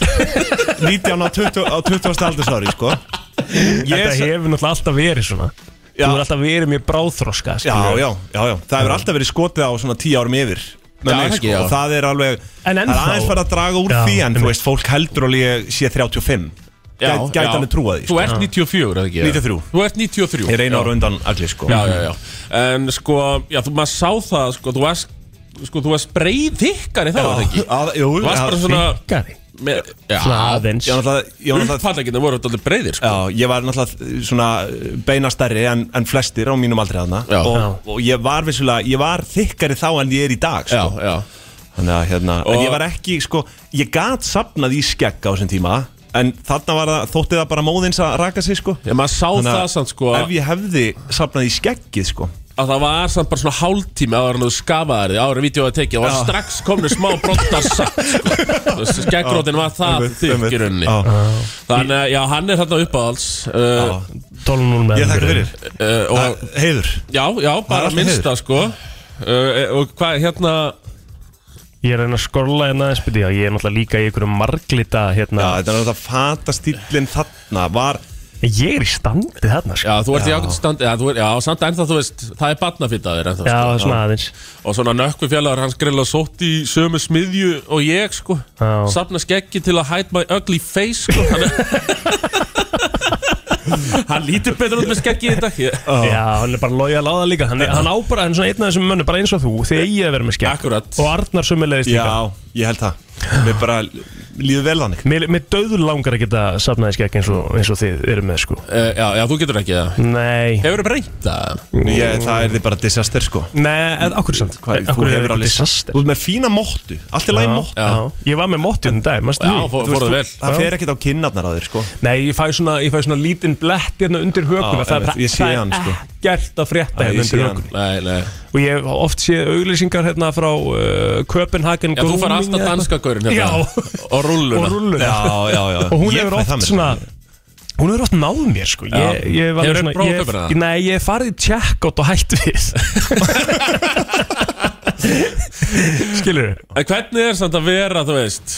L: 12.0
D: 19 á 20 á 20. aldursári, sko
A: Þetta hefur náttúrulega alltaf verið svona Þú hefur alltaf verið mjög bráþroska
D: Já,
A: skilurðu.
D: já, já, já Það hefur alltaf verið skotið á svona 10 árum yfir með
A: Já,
D: mig,
A: ekki,
D: sko,
A: já.
D: og það er alveg
A: En
D: það er
A: ennþá-
D: aðeins farið að draga úr
A: Já,
D: því en þú veist, fólk heldur alveg ég sé 35
L: Já,
D: Gæt, gæti
L: já.
D: alveg trúa því sko.
L: Þú ert 94, eða ekki?
D: 93.
L: Þú ert 93
D: Ég reyna
L: Já.
D: ára undan allir sko
L: Já, já, já En sko, já, þú maður sá það, sko, þú varst Sko, þú varst breið þykkari þá,
D: Já,
L: var það ekki?
D: að- jú,
L: Þú varst
D: að-
L: bara svona
A: Þykkari?
L: með, Já,
A: Hlaðins
D: Ég var náttúrulega- ég var náttúrulega
L: Uppfalleginu voru allir breiðir sko
D: Já, ég var náttúrulega svona eh, beina stærri en, en flestir á mínum aldrei þarna
L: Já.
D: og,
L: Já.
D: og ég var vissulega, ég var þykkari þá en ég er í dag sko.
L: já, já.
D: Þannig að hérna,
L: Og-
D: en ég var ekki, sko, ég gat sapnað í skegg á þessum tíma En þarna var það, þótti það bara móðins að raka sig, sko
L: Já, maður sá það samt, sko.
D: Ef ég hefði sapnað í skeggið, sko
L: Að það var samt bara svona hálftími áður en þú skafaðir því áður en vídeo að tekið og var
D: Já.
L: strax komnu smá brottar satt sko. Skeggrótin var það
D: Einmitt,
L: þykk
D: einmitt.
L: í rauninni
D: Já.
L: Þannig að já, hann er þarna uppáhalds uh,
A: 12.0 með
D: Ég þakka
A: einhverju.
D: fyrir
L: uh, og,
D: Heiður
L: Já, já,
D: er
L: bara
D: alltaf
L: minnst það sko uh, Og hvað, hérna
A: Ég er að reyna að skorla hérna aðeins byrja Ég er náttúrulega líka í einhverju marglita
D: Já,
A: hérna
D: þetta er náttúrulega fata stílinn þarna var
A: Ég er í standi þarna sko.
L: Já, þú ert í ákveðt standi, já, þú er, já, samt ennþá, þú veist, það er batnafýtaðir ennþá,
A: Já,
L: sko.
A: svona aðeins
L: Og svona nökkvi fjallar, hans grilla sótt í sömu smiðju og ég, sko.
A: Já.
L: Safna skeggi til að hide my ugly face, sko. Hann, hann lítur betur út með skeggi í dag. Ég,
A: Já, hann er bara lojal á það líka Hann, hann á bara hann er svona einn af þessum mönnu Bara eins og þú, þið eigið að vera með skekk
L: Akkurat.
A: Og Arnar sömulegist líka
D: Já, ég held það Mér bara líður vel þannig
A: Mér, mér döður langar að geta safnaði skekk eins og, eins og þið eru með sko
L: Uh, já, já, þú getur ekki það.
A: Nei,
L: Hefur þú reynt það?
D: ég, Það er því bara disaster, sko
A: nei, en okkur samt
D: Hvað,
A: Af
D: þú
A: hverju er
D: hefur
A: þetta
D: alveg
A: disaster?
D: Þú ert með fína móttu, allt er læg móttu
A: Já. Ég var með móttjum dag,
L: Já,
A: maður stuði
L: fó-
D: Þú
L: fór það vel.
D: veist, þú- Það fer ekkert á kinnarnar á þér sko
A: Nei, ég fæ svona, ég fæ svona lítinn blett hérna undir hökuna
D: Já,
A: Það,
D: einmitt, ég sé
A: það
D: hann,
A: er
D: sko.
A: ekkert að frétta
D: Já, ég
A: hérna
D: sé
A: undir
D: hann.
A: hökuna
L: Nei, nei.
A: Og ég hef oft séð auglýsingar hérna frá uh, Copenhagen
L: Já, þú fær
A: Grooming
L: alltaf
A: eða
L: danska gaurinn
A: Já.
L: hérna. Og rulluna.
A: Og rulluna
D: Já, já, já
A: Og
D: Ég
A: hún
D: fæ
A: hefur
D: það
A: oft
D: með
A: svona Hún hefur oft náð mér sko
L: Já.
A: ég, ég hef alveg
L: Hefur
A: svona-
L: þú brókað
A: ég hef-
L: fyrir það?
A: Nei, ég hef farið tjekkot og hætt við Skilur
L: En hvernig er samt að vera, þú veist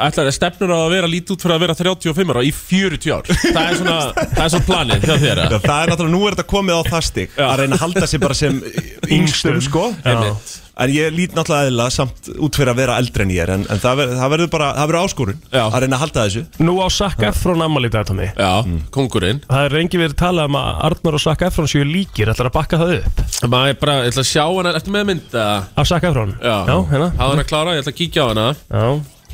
L: Ætlar að stefnur á að vera lítið út fyrir að vera 35 ára í 40 ár Það er svona, það er svona planið hjá þér
D: Já,
L: eða?
D: það er náttúrulega, nú er þetta komið á það stig
L: Já.
D: að reyna að halda sig bara sem yngstum sko
A: Já.
L: Einmitt.
D: en ég lít náttúrulega eðla samt út fyrir að vera eldri en ég er en, en það, ver, það verður bara, það verður áskorun
L: Já.
D: að reyna að halda þessu
A: Nú á Sakka frá nammalið þetta mig
L: Já, kongurinn
A: Það er reyngi verið að tala um að Arnar og Sakka Efron séu líkir, ætlar að bakka það upp
L: Maður er bara, ég ætla að sjá hana, ertu með mynd eða?
A: Af Sakka Efron
L: Já,
A: Já, hérna
L: Hafðu hana klára, ég ætla að kíkja á hana
A: Já,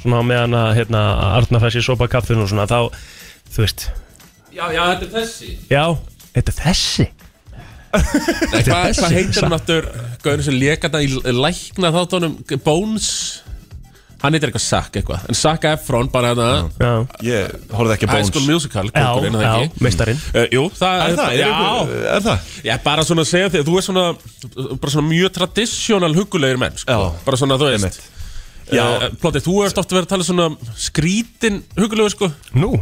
A: svona á meðan að hérna, Arnar fæsir sopa kaffinu og svona þá, þú veist,
L: Já, já, þetta er þessi
A: já, þetta er þessi
L: Nei, Hvað
A: þessi.
L: hva heitir hann aftur Gauðin sem leka þetta í lækna þáttunum Bones Hann heitir eitthvað Sack eitthvað En Sack Efron bara hérna
A: Já,
D: ég horfði ekki á
L: High
D: bóns
L: School Musical,
A: já,
L: kongurinn,
A: já,
L: það ekki
A: meistarinn
L: Uh, jú, það
D: er það, er,
L: já,
D: einhver- er það?
L: Ég er bara svona að segja því að þú er svona bara svona mjög tradisjónal hugulegir menn sko.
D: Já.
L: bara svona þú veist
D: Einmitt.
L: Já, Plóti, þú ert ofta verið að tala svona skrítin hugulegur sko
A: Nú,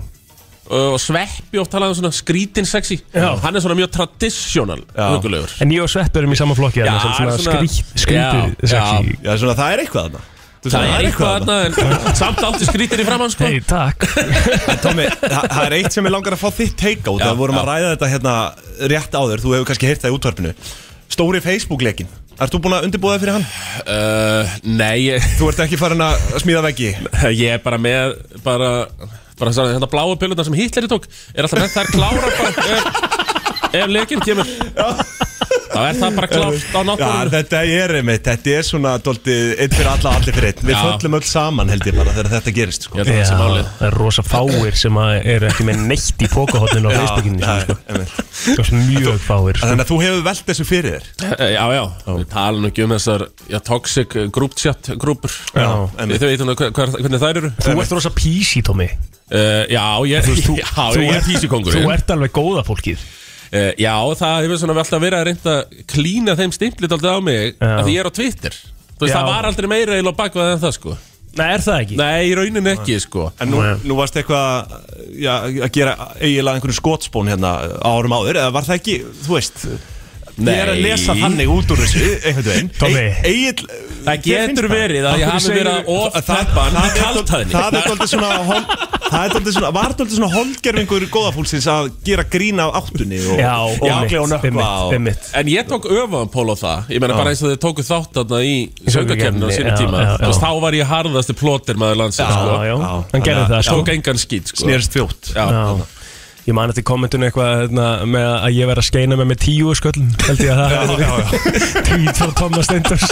L: Eh, og sveppi oft talað um svona skrítin sexy
A: Já.
L: hann er svona mjög tradisjónal hugulegur
A: en ég og Svepp erum í sama flokki
L: Já,
A: þarna sem svona,
L: svona-
A: skrít, skrítið
L: Já,
A: sexy
D: Já, svona, það er eitthvað þarna Þú veist,
L: Það er eitthvað þarna en samt aldrei skrítin í framann sko
A: Hei, takk
D: En Tommi, það það er eitt sem ég langar að fá þitt teika út
L: Já,
D: Það vorum
L: já.
D: að ræða þetta hérna rétt áður Þú hefur kannski heyrt það í útvarpinu Stóri Facebook-lekin Ert þú búin að undirbúa það fyrir hann?
L: uh, Nei, ég,
D: Þú ert ekki farin að smíða veggi
L: ég er bara með bara, bara hérna svona, þetta bláa pilutna sem Hitleri tók er alltaf með þær klára bara, ef, ef leikinn kemur Þá er það bara klárt á
D: Já,
L: náttúrunni
D: þetta er einmitt, þetta er svona doldið, einn fyrir alla, allir fyrir einn Við
L: Já.
D: föllum öll saman held ég bara þegar þetta gerist sko.
L: Ég held að það sé málið.
A: það er rosa fáir sem að eru ekki með neitt í pokahotninu á
D: Já,
A: Facebookinu
D: það
A: sínu,
D: er-
A: sko.
D: einmitt.
A: Það er mjög fáir sko.
D: Þannig að þú hefur velt þessu fyrir þér
L: Eh, Já, já, við talum ekki um þessar já, toxic eh, group chat grúpur Eh,
A: Já,
L: Þau veitum hver, hver- hvernig þær eru
A: Þú ert rosa písi, Tómi
L: Uh, já, ég,
A: Þú veist, þú-
L: já,
A: þú
L: ég er
A: ert-
L: písukongur
A: Þú ert alveg góða fólkið
L: Já, það hefur svona alltaf verið að reynda að klína þeim stimplit alltaf á mig
A: Já.
L: að því ég er á Twitter Þú veist,
A: Já.
L: það var aldrei meira eil á bakvað en það sko
A: Nei, er það ekki?
L: Nei, í rauninni ekki sko
D: En nú, nú varst eitthvað já, að gera eiginlega einhverju skotspón hérna á árum áður Eða var það ekki, þú veist Ég er að lesa þannig út úr þessu einhvern veginn
A: Tommy.
D: E- Egill,
L: Það
D: þér finnst
L: getur verið að ég
D: Af hverju
L: hafi verið að
D: segirðu- Það-
L: ofnæppan
D: það-
L: í kaldhæðinni
D: Það er doldið svona hol- Það er doldið svona, var doldið svona holdgerfingur góðafólksins að gera grín af áttunni og
A: Já, einmitt,
D: og nökkva
A: einmitt,
D: og
A: einmitt.
L: En ég tók öfaðan pól á það Ég meina bara eins og þau tóku þátt þarna í söngakefninu á
A: söngvakeppninni,
L: sinni
A: já,
L: tíma
A: já, já.
L: Þú veist, þá var ég harðasti plótir maður landsins sko.
A: Já, já,
D: Já,
A: hann gerði það sko
L: Tók engan skýt sko.
D: snerist fjótt
L: Já,
A: Já. Ég man eftir kommentinu eitthvað hérna, með að ég verð að skeina með með tíu sköllum held ég að það hefði verið. Tweet frá Thomas Steindors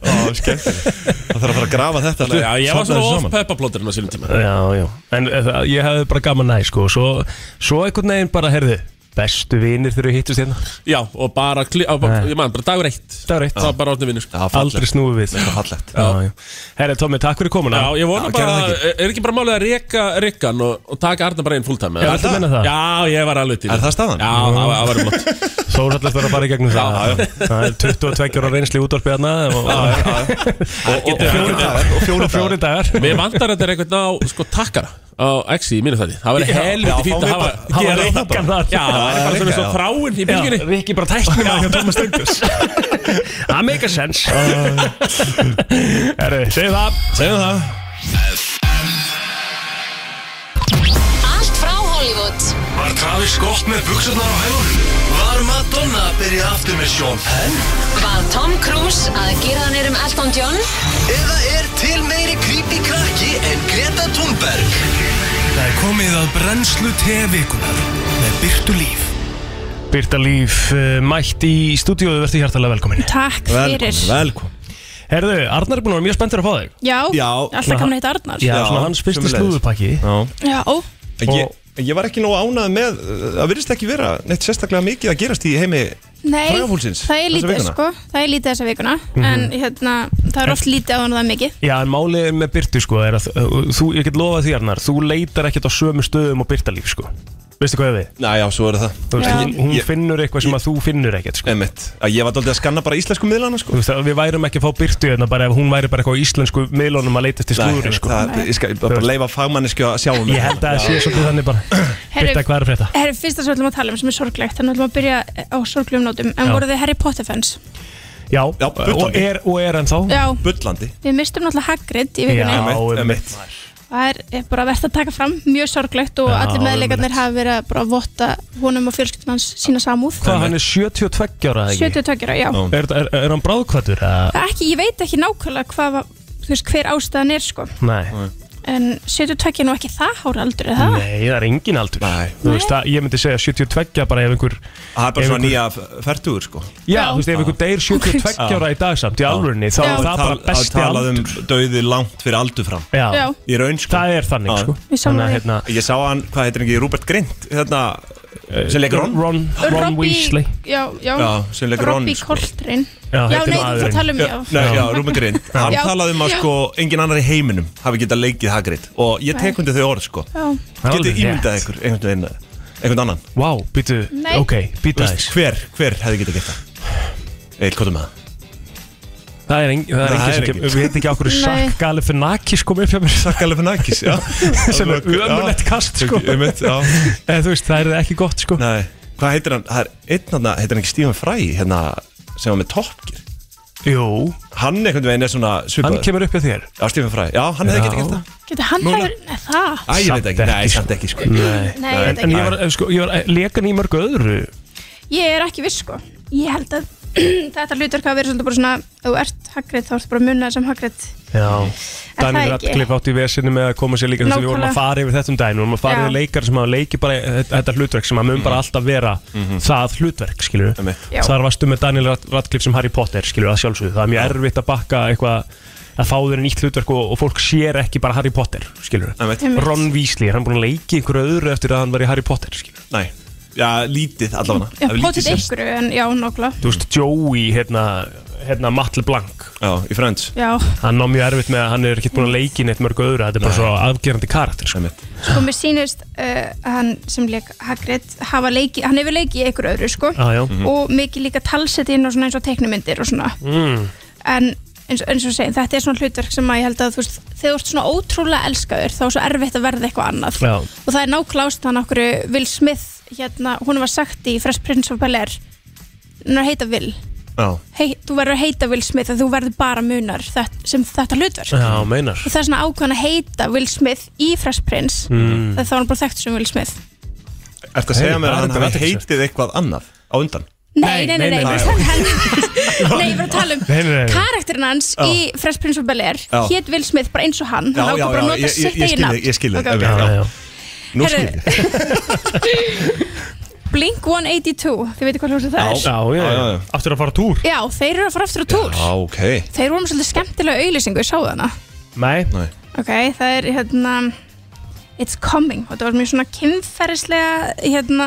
D: Ó, skemmtilegt. Það þarf að fara að grafa þetta allt upp.
L: já, ég var
D: Safna
L: svona
D: þessu saman.
L: off-peppa plótirinn á sínum tíma
A: Já, já En eh, það- ég hefði bara gaman næ sko Svo, svo einhvern veginn bara, herðu Bestu vinir þegar við hittust hérna
L: Já, og bara, kli, á,
A: Nei.
L: ég man, bara dagur eitt
A: Dagur eitt.
L: Það var bara átni vinnur sko.
D: Já, fallegt.
A: Aldrei snúið við
D: Þetta er fallegt.
A: Já, já Herri, Tómi, takk fyrir komuna
L: Já, ég vona
D: Já, gerðu
L: bara,
D: það ekki.
L: er ekki bara málið að reka rikkan og, og taka Arna bara einn fulltime
A: Já, ertu að meina það?
L: Já, ég var alveg til í
D: Er það staðan?
L: Já, það var- það var um umlott
A: Þórallast verður að fara í gegnum það Það er 22 ára reynsli útvarpið hérna og,
D: Og- og- og fjórir dagar. Og
A: og
D: fjórir dagar.
A: fjóri dagar
L: Mér vantar þetta er einhvern á, sko, takkara á Exi í mínu þætti Það var
D: já,
L: helviti fínt
D: fáum
L: að
D: við
L: hafa
D: bara-
L: hafa
A: Ég
L: Rikka
A: reikar
L: bara.
A: það.
L: Já, það er bara
D: Rikka,
L: svona svo
D: já.
L: fráinn í bylginni
A: Rikki bara tæknir með hjá Thomas Steindors Það make a sense Herri, segðu það
D: Segjum það
M: Allt frá Hollywood
B: Var Travis Scott með buksunar á hælunum? Var Madonna að byrja aftur með Sean Penn?
M: Var Tom
K: Um
M: Cruise að gera hann erum Elton John?
B: Eða er til meiri creepy krakki en Greta Thunberg? Það er komið að brennslu tevikunar með Byrtu Líf.
A: Birta Líf, eh, mætt í stúdíóðu, verður hjartalega velkomin
K: Takk fyrir
D: Velkom
A: Herðu, Arnar er búin að vera mjög spenntur að fá þig
K: Já,
D: Já.
K: alltaf kannu heitt Arnar
A: Já, svona hans fyrsti
D: sömuleiðis.
A: slúðupakki
K: Já,
D: ég, ég var ekki nóg ánað með uh, Það virðist ekki vera neitt sérstaklega mikið að gerast í heimi
K: nei,
D: Frægafólksins,
K: það er
D: þessa
K: lítið
D: vikuna.
K: sko Það er lítið þessa vikuna
A: Mhm.
K: En hérna, það er oft lítið áður en það er mikið
A: Já, en málið með Byrtu sko er að uh, þú, ég get lofað því Arnar, þú leitar ekkert á sömu stöðum og Birta Líf sko Veistu hvað ég við?
D: Næja, svo er það
A: Þú veist,
K: Já.
A: hún, hún
D: Ég-
A: finnur eitthvað sem að þú finnur ekkert sko.
D: Einmitt, að ég var daldið að skanna bara íslensku miðlana sko.
A: Þú veist, að Við værum ekki að fá byrtu hérna bara ef hún væri bara eitthvað á íslensku miðlunum að leitast í slúðurinn
D: einmitt,
A: sko.
D: það, ég skal bara leifa fagmannisku að sjá um
A: Ég held að það sé svolítið þannig bara
K: Herru-
A: Birta, hvað er að frétta?
K: Það er fyrsta sem við ætlum að tala um sem er sorglegt Þannig ætlum að byrja á sorglegum nótum En
A: Já.
K: voru þið Harry Potter fans?
A: Já,
D: Já, bullandi.
A: og er, og er ennþá
K: Já,
D: Bullandi
K: við mistum náttúrulega Hagrid í vikunni
A: Já,
D: Einmitt, einmitt.
K: Það er- er bara verðt að taka fram, mjög sorglegt Og
A: Já,
K: allir meðleikarnir
A: einmitt.
K: hafa verið að bara votta honum og fjölskyldum hans sína samúð
A: Hvað, hann er 72 ára eða ekki?
K: 72 ára, já
A: Er, er, er hann bráðkvættur?
K: Það er ekki, ég veit ekki nákvæmlega hvað var- þú veist, hver ástæðan er sko
A: Nei,
K: En 72 er nú ekki það hára aldur, er það?
A: nei, það er engin aldur
D: Nei.
A: Þú veist, það, ég myndi segja 72 bara ef einhver
D: Það er bara
A: Ef
D: svona
A: einhver-
D: nýja f- fertugur sko.
A: Já, þú veist, ef einhver deyr 72
D: Já.
A: ára í dag samt í alvörinni þá
K: Já.
A: er það bara
D: Tal-
A: besti
D: talað
A: aldur
D: um dauði langt fyrir aldur fram
K: Já.
A: Já,
D: Í raun sko
A: það er þannig
D: Já.
A: sko
K: Ég sammála
A: að
K: því.
A: hérna
D: Ég sá hann, hvað heitir hann ekki, Rupert Grint hérna, sem leikur Ron
A: Ron, Ron
K: Robbie-
A: Weasley
K: Já, já,
D: Já, sem leikur
K: Robbie
D: Ron, sko.
K: Coltrane
A: Já,
K: Já,
A: þetta er
K: nei, um-
A: maðurinn.
K: það talum
D: Já,
K: ég
D: nei, já, Rúmi Grinn Hann
K: Já.
D: talaði um að
K: Já.
D: sko engin annar í heiminum hafi getað leikið Hagrid og ég tek undir þau orð sko
K: Já,
A: Það er alveg
D: Getið
A: rétt.
D: ímyndað ykkur einhvern veginn einhvern annan
A: Vá, wow, býtu,
K: Nei.
A: ok,
D: Þú
A: býta
D: veist,
A: þess
D: hver, hver hefði getað gett það Eil, hvað er með það?
A: Það er engin, það er
D: Nei, það
A: engin
D: er
A: sem
D: engin.
A: kemur Við veitum ekki okkur
K: Nei.
A: Sakk Galifinakis kom upp hjá mér
D: Takkalega fyrir nækis, já
A: sem er ömulegt kast sko
D: Ég veit, já
A: Eða þú veist, það er ekki gott sko
D: Nei, hvað heitir hann? Það er einn hann, heitir hann ekki Stephen Fry hérna sem var með toppgir
A: Jú,
D: Hann einhvern veginn er svona
A: hann
D: svipaður
A: kemur upp hjá þér
D: Já, Stephen Fry, já, hann hefði
A: Já.
D: getað gett það
K: getur hann hefur Nei, það
D: Æ, ég veit
A: Samt
D: ekki,
A: ekki,
D: nei,
A: sko.
D: samt ekki sko
A: Nei
K: Nei, ég
A: En, en
K: veit ekki
A: ég var, eh, sko, ég var eh, lekan í mörgu öðru
K: Ég er ekki viss sko Ég held að þetta hlutverk hafa verið svolítið bara svona ef þú ert Hagrid þá ertu bara munnað sem Hagrid
A: Já
K: Er það
A: Daniel
K: ekki?
A: Radcliffe átt í vesinu með að koma sér líka þess að við vorum að
K: Nákvæmlega.
A: fara yfir þetta um daginn við vorum að fara
K: Já.
A: yfir leikar sem að leiki bara þetta- þetta hlutverk sem að mun bara alltaf vera það hlutverk, skilur
K: Já.
A: þar varstu með Daniel Rad- Radcliffe sem Harry Potter, skilur að sjálfsögðu, það er mjög erfitt að bakka eitthvað að fá þeirra nýtt hlutverk og, og fólk sér ekki bara Harry Potter, skilur
D: Einmitt.
A: Ron Weasley, er hann búin að leiki einhverju öðru eftir að hann var í Harry Potter, skilur
D: Nei, já, lítið allavega
K: Já, potið ykkur, en já, nokkla
A: Þú veist, Joey, hérna, hérna Matt LeBlanc
D: Já, í Friends
K: Já,
A: Hann á mjög erfitt með að hann er ekki búin að leiki neitt mörgu öðru, þetta er bara svo afgerandi karakter, sko
K: sko mér sýnist uh, að hann sem leik Hagrid hafa leiki, hann hefur leiki í ykkur öðru, sko
A: Já, já. Mhm.
K: og mikið líka talsett inn og svona eins og teknumyndir og svona
A: mm.
K: en eins, eins og segja, þetta er svona hlutverk sem að ég held að þú veist, þegar þú ert svona ótrúlega elskaður þá er svo erfitt að verða eitthvað annað
A: Já.
K: og það er nákvæmlega ástæðan okkur Will Smith hérna, hún var sagt í Fresh Prince of Bel-Air hún er að heita Will
A: Já,
K: hey, þú verður að heita Will Smith að þú verður bara munar þetta, sem þetta hlutverk
A: Já, meinar
K: og það er svona ákvæðan að heita Will Smith í Fresh Prince
D: Mm.
K: þegar þá var hann bara þekkt sem Will Smith
D: Ertu að segja
A: Hey,
D: mér að
A: það er
D: hann
A: þetta
D: hafi heitið eitthvað annað á undan?
K: Nei, nei, nei, nei, nei,
D: nei,
K: nei, ég var að tala um
D: Nei, nei, nei.
K: karakterinn hans
D: Já.
K: í Fresh Prince of Bel-Air
D: Já.
K: hétt Will Smith bara eins og hann hann ákvað bara að nota
D: ég, ég,
K: sitt
D: ég
K: eigin
D: skil þig,
K: nafn
D: ég skil þig
K: Ok, ok.
D: já, já. Nú
K: Herru,
D: skil ég
K: Blink 182, þið veitir hvað hljómsið það er
A: já, já, já, já. Aftur að fara á túr
K: Já, þeir eru að fara aftur á túr
D: Já, ok
K: Þeir voru með svolítið skemmtilega auðlýsingu, ég sáðu hana
A: Nei,
D: Nei.
K: Ok, það er hérna It's coming, og þetta var mjög svona kynferðislega hérna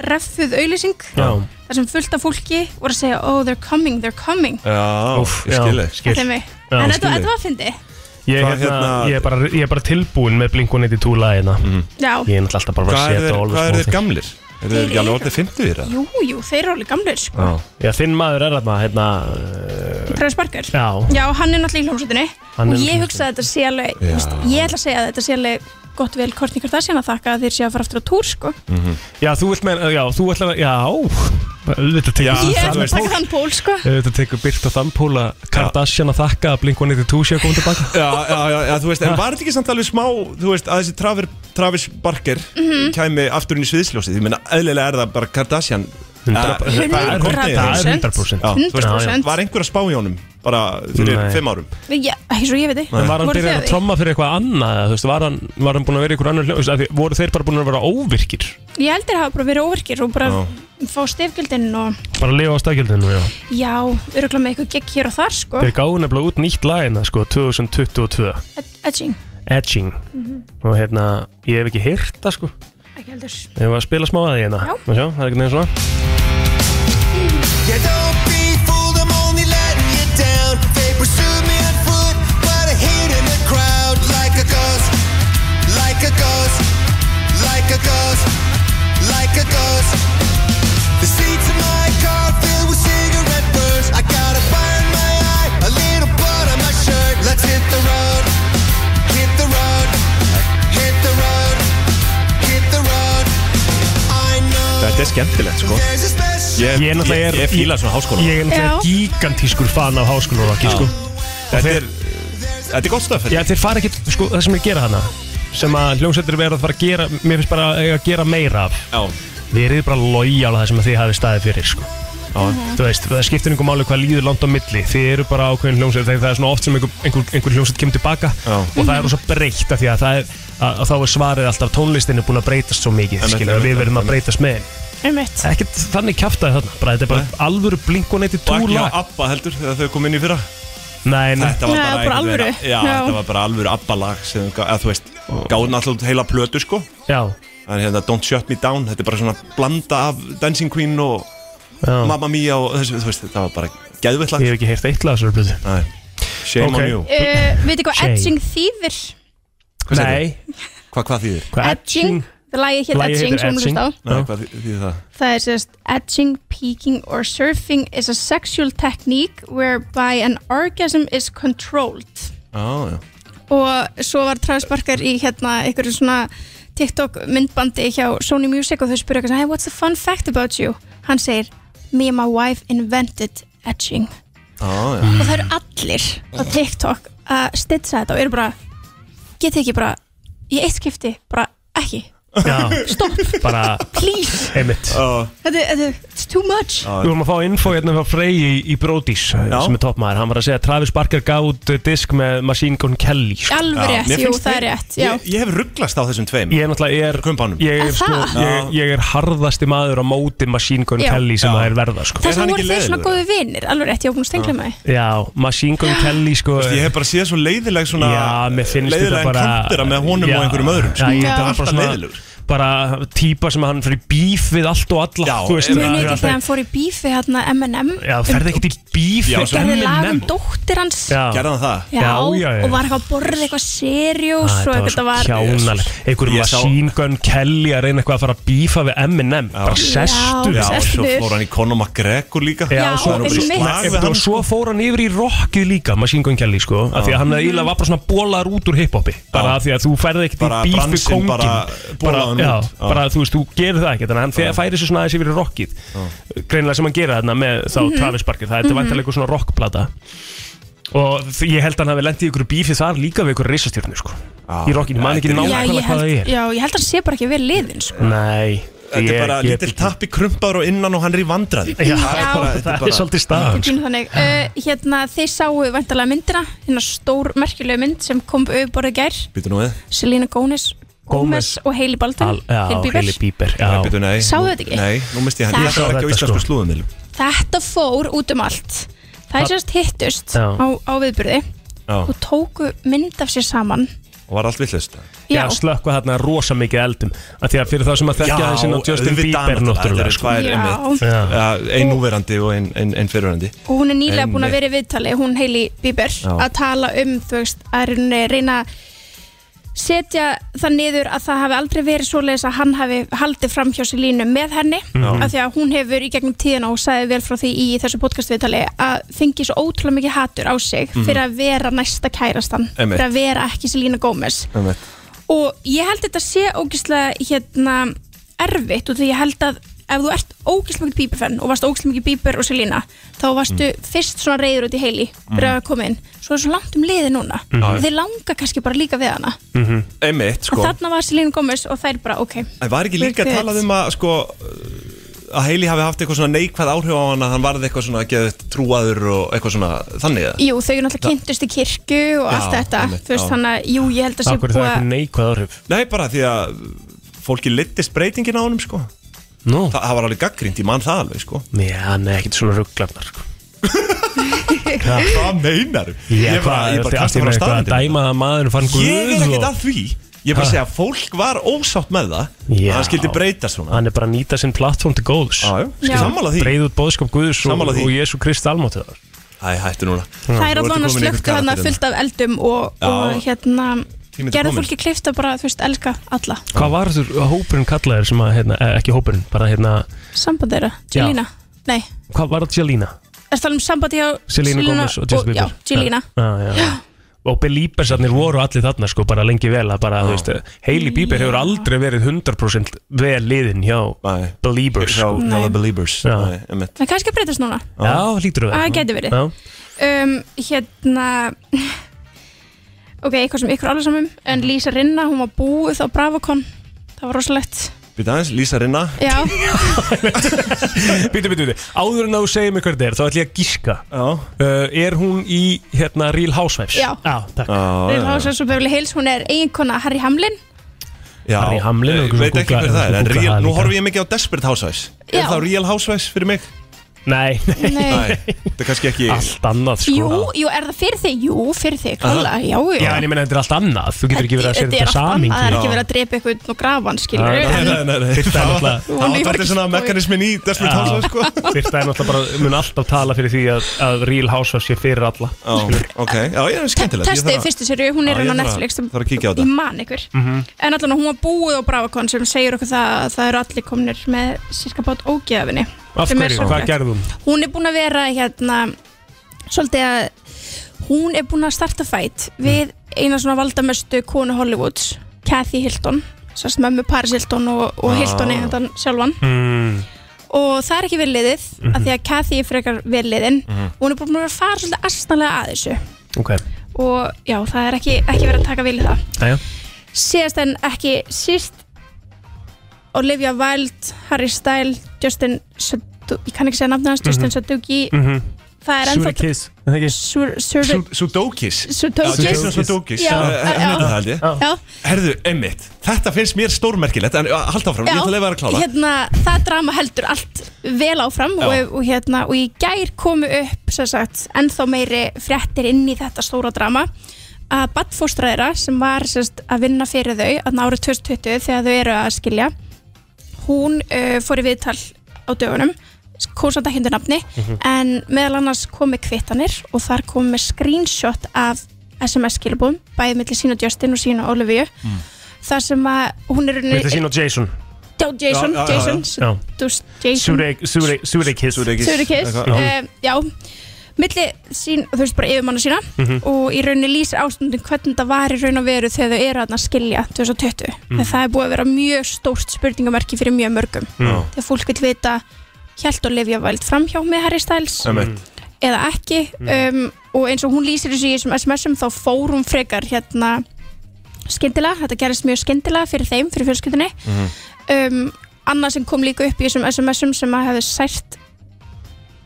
K: reffuð auðlýsing
A: Já.
K: þar sem fullt af fólki voru að segja Oh, they're coming, they're coming
D: Já,
A: Úff,
D: ég
A: já,
D: skil þig
K: Þetta er mig En þetta þetta var fyndi
A: Ég,
D: Hvað,
A: hérna,
D: hérna-
A: ég, er bara, ég er bara tilbúin með Blink-182 lagina
K: Já.
A: hérna. Ég er náttúrulega alltaf bara að
D: Hvað
A: fara
D: eru
A: að setja
D: þeir-
A: Always
D: hvað eru
A: Wanted.
D: þeir gamlir? Eru þeir ekki alveg orðnir 50 í það?
K: Jú, jú, þeir eru alveg gamlir sko.
A: Já, þinn maður er þarna hérna, uh,
K: Travis Barker
A: Já,
K: Já, hann er náttúrulega í hljómsveitinni
A: Hann er
K: og ég
A: náttúrulega í
K: hugsa að þetta sé alveg
A: Já.
K: þú veist, ég ætla að segja að þetta sé alveg gott vel Kortni Kardashian að þakka að þeir séu að fara aftur á túr sko.
A: já þú vilt meina Já, þú ætlar að Já, auðvitað tekur
K: ég ætla að taka þann pól sko.
A: Auðvitað tekur Byrt og Þampúla Kardashian að þakka að Blink-182 sé að koma tilbaka
D: Já, já, já, já, þú veist, en var þetta ekki samt alveg smá, þú veist, að þessi Traver, Travis Barker
K: Mhm.
D: kæmi aftur inn í sviðsljósið, ég meina, eðlilega er það bara Kardashian
A: Hundra-
D: Eh, það er
A: Hundra
D: kortið.
A: prósent. Það er hundra prósent.
D: Já, þú veist,
A: 100%.
D: Var einhver að spá í honum bara fyrir
A: Nei.
D: fimm árum?
K: Já, eins og ég veit
A: En var hann
K: Voru þau
A: byrjað að
K: því?
A: tromma fyrir eitthvað annað eða, Þú veist, var hann, var hann búin að vera í einhver annar hljó- þú veist, af því Voru þeir bara búin að vera óvirkir
K: Ég heldur að hafa bara verið óverkir og bara
A: Já.
K: fá stefgildin og
A: Bara að lifa á stakjöldinu já.
K: já, öruglega með eitthvað gegg hér og þar sko.
A: Þeir gáðu nefnilega út nýtt lagina sko, 2022
K: Edging
A: Edging
K: Mhm.
A: Og hérna, ég hef ekki heyrt það sko
K: Ekki heldur
A: Við hefum að spila smá að því hérna
K: Já.
A: Má sjá, það er einhvern veginn svona
B: Yeah, don't be fooled, I'm only letting you down. They pursued me on foot, but I hid in the crowd like a ghost, like a ghost, like a ghost, like a ghost. The seats in my car filled with cigarette burns. I got a fire in my eye, a little blood on my shirt. Let's hit the road, hit the road, hit the road, hit the road. I know.
D: Þetta er skemmtilegt, sko
B: There's a special
D: Ég,
A: Ég er náttúrulega
D: ég,
A: er-
D: ég fíla svona háskóla
A: Ég er
B: Já.
A: náttúrulega gigantískur fan af háskólarokki
D: Já.
A: sko.
D: Þetta er, þetta er gott stöð
A: Já, þeir fara ekkert, sko, það sem ég gera hana Sem að hljómsveitir verða að fara að gera Mér finnst bara að eiga að gera meira af
D: Já
A: Við erum bara lojál að það sem að þið hafi staðið fyrir sko. Þú veist, það skiptir einhver máli hvað líður langt á milli Þið eru bara ákveðin hljómsveit þegar Það er svona oft sem einhver, einhver, einhver hljómsveit kemur tilbaka Já. Og
K: Mhm.
A: það er rosa breytt af því að, það er, að, að þá er svarið alltaf Tónlistin er búin að breytast svo mikið
D: Einmitt,
A: skilur,
D: einmitt,
A: Við verðum að breytast með þeim.
K: Einmitt.
A: Ekkert þannig kjaftaði þarna bara, Þetta er bara alvöru blinkunetti
D: Og ekki á
A: túla
D: Abba heldur, þegar þau kom inn í fyrra
A: Nei, nei
D: Þetta var
K: Nei,
D: bara,
K: bara
D: einhvern veginn-
K: alvöru.
D: Já,
K: Já.
D: þetta var bara alvöru Abba-lag sem, þau gá- eða þú veist, gáði náttúrulega heila plötu, sko
A: Já
D: En hérna, Don't Shut Me Down, þetta er bara svona blanda af Dancing Queen og
A: Já.
D: Mamma Mia og þessu, þú veist, þetta var bara geðvitt lag
A: Ég hef ekki heyrt eitt lag þessari blötu
D: Nei Shame
A: Ok.
D: on you
K: uh, Veitir hvað
D: Shame.
K: edging þýðir?
D: Hvað
A: Nei
D: Hvað, hvað þýðir?
K: Edging, það lagi hétt edging sem hún hlust á
D: Nei, hvað þý- þýðir það?
K: Það er sérst edging, peaking or surfing is a sexual technique whereby an orgasm is controlled
D: Já, já
K: og svo var Travis Barker í hérna einhverju svona TikTok myndbandi hjá Sony Music og þau spurðu eitthvað svona, hey what's the fun fact about you? Hann segir me and my wife invented edging
D: Já, já
K: og það eru allir á TikTok að stitsa þetta og eru bara getið ekki bara í eitt skipti bara ekki
A: Já.
K: Stopp,
A: bara
K: please
A: Einmitt oh.
K: Þetta þetta er it's too much
A: Við vorum að fá info hérna frá Frey í, í Brodís sem er toppmaður, hann var að segja að Travis Barker gaf út disk með Machine Gun Kelly sko.
K: Alveg rétt, jú, það er rétt já.
D: Ég, ég hef rugglast á þessum tveim
A: Ég er náttúrulega, ég er
D: Kumbanum
A: Ég er,
K: Er
A: sko,
K: það?
A: ég, ég er harðasti maður á móti Machine Gun
K: Já.
A: Kelly sem það er verða sko.
K: Þess vegna voru þeir svona góði vinnir Alveg rétt, ég var búin að stengla mig
A: Já, Machine Gun Kelly sko
D: Veistu, Ég hef bara séð svo leiðileg svona
A: Já, mér finnst þetta
D: leiðilegan
A: bara
D: kantera með honum og einhverjum öðrum, sko.
A: Já, ég
D: Já.
A: þetta var
D: Alltaf
A: bara svona
D: leiðilegur.
A: Bara típa sem hann fyrir bíf við allt og alla Já, þú veist
K: Mjög
A: það er
K: mikið
A: alltaf-
K: þegar hann fór í bífi hérna M&M
A: Já, ferði ekkert í bíf
K: og gerði lag um dóttir hans
D: Gerði hann það?
K: Já, og var eitthvað að borða eitthvað seriós og eitthvað var
A: Kjánal, einhverjum
D: Ég sá-
A: Machine Gun Kelly að reyna eitthvað að fara að bífa við M&M Bara sestu
D: Já, og svo fór hann í Conor McGregor líka
A: Já, og
D: var
A: svo,
D: hann bara í slag við
A: og
D: hann
A: svo fór hann sko. yfir í rockið líka Machine Gun Kelly sko af því að hann
D: Mhm.
A: eiginlega var bara svona bólar út úr hiphopi bara af því að þú færði ekkert í
D: Bara
A: bíf við
D: bransinn
A: kongin
D: bara bolaði hann
A: já,
D: út. Já.
A: bara þú veist, þú gerir það ekkert þannig að hann þegar færi sér svona aðeins yfir í rockið greinilega sem hann gera þarna með þá
D: Mhm.
A: Travis Barker það er þetta
D: Mhm.
A: vantilega eitthvað svona rockplata og þ- ég held að hann hafi lendið í ykkur bífið þar líka við ykkur reisastjörnu sko í rockið, ég man ekki
K: Já, ég
A: nákvæmlega hvað það
K: held,
A: er
K: já, ég held að hann sé bara ekki vel liðin sko.
A: Nei
D: Þetta er
A: ég-
D: bara
A: ég-
D: lítill tappi krumpaður og innan og hann er í vandræði
A: Já,
K: það
A: er svolítið staðan, sko.
K: Pínu þannig, uh, hérna þið sáu vantalega myndina, hérna stór merkilega mynd sem kom upp borðið gær
D: Býtu nú við
K: Selena Gómez, Gómez og Hailey Baldwin Hailey Bieber.
A: Bieber
D: Nei, býtu, nei,
K: Sáu
D: nú-
K: þetta ekki?
D: Nei, nú misti ég hann
K: Það-
D: Þetta var ekki á
A: Þetta,
D: íslensku
A: sko.
D: slúðumilum
K: þetta fór út um allt það
D: Það-
K: er sérst hittust
D: Já.
K: á, á viðburði og tóku mynd af sér saman
A: og var allt villust
K: Já.
A: Já, slökkva þarna rosa mikið eldum af því að fyrir það sem að
D: Já,
A: þekkja þessin á Justin
D: auðvitað
A: Bieber
D: náttúrulega,
A: náttúrulega sko.
D: þetta eru tvær,
A: Já.
D: einmitt. Já, Ein núverandi og ein- ein ein fyrirverandi
K: og hún er nýlega búin að
D: Einmitt.
K: vera í viðtali hún Hailey Bieber
D: Já.
K: að tala um þú veist að reyna, reyna að setja það niður að það hafi aldrei verið svoleiðis að hann hafi haldið fram hjá sér línu með henni
J: Já.
K: af því að hún hefur í gegnum tíðina og sagði vel frá því í þessu podcastviðtali að fengi svo ótrúlega mikið hatur á sig
J: Mhm.
K: fyrir að vera næsta kærastan
J: Einmitt.
K: fyrir að vera ekki sér lína Gómez
D: Einmitt.
K: og ég held þetta sé ógislega hérna erfitt og því ég held að ef þú ert ógislega mikið bíberfenn og varst ógislega mikið bíber og Selina þá varstu
D: Mm.
K: fyrst svona reyður út í heili fyrir að koma inn, svo er svo langt um liði núna
D: Mhm.
K: og þið langa kannski bara líka við hana
D: Einmitt, sko
K: og þarna var Selina Gómez og þær bara ok
D: En var ekki líka
K: We're good.
D: talað um að sko að Heili hafi haft eitthvað svona neikvæð áhrif á hann að hann varði eitthvað svona geðið trúaður og eitthvað svona þannig eða?
K: Jú, þau eru náttúrulega kynntust í kirkju og
D: Já,
K: allt þetta,
D: einmitt,
K: þú veist
D: já.
K: þannig að jú, ég held að sé búið að
A: neikvæð áhrif?
D: Nei, bara því að fólki litist breytingin á honum sko
A: no.
D: Þa, Það var alveg gaggrind, ég man það alveg sko
A: Já, nei, ekkert svona rugglarnar sko.
D: Hvað meinaru?
A: Ég
D: er bara, ég er bara
A: allt í
D: kasta frá
A: einu eitthvað að
D: staðandi
A: dæma að maður fann guð
D: Ég er ekkert
A: og-
D: að því Ég er bara
A: Ha?
D: að segja að fólk var ósátt með það
A: Já.
D: að hann skildi breyta svona
A: Hann er bara að nýta sinn plattform til góðs
D: Já, já. Já. Sammála því.
A: Breið út bóðskap Guðs og,
D: Sammála því.
A: og Jésu Krist almáttuðar
D: Æ, hættu núna
K: það er allan að
D: hérna
K: slöktu hana fullt af eldum og,
A: Já.
K: og hérna
A: Tíminn er
K: gerðu
A: kominn.
K: fólki klift að bara, þú veist, elska alla
A: Hvað var þú hópurinn kallaðir sem að, hérna, eh, ekki hópurinn, bara hérna
K: samband þeirra,
A: Já.
K: Jelína Nei,
A: Hvað var það Jalína?
K: er það um sambandi hjá
A: Selena Gomez og Justin Bieber
K: Já, Jelína
A: Já, já, já Og Belíbersarnir voru allir þarna sko bara lengi vel að bara, þú veist, Hailey Bieber hefur aldrei verið 100% vel liðin hjá Beliebers
D: Hjá- hjá Nei. The
A: Beliebers Já,
K: Það er kannski að breytast núna
A: já lítur þú
K: Ah, það gæti verið. um, Hérna Ok, eitthvað sem ykkur alveg samum
A: Mhm.
K: En Lísa Rinna, hún var búið á Bravocon Það var rosalegt
D: Býta aðeins, Lísa Rinna
K: Já,
A: Býtu, býtu, býtu Áður en að þú segir mig hvernig þetta er, þá ætlum ég að gíska
D: uh,
A: Er hún í, hérna, Real Housewives?
K: Já.
A: takk
K: Real Housewives of Beverly Hills Hún er eiginkona Harry Hamlin
D: Já,
A: Harry Hamlin,
D: ég
A: einhver sem
D: veit ekki
A: googlaði-
D: hver það er en
A: googlaði
D: real,
A: það
D: nú
A: líka.
D: horfum ég mikið á Desperate Housewives
K: Já.
D: Er það Real Housewives fyrir mig?
A: Nei, nei. Sko.
K: Nei.
D: Það er kannski ekki
A: Allt annað
K: Jú, jú, er það fyrir þig? Jú, fyrir þig, klála, já, já
A: Já, en ég meina þetta er allt annað, þú getur ekki verið að segja
K: er
A: þetta
K: allt annað,
A: samingi
K: Það er ekki verið að drepa eitthvað og grafa hann, skilur
A: Þetta er náttúrulega
D: Það var þetta svona mekanismin í Desperate Housewives sko
A: Þetta er náttúrulega bara, mun alltaf tala fyrir því að, að Real Housewives sé fyrir alla
D: Já, ok, já, ég er skemmtilegt Ég
K: Testaði
D: þarf að-
K: fyrstu serju, hún
D: Já,
K: er
D: ég
K: hann á
D: þarf að-
K: Netflix
D: þarf að kíkja á
K: Ég
D: þetta. Mhm.
K: man ykkur En allan hún var búið á Bravacon sem segir okkur það að það eru allir komnir með sirka bát ógeðafinni
A: Af hverju, hvað gerði hún?
K: Hún er búin að vera hérna svolítið að hún er búin að starta fætt
D: Mhm.
K: við eina svona valdamestu konu Hollywoods Kathy Hilton sérst mömmu Paris Hilton og, og
J: Ah.
K: Hilton eða sjálfan
D: Mhm.
A: Mm,
K: og það er ekki vel liðið
A: Mhm.
K: af því að Kathy er frekar vel liðin
A: Mhm.
K: og hún er búin að vera að fara svolítið astanlega að þessu
A: Ok,
K: og já, það er ekki, ekki verið að taka vel í það
A: aðja
K: síðast en ekki síst Olivia Wilde, Harry Style Justin Sadu- ég kann ekki segja nafnum hans, Justin
A: Mhm.
K: Sudoki
A: Mhm.
K: það er ennþá
A: Sudokus, er það ekki?
K: Sur- Survey
D: Sudokis
K: Sudokis.
D: Já, Jason Sudokis
K: Já,
D: Eh,
K: já.
D: hann heitir það held ég
K: Já.
D: Herðu, emmitt, þetta finnst mér stórmerkilegt En eh, halda áfram, ég ætla að leifa þér að klára
K: hérna, það drama heldur allt vel áfram
D: Já.
K: og, og, hérna, og í gær komu upp sem sagt, ennþá meiri fréttir inn í þetta stóra drama að badfóstræðra sem var sem sagt, að vinna fyrir þau að árið 2020 þegar þau eru að skilja hún uh, fór í viðtal á dögunum kósanda hindi nafni
N: Mhm.
K: en meðal annars komi kvittanir og þar komi screenshot af SMS skilabúðum bæðið millir sína Justin og sína Olivia
D: Mm.
K: þar sem að hún er e-
A: Þetta sín og Jason
K: Já, Jason,
A: Já, já, já, já.
K: Jason,
A: Já.
K: Sudus, Jason
A: Surek- Surek- Surekis
K: Surekis uh, Já, milli sín, þú veist bara yfirmanna sína
A: Mhm.
K: og í rauninni lýsir ástundin hvernig það var í raun og veru þegar þau eru að skilja 2020
A: Mhm.
K: mm. það er búið að vera mjög stórt spurningamerki fyrir mjög mörgum
A: Já.
K: þegar fólk vil vita hjælt og lifja væld framhjá með Harry Styles
D: Einmitt.
K: eða ekki um, og eins og hún lýsir þessu í þessum SMS-um þá fór hún frekar hérna skyndilega, þetta gerist mjög skyndilega fyrir þeim, fyrir fjölskyldunni um, annað sem kom líka upp í þessum SMS-um sem að hefði sært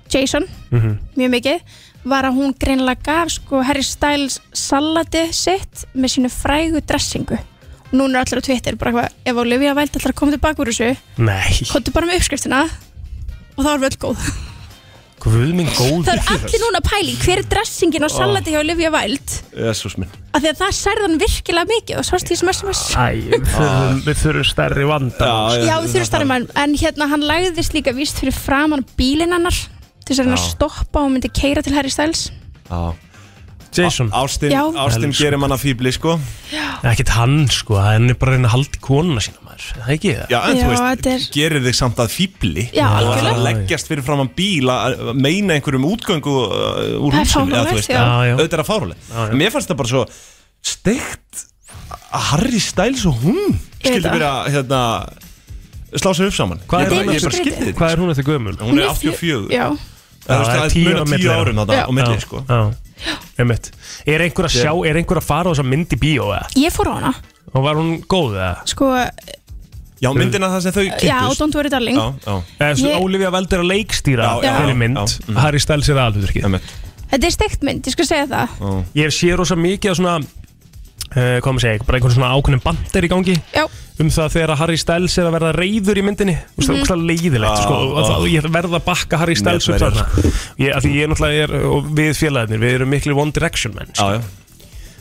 K: Jason
A: Mhm.
K: mjög mikið var að hún greinlega gaf sko Harry Styles salati sitt með sínu frægu dressingu og núna er allir á Twitter bara eitthvað ef Olivia Væld allar að koma tilbaka úr þessu
A: Nei,
K: komdu bara með uppskriftina og þá er völd góð
A: guð minn góð
K: það er allir núna að pæli hver er dressingin á salati hjá Olivia Væld
D: Jésús minn
K: af því að það særðan virkilega mikið og sást því sem SMS
A: Æ, við þurfum, við þurfum stærri vanda
K: Já, við þurfum starfum hann En hérna, hann lagðist líka víst fyrir framann bílinn hennar Til þess að hann að
D: Já.
K: stoppa og myndi keira til Harry Styles
A: Jason
D: Ástin,
K: Já.
D: ástin
A: Elsku.
D: gerir manna fíbli sko
A: Ekkert hann sko, hann er bara að reyna að halda í konuna sína maður Er Það ekki það?
D: Já, en
K: Já,
D: þú veist,
K: þetta er-
D: gerir þig samt að fíbli
K: Já,
D: og
K: algjörlega.
D: það að leggjast fyrir fram að bíla að meina einhverjum útgöngu uh, úr
K: Það er
D: húsinu eða
K: fáránlegt,
D: þú veist,
K: já. Já, já.
D: auðvitað er að fárúlega mér fannst það bara svo steikt að Harry Styles og hún
K: veit
D: skildi
K: það.
D: byrja hérna slá sér upp saman
A: Hvað
D: Ég
A: er
D: bara-
A: hún
D: ég bara
A: eftir-
D: skildi þetta.
A: Hvað er hún eftir gömul?
D: Hún er 84
K: Já.
D: Það er, það er tíu,
A: á
D: tíu,
A: milli
D: tíu
A: þeirra.
D: árum
A: Já.
D: þarna á milli
A: Já.
D: sko
A: Já, einmitt Er einhver að sjá, er einhver að fara á þessa mynd í bíó eða?
K: Ég fór á hana,
A: Og var hún góð eða?
K: sko
D: Já, myndina það sem þau sko.
K: Já, don't worry darling
D: já
A: Eða, svo,
K: Ég-
A: Olivia Valdur að leikstýra
K: Já, já,
A: þeirri
K: já,
A: mynd
D: mm.
A: Harry Styles er aðluturki
K: Þetta er steikt mynd, ég skal segja það
A: Ég hef séð rosa mikið á svona Uh, hvað maður segja, bara einhvern svona ákveðnum bandir í gangi
K: Já.
A: um það þegar að Harry Styles er að verða reyður í myndinni og það er
K: Mhm.
A: okkur leiðilegt
D: Já,
A: sko, og
D: já.
A: það, ég verða að bakka Harry Styles upp
D: Netverjar.
A: þarna ég, af því ég náttúrulega er, og við félagarnir við erum miklu One Direction menn
D: já,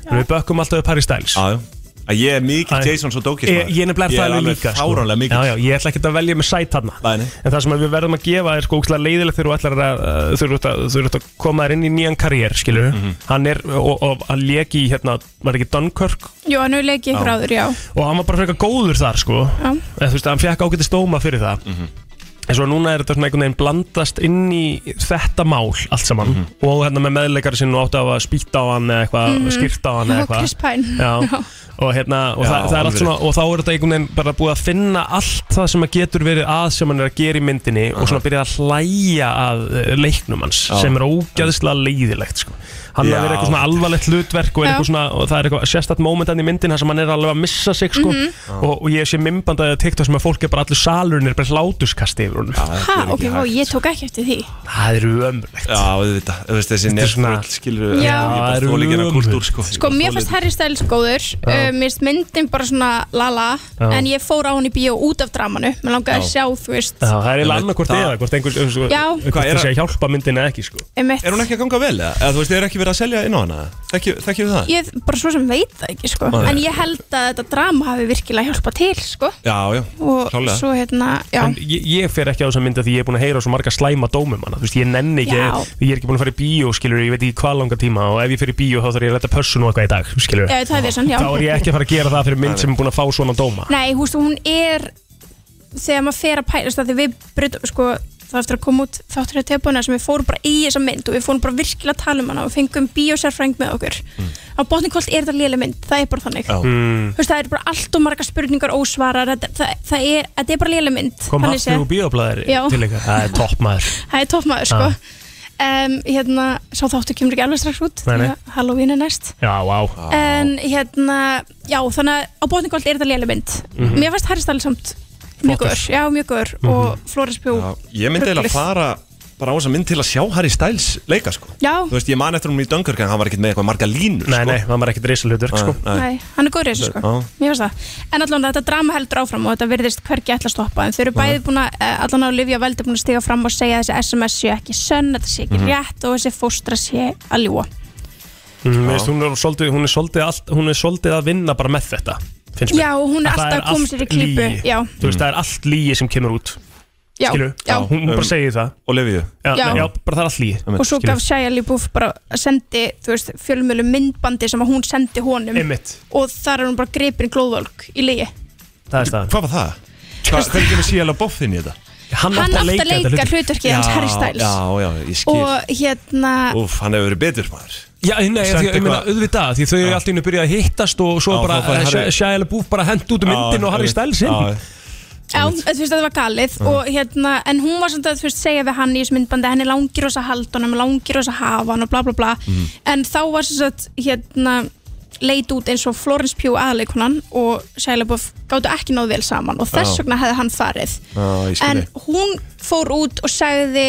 D: já.
A: við bökkum alltaf upp Harry Styles
D: já, já. Að ég er mikið Jason Sudeikis
A: Ég, ég nefnilega er það alveg líka
D: Ég er alveg
A: sko.
D: fáránlega mikið
A: já, já, Ég ætla ekkert að velja með sæt þarna
D: Bæni.
A: En það sem að við verðum að gefa er sko ógstlega leiðilegt þegar þú ætlar að uh, þú ert að, þú ert að koma þér inn í nýjan karriér skilur Hann er og, og að leki í hérna var ekki Dunkirk
K: Jú, hann hefur leikið ykkur áður, já
A: Og hann var bara frekar góður þar sko
K: Já.
A: Eða, Þú veist, hann fekk ágæti stóma fyrir það En svo núna er þetta svona einhvern veginn blandast inn í þetta mál allt saman Og hérna með meðleikari sinn og átti að spýta á hann eða eitthvað,
K: Mhm.
A: skýrta á hann eða
K: Og
A: eitthvað
K: Chris Pine
A: Já. og hérna og,
D: Já,
A: það, það er allt
D: alveg
A: svona,
D: rétt.
A: og þá er þetta einhvern veginn bara búið að finna allt það sem að getur verið að sem hann er að gera í myndinni og svona byrja að hlæja að eh, leiknum hans
D: Já.
A: sem er ógæðslega leiðilegt sko. hann er
D: Já.
A: að vera eitthvað svona alvarlegt hlutverk og, er
K: Já.
A: eitthvað svona, og það er eitthvað sérstætt momentan í myndin þar sem hann er alveg að missa sig sko.
K: Mhm.
A: og, og ég sé mymband að TikTok sem að fólk er bara allur salurinn er bara hlátuskast yfir hún
K: Ha, ok, vá, ég tók ekki eftir því
A: það er ömurlegt
D: Já, auðvitað, þú veist þessi nefnvöld skilur
A: Það er
K: Já.
D: Það er
A: ömurlegt.
D: umhverf kultúr sko
K: Sko, mér fannst Harry Styles góður
D: Já.
K: uh, Mér finnst myndin bara svona lala
A: Já.
K: En ég fór á hann í bíó út af dramanu Mér langaði að
A: Já.
K: sjá, þú veist
A: Já, það er eiginlega annað hvort eða hvort einhver, hvort
K: Já.
D: Hvað er
A: það sé að hjálpa myndin eða ekki sko.
K: einmitt.
D: Er hún ekki að ganga vel eða? Eða þú veist, er ekki verið að selja inn á hana? Þekkjum við það?
K: Ég bara svo sem veit það ekki sko
D: Nei.
K: En ég held að þetta drama hafi virkilega hjálpað til sko
D: Já, já,
K: Og svo hérna, já
A: En ég, ég fer ekki á þessa mynd að því ég er búin að heyra svo marga slæma dómum hana, þú veist, ég nenni ekki
K: Já.
A: ég er ekki búin að fara í bíó, skilur, ég veit ekki hvað langa tíma og ef ég fer í bíó þá þarf ég að leta pössun og eitthvað í dag, skilur
K: Já, það er vissan, Eh, já.
A: þá er ég ekki að fara að gera það fyrir mynd sem er búin að fá svona dóma
K: Nei, hústu, hún er Þegar maður fer að pæla Þegar við brutum, sko Það eftir að koma út þáttur hjá tefbúna Sem við fórum bara í þessa mynd Og við fórum bara virkilega að tala um hana Og fengum bíósærfræng með okkur Á botningkolt er þetta léle mynd Það er bara þannig
A: Já. Mm.
K: Þú veist, Það er bara allt og marga spurningar ósvarar Það, það, það, er, það er bara léle mynd
A: kom
K: þannig séð.
A: hattur úr bíóblæðir
K: Já.
A: til eitthvað, það er topp maður
K: Það er toppmaður sko um, Hérna, sá þáttu kemur ekki alveg strax út
A: Nei, nei.
K: því að Halloween er næst
A: já, vá
K: En hérna, já, þannig að á botningolt er þetta léle mynd
A: Mhm.
K: Mér fannst Harry Styles samt mjög góður, já mjög góður
D: Mhm.
K: og Flóris Pjú
D: Ég myndi eiginlega
K: rugluð.
D: fara bara á þessa mynd til að sjá Harry Styles leika sko.
K: Já.
D: Þú veist, ég man eftir hún í Dunkirk en hann var ekkert með eitthvað marga línur Nei, sko. nei,
A: hann var ekkert risalutverk
D: sko.
K: Nei, hann er góður í þessu sko
D: Já.
K: Mér finnst það En allan þetta drama heldur áfram og þetta virðist hvergi ætla að stoppa En þau eru
D: Já.
K: bæði búin að, eh, allan á Livja Veldi búin að stiga fram og segja að þessi SMS séu ekki sönn Þetta sé ekki
A: Mhm.
K: rétt og þessi fóstra sé að ljúa
A: Mm, veist, hún, er svolítið, hún, er svolítið allt, hún er svolítið að vinna bara með þetta finnst mér.
K: Já, og hún er
A: Að það
K: alltaf að koma sér í
A: allt
K: klípu,
A: lygi.
K: já.
A: Þú veist, það er allt líi sem kemur út
K: Já,
A: Skilurðu?
K: já.
A: Hún, hún bara
D: Um,
A: segir það
D: Og Liviu
A: Já,
K: Já.
A: já, bara það er allt líi
K: Og svo gaf Shia LaBeouf bara sendi, þú veist, fjölmjölu myndbandi sem að hún sendi honum
A: Einmitt.
K: Og þar er hún bara gripin glóðvölk í liði
A: Það er staðan
D: Hvað var það? Hva, hvernig kemur síðan að boffin í þetta?
A: Hann,
K: Hann átti að átti að leika leika þetta hlutverk. hlutverkið hans, Harry Styles.
D: Já, já, ég skil
K: Og hérna,
D: Úf, hann hefur verið betur maður
A: Já, nei,
D: Sagt
A: því, ég meina,
D: eitthvað-
A: auðvitað, því þau eru allt í einu byrjað að hittast og svo
D: Já,
A: bara
D: þá fær Harry-
A: eh, Shia LaBeouf bara hent út um myndin
D: Já,
A: og Harry
D: einmitt.
A: Styles inn
D: Já,
K: Já, þú veist að það var galið
A: Mhm.
K: og hérna, en hún var samt að þú veist segja við hann í þessu myndbandi, henni langir oss að halda hann langir oss að hafa hann og bla bla bla
A: Mhm.
K: en þá var sem sagt hérna leit út eins og Florence Pugh aðleikunan og Sælaboff gáttu ekki náð vel saman og þess
D: Já.
K: vegna hefði hann farið
D: Já, ég skil
K: en
D: þig.
K: hún fór út og sagði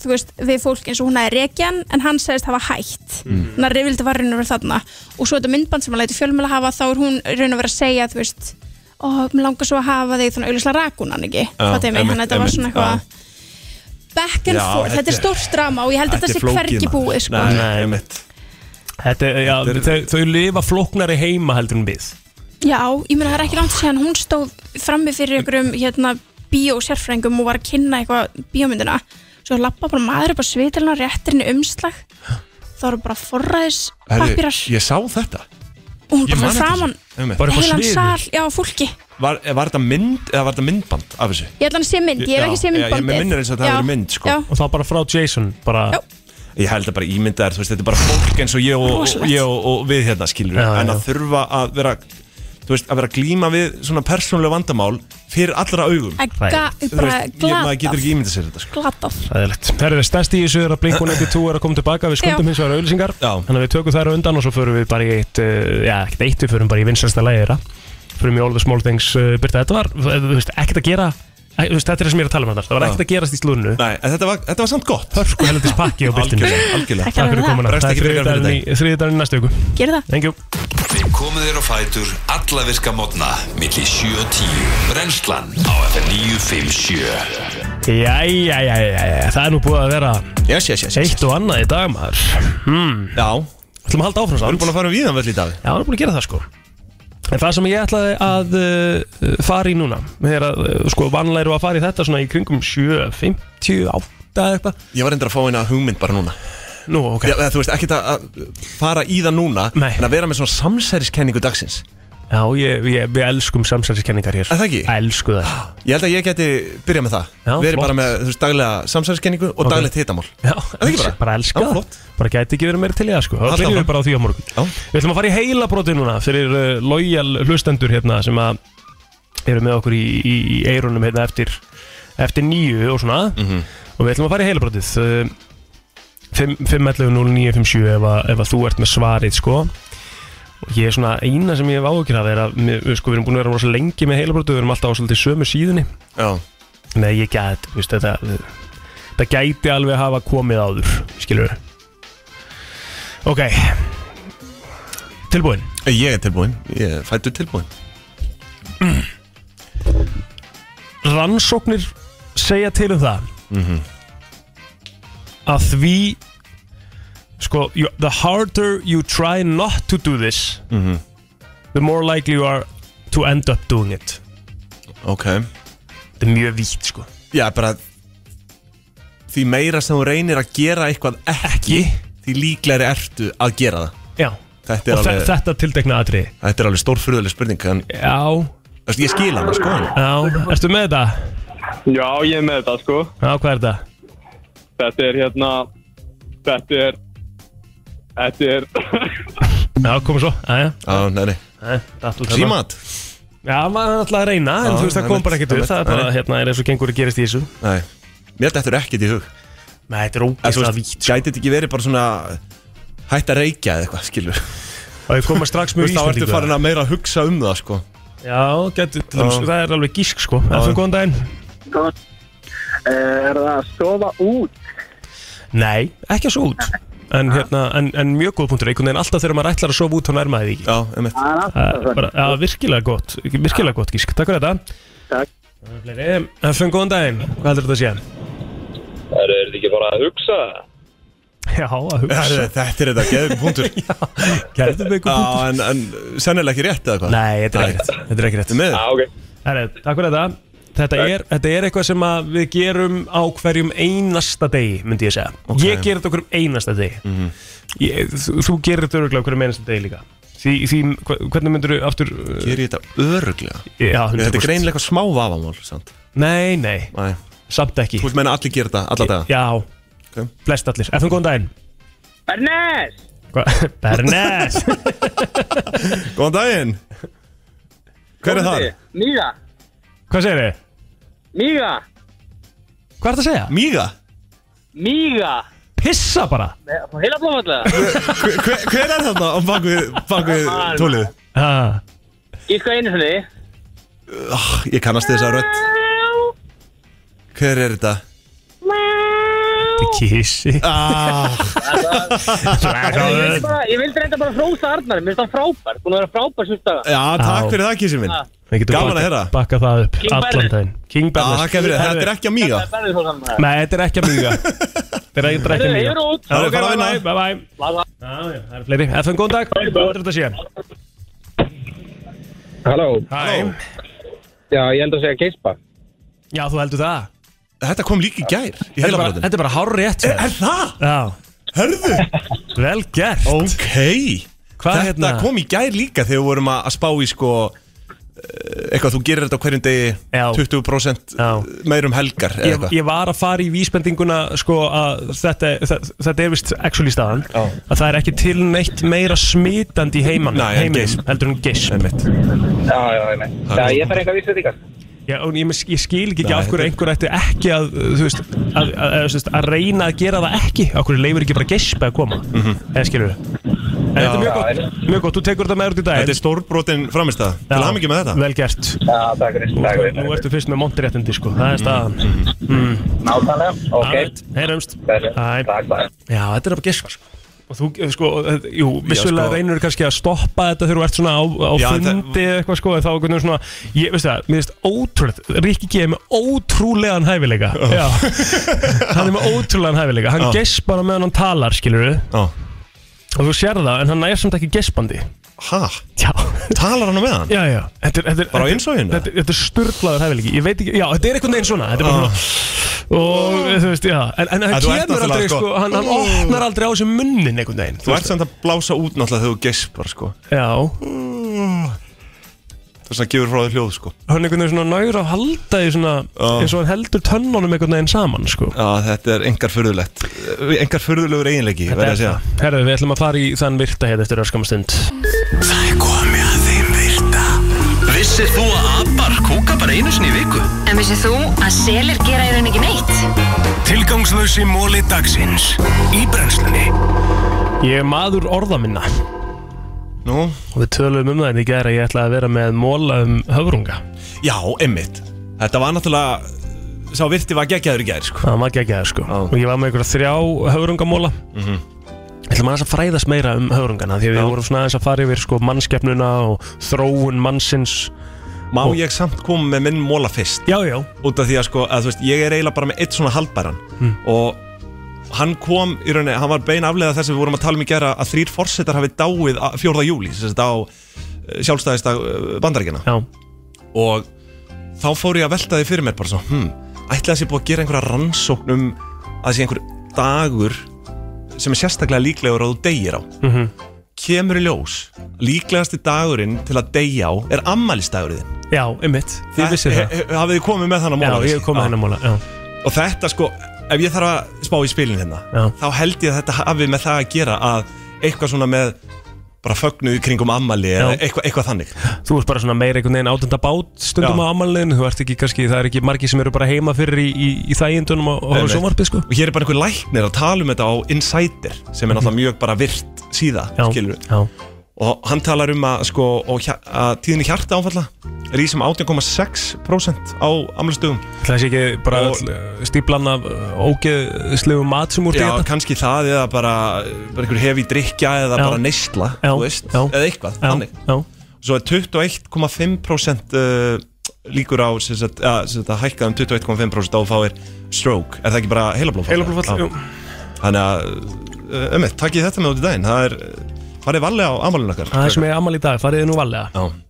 K: þú veist, við fólk eins og hún hefði rekjan en hann sagðist hafa hætt
N: Mhm.
K: þannig að rifildi var raun og vera þarna og svo þetta myndband sem hann læti fjölmjöla hafa þá er hún raun og vera að segja þú veist, ó, mér langar svo að hafa þig þannig að auðvitað rakun hann ekki fattaði mig,
D: einmitt,
K: þannig að þetta var
D: einmitt,
K: svona eitthvað back and
D: Já,
K: forth, þetta er
D: þetta-
K: stórt drama og ég held að þetta sé
D: flókið,
K: hvergi
D: maður.
K: búið sko.
D: Nei, einmitt
A: Þetta, er- já, þau, þau lifa flóknari heima heldur en við
K: Já, ég meina það er ekki langt síðan hún stóð frammi fyrir einhverjum hérna, bíósérfræðingum og var að kynna eitthvað bíómyndina svo lappa bara maður upp á svitilina réttirinn umslag þá eru bara forræðis
D: Herri,
K: papirar
D: ég sá þetta
K: og hún
D: ég man
K: bara fyrir
D: eftir
K: framann
D: þessu. Einmitt. Bara upp á
K: heilan
D: sviðið?
K: sal, já, fólki
D: Var, var þetta mynd eða var þetta myndband af þessu?
K: ég ætla hann að sé mynd, ég hef
D: Já,
K: ekki sé
D: já,
K: myndbandið
D: Ég með minnir eins og þetta
K: Já,
D: hefur mynd sko.
K: já.
A: og það bara frá Jason bara...
D: Ég held að bara ímyndaðar, þú veist, þetta er bara fólk eins og ég og, og,
A: Rosalegt.
D: ég og, og við hérna skilur
A: Já,
D: En
A: já.
D: að þurfa að vera, þú veist, að vera að glíma við svona persónuleg vandamál fyrir allra augum
K: Að ga-
D: Þú
K: bara
D: veist, ég- Maður
K: glatað.
D: getur ekki ímyndað sér þetta sko.
K: glatað
A: Ræðilegt. Herðu, stærsti í þessu er að Blink-182 er að koma tilbaka Við skuldum
K: Já.
A: hins vegar auðlýsingar Þannig að við tökum þær á undan og svo förum við bara í eitt eh, Já, ekkert eitt, við förum bara í vinsalsta lægir Förum í All the Small Things eh, Birta, þetta var, eh, þú veist, ekkert að gera eh, þú veist, Þetta er það sem ég er að tala um þetta Það var
D: Já.
A: ekkert að gerast í slúrnu
D: Nei, en þetta var, þetta var samt gott
A: Hörku heldis pakki á byrtinu
D: Algjörlega, algjörlega.
A: Takk fyrir komuna
D: Bregst
A: Það
D: ekki
A: er
D: frekar fyrir
A: þriðdagarinn í- þriðdagurinn í næstu viku
K: Gerðu það
A: Thank you
O: Við komum þér á fætur alla virka mótna millir 7 og 10 Brennslan á FM 957
A: Jæja, jæja, það er nú búið að vera
D: yes, yes, yes,
A: Eitt og annað í dag maður hmm.
D: Já
A: Ætlum að halda áfram samt
D: Þú erum búin að fara um víðan völl í dag
A: Já, við erum búin að gera það sko En það sem ég ætlaði að uh, fara í núna er að, uh, sko, vanlega eru að fara í þetta svona í kringum 7, 50, 8 eða eitthvað
D: Ég var endur að fá eina hugmynd bara núna
A: Nú, ok
D: Já, eða, Þú veist, ekki að að fara í það núna Nei. En að vera með svona samsæriskenningu dagsins
A: Já, ég, ég, við elskum samsælskenningar hér
D: Er það ekki?
A: Elsku það
D: Ég held að ég geti byrjað með það
A: Já,
D: Verið
A: flott.
D: bara með, þú veist, daglega samsæriskenningu og
A: Ok.
D: daglegt hitamál
A: Já,
D: það ekki bara?
A: bara elska
D: Já,
A: það
D: flott.
A: Bara gæti ekki verið meira til í það sko Það
D: Haltu
A: byrjum við
D: áfram.
A: bara á því á morgun
D: Já.
A: Við ætlum að fara í heila broti núna fyrir uh, lojal hlustendur hérna sem að eru með okkur í, í, í eirunum hérna eftir, eftir nýju og svona og við ætlum að fara í heila brotið uh, 511-0957 ef, að- ef að þú ert með svarið sko og ég er svona eina sem ég hef áhugir af er að mér- við, sko, við erum búin að vera rosa lengi með heila brotið við erum alltaf á svolítið sömu síðunni
D: Já
A: Nei, ég gæti, þú veist, þetta þetta gæti alveg hafa komið áður skilur við Ok Tilbúin
D: Ég er tilbúin, ég er fættur tilbúin
A: Rannsóknir segja til um það
D: Mhm.
A: að því sko, you, the harder you try not to do this
D: Mhm.
A: the more likely you are to end up doing it
D: Ok
A: Þetta er mjög vítt sko
D: Já, bara Því meira sem þú reynir að gera eitthvað ekki, Því líklegri ertu að gera það
A: Já
D: Þetta er
A: Og þe-
D: alveg
A: þetta tiltekna atriði
D: Þetta er alveg stórfyrðuleg spurning en,
A: Já
D: Þessi, Ég skil hann sko
A: Já, ertu með þetta?
P: Já, ég er með þetta sko
A: Já, hvað er þetta?
P: Þetta er hérna Þetta er Þetta er
A: Já, komum svo Aja.
D: Já, nei, nei Símat
A: Já, maður er alltaf að reyna En
D: Já,
A: þú veist, það kom
D: einmitt,
A: bara ekkert upp
D: einmitt,
A: Það er bara,
D: einmitt.
A: hérna, er eins og gengur að gerist í þessu
D: Nei, mér þetta er ekkert í hug
A: Nei, þetta er ógeðslega vítt sko.
D: Gæti þetta ekki verið bara svona Hætt að reykja eða eitthvað, skilur
A: Og ég koma strax mjög
D: Þú veist, Þá ertu
A: Íslendingur.
D: farin að meira hugsa um það, sko
A: Já, getur til dæmis,
D: Já.
A: það er alveg gísk sko Efum góðan daginn
N: Góðan. Eh, Er það að sofa út? Ah.
A: Nei, ekki að svo út En, hérna, en, en mjög góð punktur, einhvern veginn alltaf þegar maður ætlar að sofa út þá nærma því ekki
D: Já, einmitt
N: Það er alltaf þannig.
A: bara, Já, virkilega gott, virkilega gott gísk Takk fyrir þetta
N: Takk
A: Það er fleiri. Efum góðan daginn, hvað heldur þetta að sé?
P: Er þetta ekki bara að hugsa?
A: Já, að hugsa
D: Herðu, Þetta er þetta geðum punktur
A: Gerðum við
D: Já, en, en sennilega ekki rétt eða hvað?
A: Nei, þetta er ekki rétt Þetta er ekki rétt
D: Með Já,
P: ok
A: Herri, takk fyrir þetta Þetta er, þetta er eitthvað sem að við gerum á hverjum einasta degi, myndi ég segja Ég gerir þetta á hverjum einasta degi ég, þú, þú gerir þetta öruglega á hverjum einasta degi líka Því, því hva- hvernig myndir þú aftur
D: Gerir ég þetta öruglega?
A: Já, 100%.
D: Þetta er greinilega eitthvað smá vafamál, sant?
A: Nei, nei,
D: Nei.
A: samt ekki
D: Þú vilt meina að allir gera þetta, alla daga?
A: Já, flest allir Efum góðan daginn
N: Bernes!
A: Hva? Bernes
D: Góðan daginn Hver er það?
N: Míga,
A: Hvað segir þið?
N: míga,
A: Hvað er það að segja?
D: Míga?
N: míga
A: Pissa bara
N: Heila blóðvallega
D: Hver, hver- hver er þarna á bakvið bak
N: Hann.
D: tólið?
A: Ah.
N: Gíska einu sinni
D: Ah, Ég kannast þess að rödd Hver er þetta?
A: Kísi
D: ah.
N: Ég vildi bara- ég vildi reynda bara hrósa Arnar, mér finnst það frábær, búin að vera frábær sem staða
D: Já, takk fyrir það, Kísi minn
N: Ah.
A: Við getum
D: Gaman að
A: bakka-
D: heyra.
A: Bakka það upp
N: King
A: allan
N: Bernes.
A: daginn King Bernes
D: Ah, takk fyrir það. Þetta er ekki að míga
A: Nei, þetta er ekki að míga Þetta er ekki að
N: Heyrðu,
A: míga
N: ég er út.
A: Já,
N: Já,
A: ok,
N: fara að
A: bye
N: vinna.
A: bye, bye bye Það er fleiri FN, góðan dag Hvað er þetta að sé?
N: Halló
A: Hæ
N: Já, ég held að segja geispa
A: Já, þú heldur það
D: Þetta kom líka í gær í
A: Þetta er bara,
D: heilabrotin. Eh,
A: þetta er bara hár rétt
D: Er- er það?
A: Já
D: Hörðu
A: Vel gert
D: Ok Þetta
A: Hvað hérna?
D: kom í gær líka þegar við vorum að að spá í sko eh, Eitthvað þú gerir þetta á hverjum degi
A: Já.
D: 20% meirum um helgar eða
A: Ég,
D: eitthvað
A: ég var að fara í vísbendinguna sko að þetta, þetta, þetta er vist actually staðan að það er ekki til neitt meira smitandi í heimann
D: Nei, en geisp.
A: heiminum heldur en gisp
D: Einmitt.
N: Já, já, já, já, ég þarf eitthvað að vísa þetta
A: Já, og ég, ég skil ekki
D: Nei,
A: af hverju einhver ætti ekki að, þú veist, að, að, að, að, að reyna að gera það ekki af hverju leifur ekki bara gespa að koma
D: Mhm.
A: eða skilur við En þetta er mjög gott, mjög gott, þú tekur þetta með út í dag
D: Þetta er stórbrotin framistæða Til
A: Já.
D: hamingi með þetta
A: Vel gert
N: Já, takk fyrir, takk fyrir
A: Nú ertu fyrst með montiréttindi sko, það er staðan
D: Mhm.
A: mm.
N: Nákvæmlega, ok
A: Heyrumst
N: Takk, takk
A: Já, þetta er bara gespa sko Og þú, eh, sko, eh, jú, vissulega
D: sko.
A: reynur kannski að stoppa þetta þegar þú ert svona á, á
D: Já, en það-
A: fundi eða eitthvað sko en þá er einhvern veginn svona, ég, veistu það, mér finnst ótrúlega Ríkki G er með ótrúlegan hæfileika
D: Oh.
A: Já, hann er með ótrúlegan hæfileika hann
D: Já.
A: gespar á meðan hann talar, skilur við
D: Já.
A: og þú sér það, en hann er samt ekki gespandi
D: Hæ?
A: Já,
D: Talar hann á meðan?
A: já, já þetta, er- þetta, er-
D: Bara á
A: þetta-
D: innsoginu?
A: Þetta, þetta er sturglaður hæfileiki, ég veit ekki, já, þetta er einhvern veginn svona Þetta er bara svona Og þú veist, já, en, en hann
D: En Ah. þú ert
A: kemur
D: náttúrulega,
A: aldrei, sko,
D: sko,
A: hann, hann opnar aldrei á þessu munnin einhvern veginn
D: Þú ert samt að blása út náttúrulega þegar þú gespar sko
A: Já,
D: Þess að gefur frá þér hljóð sko
A: hann einhvern veginn svona nægur að halda því svona
D: Já.
A: eins og hann heldur tönnunum einhvern veginn saman sko.
D: Já, þetta er engar furðulegt Engar furðulegur eiginleiki, verð ég að segja
A: Herðu, við ætlum að fara í þann virta hér eftir öskama stund
B: Það er komið að þeim virta Vissir þú að abar kúka bara einu sinni í viku?
M: En vissið þú að selir gera í raun ekki neitt?
B: Tilgangslösi móli dagsins Í brennslunni
A: Ég er maður orða minna
D: Nú,
A: og við töluðum um það en ég gæra að ég ætla að vera með móla um höfrunga
D: já, emmitt Þetta var náttúrulega Sá virti var geggjaður í gær sko
A: það var geggjaður sko og ég var með einhverja þrjá höfrungamóla mm
D: Mhm.
A: ætlum aðeins að fræðast meira um höfrungana því að við vorum svona aðeins að fara yfir sko mannskeppnuna og þróun mannsins
D: Má ég samt koma með minn móla fyrst
A: Já, já
D: Út af því að sko, að, þú veist, ég er eiginlega bara með eitt svona haldbæran
A: Mm.
D: Og hann kom í rauninni, hann var bein aflega þess að við vorum að tala um í gera að þrýr forsetar hafi dáið að- 4. júli, þess að á eh, sjálfstæðista bandaríkina
A: Já.
D: og þá fór ég að velta því fyrir mér bara svona, hm, ætli að sé búið að gera einhverja rannsókn um að það sé einhver dagur sem er sérstaklega líklegur að þú deyir á
A: Mhm.
D: kemur í ljós líklegasti dagurinn til að deyja á er ammælistagurinn þinn
A: já, einmitt, þið vissið það
D: He- he- Hafið þið komið með þannig
A: já,
D: móla?
A: ég hef komið hennar móla já.
D: Og þetta sko, ef ég þarf að spá í spilin hérna
A: Já.
D: Þá held ég að þetta hafi með það að gera að eitthvað svona með bara fögnuð í kringum ammali eða
A: Já.
D: eitthvað, eitthvað þannig
A: þú ert bara svona meira einhvern veginn átönda bát stundum
D: Já.
A: á ammaliðinu, þú ert ekki kannski það er ekki margi sem eru bara heima fyrir í, í, í þægindunum og horfa
D: Einmitt.
A: sjónvarpið sko
D: Og hér er bara einhver læknir að tala um þetta á Insider sem er náttúrulega mjög bara virt síða
A: Mhm. Já,
D: skilur
A: já.
D: og hann talar um að, sko, og hja- að tíðinni hjarta áfalla um er í sem 18,6% á amlastugum
A: Það sé ekki bara stíplan af ógeðslegu mat sem úr
D: Já, kannski það eða bara, bara einhver hefi drikja eða
A: Já.
D: bara neysla
A: Já,
D: þú veist,
A: já.
D: eða eitthvað
A: Já,
D: þannig. Svo er 21,5% uh, líkur á sem sagt, ja, sem sagt, að hækka um 21,5% á að fáir stroke, er það ekki bara heilablóðfall?
A: Heilablóðfall,
D: Já.
A: jú.
D: Þannig að, uh, ömmið, takkið þetta með út í daginn það er, farið varlega á amalun okkar
A: Það er sem er amal í dag, fariði nú valega
D: Já.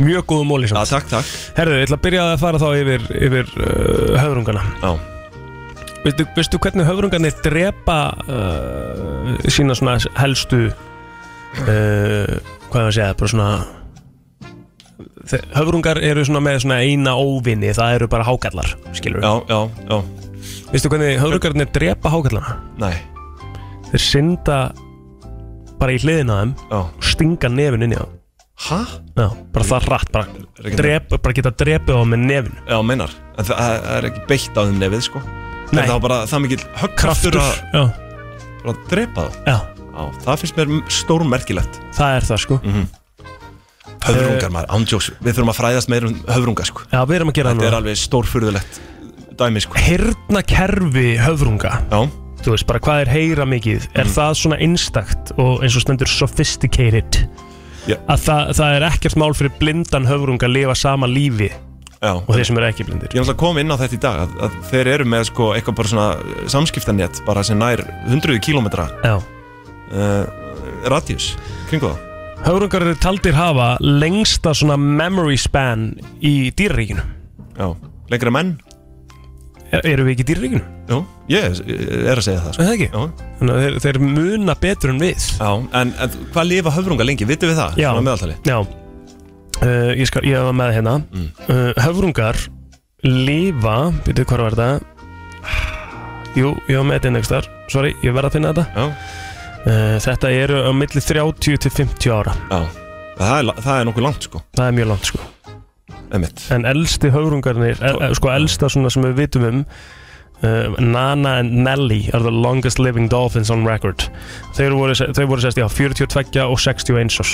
A: Mjög góðu móli samt.
D: Já, takk, takk
A: Herðu, ég ætla að byrja að fara þá yfir, yfir uh, höfrungana
D: Já
A: Veistu, veistu hvernig höfrungarnir drepa uh, sína svona helstu uh, hvað er að segja, bara svona Þe- höfrungar eru svona með svona eina óvinni það eru bara hákallar, skilur
D: Já, já, já
A: Veistu hvernig höfrungarnir drepa hákallana?
D: Nei
A: Þeir synda bara í hliðina á þeim
D: já.
A: stinga nefin inn í þá
D: Hæ?
A: Já, bara það rætt, bara, drep, bara geta drepið á með nefin
D: Já, meinar, en það, það er ekki beitt á þeim nefið, sko
A: Nei.
D: En það var bara það mikill höggkraftur að,
A: Kraftur, já.
D: bara að drepa það
A: Já.
D: Það finnst mér stórmerkilegt
A: Það er það, sko
D: mm Höfrungar, maður, ándjós Við þurfum að fræðast meira um höfrunga, sko
A: Já, við erum að gera
D: Þetta
A: það
D: er
A: núna.
D: alveg stórfurðulegt dæmi, sko
A: Heyrna kerfi höfrunga
D: Já
A: Þú veist bara hvað er heyra mikið Er
D: Mhm.
A: það svona einstakt og eins og stendur sophisticated
D: Já.
A: Að það, það er ekkert mál fyrir blindan höfrunga að lifa sama lífi
D: Já.
A: Og þeir sem eru ekki blindir
D: Ég er náttúrulega komið inn á þetta í dag að, að þeir eru með sko eitthvað bara svona eh, samskiptanett bara sem nær 100 kilometra
A: Já.
D: uh, radius kringu það
A: Höfrungar eru taldir hafa lengsta svona memory span í dýraríkinu
D: Já, lengra menn
A: er, Eru við ekki í dýraríkinu?
D: Jú, ég er að segja það
A: sko. Er það ekki? Þannig að þeir, þeir muna betur en við
D: Já, en, en hvað lifa höfrungar lengi, vitum við það?
A: Já.
D: Svona að meðaltali
A: Já uh, Ég skal, ég var með hérna uh, Höfrungar lifa Býtu, hvað var þetta? Jú, ég var með þetta innext þar Sorry, ég verð að finna þetta Eh,
D: uh,
A: Þetta eru á milli 30 til 50 ára
D: Já, það er, la- það er nokkuð langt sko
A: Það er mjög langt sko
D: Einmitt.
A: En elsti höfrungarnir el, el, Sko elsta svona sem við vitum um Uh, Nana and Nelly are the longest living dolphins on record Þeir voru, þau voru sérst, já, 42 og 61 árs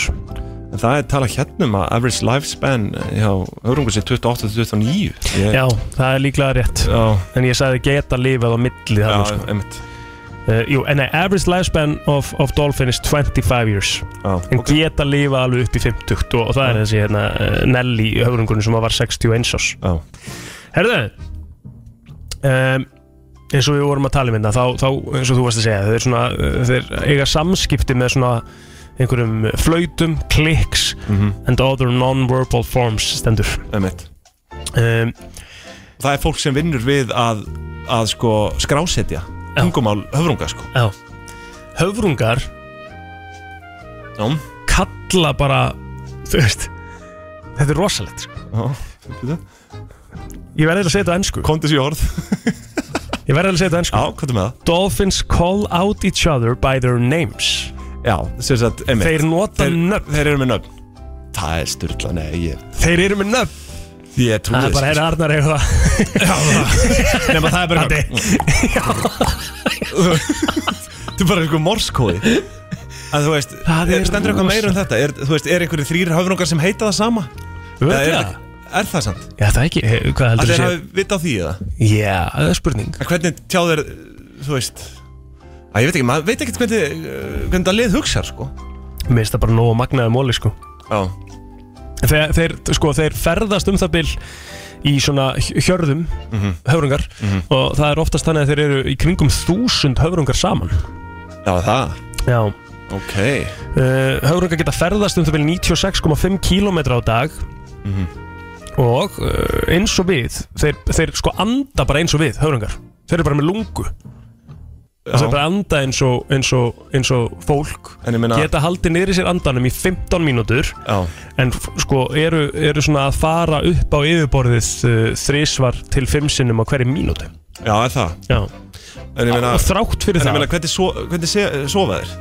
D: En það er tala hérna um að average lifespan eh, hjá höfrungar sé 28-29 Ég-
A: Já, það er líklega rétt
D: Já.
A: En ég sagði geta lifað á milli
D: Já,
A: þarna, sko.
D: einmitt
A: uh, Jú, en nei, average lifespan of, of dolphin is 25 years
D: Já,
A: En geta lifað alveg upp í 50 Og, og það er þessi hérna, uh, Nelly í höfrungunum sem var 61 árs
D: Já
A: Herðu um, Eins og við vorum að tala um hérna þá, þá, eins og þú varst að segja Þeir, svona, uh, þeir eiga samskipti með svona einhverjum flautum, kliks and other non-verbal forms stendur
D: Mhm. Einmitt
A: um,
D: Það er fólk sem vinnur við að, að sko skrásetja tungumál höfrunga sko
A: Já Höfrungar
D: Já
A: Kalla bara Þú veist Þetta er rosalegt sko.
D: Já, þetta
A: Ég verði að segja þetta á ennsku
D: Kondis í orð
A: Ég verði að segja þetta á ennsku
D: Já, hvað er með það?
A: Dolphins call out each other by their names
D: Já, sem sagt, einmitt
A: Þeir nota
D: nöfn Þeir eru með nöfn Það er styrla, nei, ég,
A: Þeir eru með nöfn
D: ég trúi
A: Það er bara, hérna.
D: þessu,
A: heyrðu
D: sko.
A: Arnar eða
D: Nefna það er bara Þetta er bara einhver morskóði að þú veist,
A: Það er
D: er, stendur eitthvað
A: rosa.
D: meira um þetta er, þú veist, er einhverju þrýr höfrungar sem heita það sama
A: Við
D: Eða er,
A: veitum það.
D: er það sant?
A: Já, það ekki, he- hvað
D: að
A: heldur
D: þeir
A: þú
D: hafi
A: sé?
D: vita á því eða?
A: Já, það er spurning
D: En hvernig tjá þeir, þú veist að ég veit ekki, maður veit ekkert hvernig uh, hvernig það lið hugsar, sko
A: Mér finnst það bara nóg að magnaði móli sko
D: Já
A: þeir, þeir, sko, þeir ferðast um það bil í svona hj- hjörðum höfrungar og það er oftast þannig að þeir eru í kringum þúsund höfrungar saman
D: Já, það
A: Já
D: Ok
A: uh, Höfrungar geta ferðast um það bil 96,5 km á dag
D: Mhm.
A: og uh, eins og við þeir, þeir sko anda bara eins og við höfrungar þeir eru bara með lungu
D: Já.
A: þeir bara anda eins og, eins og, eins og fólk
D: En ég meina-
A: geta haldið niður í sér andanum í 15 mínútur
D: Já.
A: en f- sko eru, eru svona að fara upp á yfirborðið uh, þrísvar til fimm sinnum á hverju mínútu
D: Já, er það
A: Já
D: En ég meina
A: Og þrátt fyrir
D: En
A: það.
D: ég meina, hvernig, so, hvernig se, sofa þeir?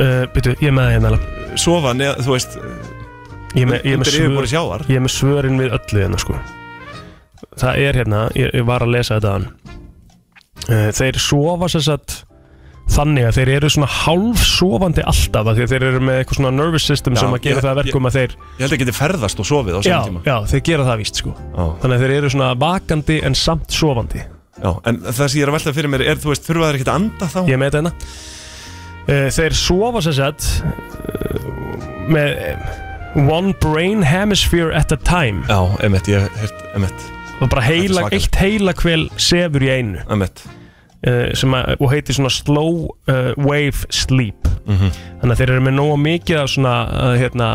A: uh, byrju, ég er með það hérna
D: Sofa, neð, þú veist
A: Ég er með, ég er með,
D: Undir yfirborði sjávar
A: ég er með svörin við öllu hérna sko Eh, Það er hérna, ég, ég var að lesa þetta hann Þeir sofa sér satt þannig að þeir eru svona hálfsofandi alltaf af því að þeir eru með eitthvað svona nervous system sem að gera það að verkum að þeir
D: Ég held að geti ferðast og sofið á
A: já,
D: saman tíma
A: já, þeir gera það víst sko þannig að þeir eru svona vakandi en samt sofandi
D: Já, en það sem ég er að velta fyrir mér er, þú veist, þurfa þeir ekki að anda þá?
A: Ég er með þetta hérna. Eh, Þeir sofa sér sett eh, með eh, one brain hemisphere at a time
D: Já, emitt, ég hef heyrt, emitt
A: og bara heila,
D: Þetta er svakalegt.
A: eitt heilakvel sefur í einu
D: emitt
A: Eh, sem að, og heitir svona slow uh, wave sleep
D: Mhm.
A: þannig að þeir eru með nóga mikið af svona, uh, hérna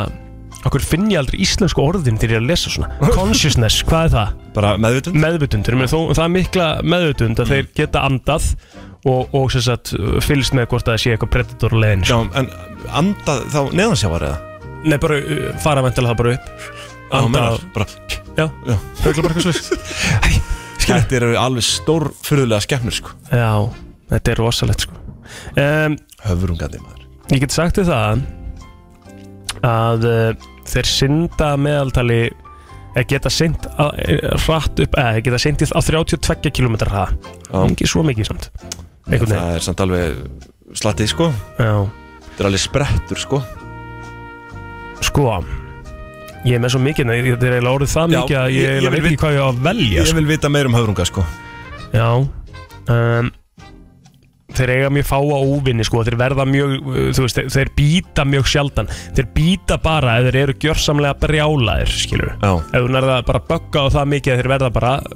A: okkur finn ég aldrei íslensku orðin til ég að lesa svona consciousness, hvað er það?
D: Bara meðvitund?
A: Meðvitund, þeir eru með þó, það er mikla meðvitund að þeir geta andað og, og sem sagt fylgst með hvort að það sé eitthvað predator sko. leðin
D: Já, en andað þá neðansjávar eða?
A: Nei, bara uh, fara vendilega það bara upp
D: Já, meinar, bara
A: Já,
D: já,
A: högla bara eitthvað slust
D: Þetta eru alveg stór fyrðulega skemmur, sko
A: Já, þetta er rosalegt sko um,
D: Höfrungandi maður
A: Ég get sagt þið það að uh, þeir synda að meðaltali eða geta synd að- eh, hratt upp eða geta syndið á 32 km hraða ekki svo mikið samt einhvern veginn
D: Það er samt alveg slattið, sko
A: Já
D: Þetta er alveg sprettur, sko
A: Sko, ég er með svo mikið nei, þetta er eiginlega orðið það
D: Já,
A: mikið að ég,
D: ég-
A: ég,
D: ég vil
A: veit ekki hvað ég sko. á að velja
D: Ég vil vita meir um höfrunga, sko
A: Já um, Þeir eiga mjög fáa óvinni sko Þeir verða mjög, uh, þú veist, þeir, þeir býta mjög sjaldan Þeir býta bara ef þeir eru gjörsamlega brjálaðir, skilur
D: Já
A: Ef þú nærða bara að bögga á það mikið að þeir verða bara uh,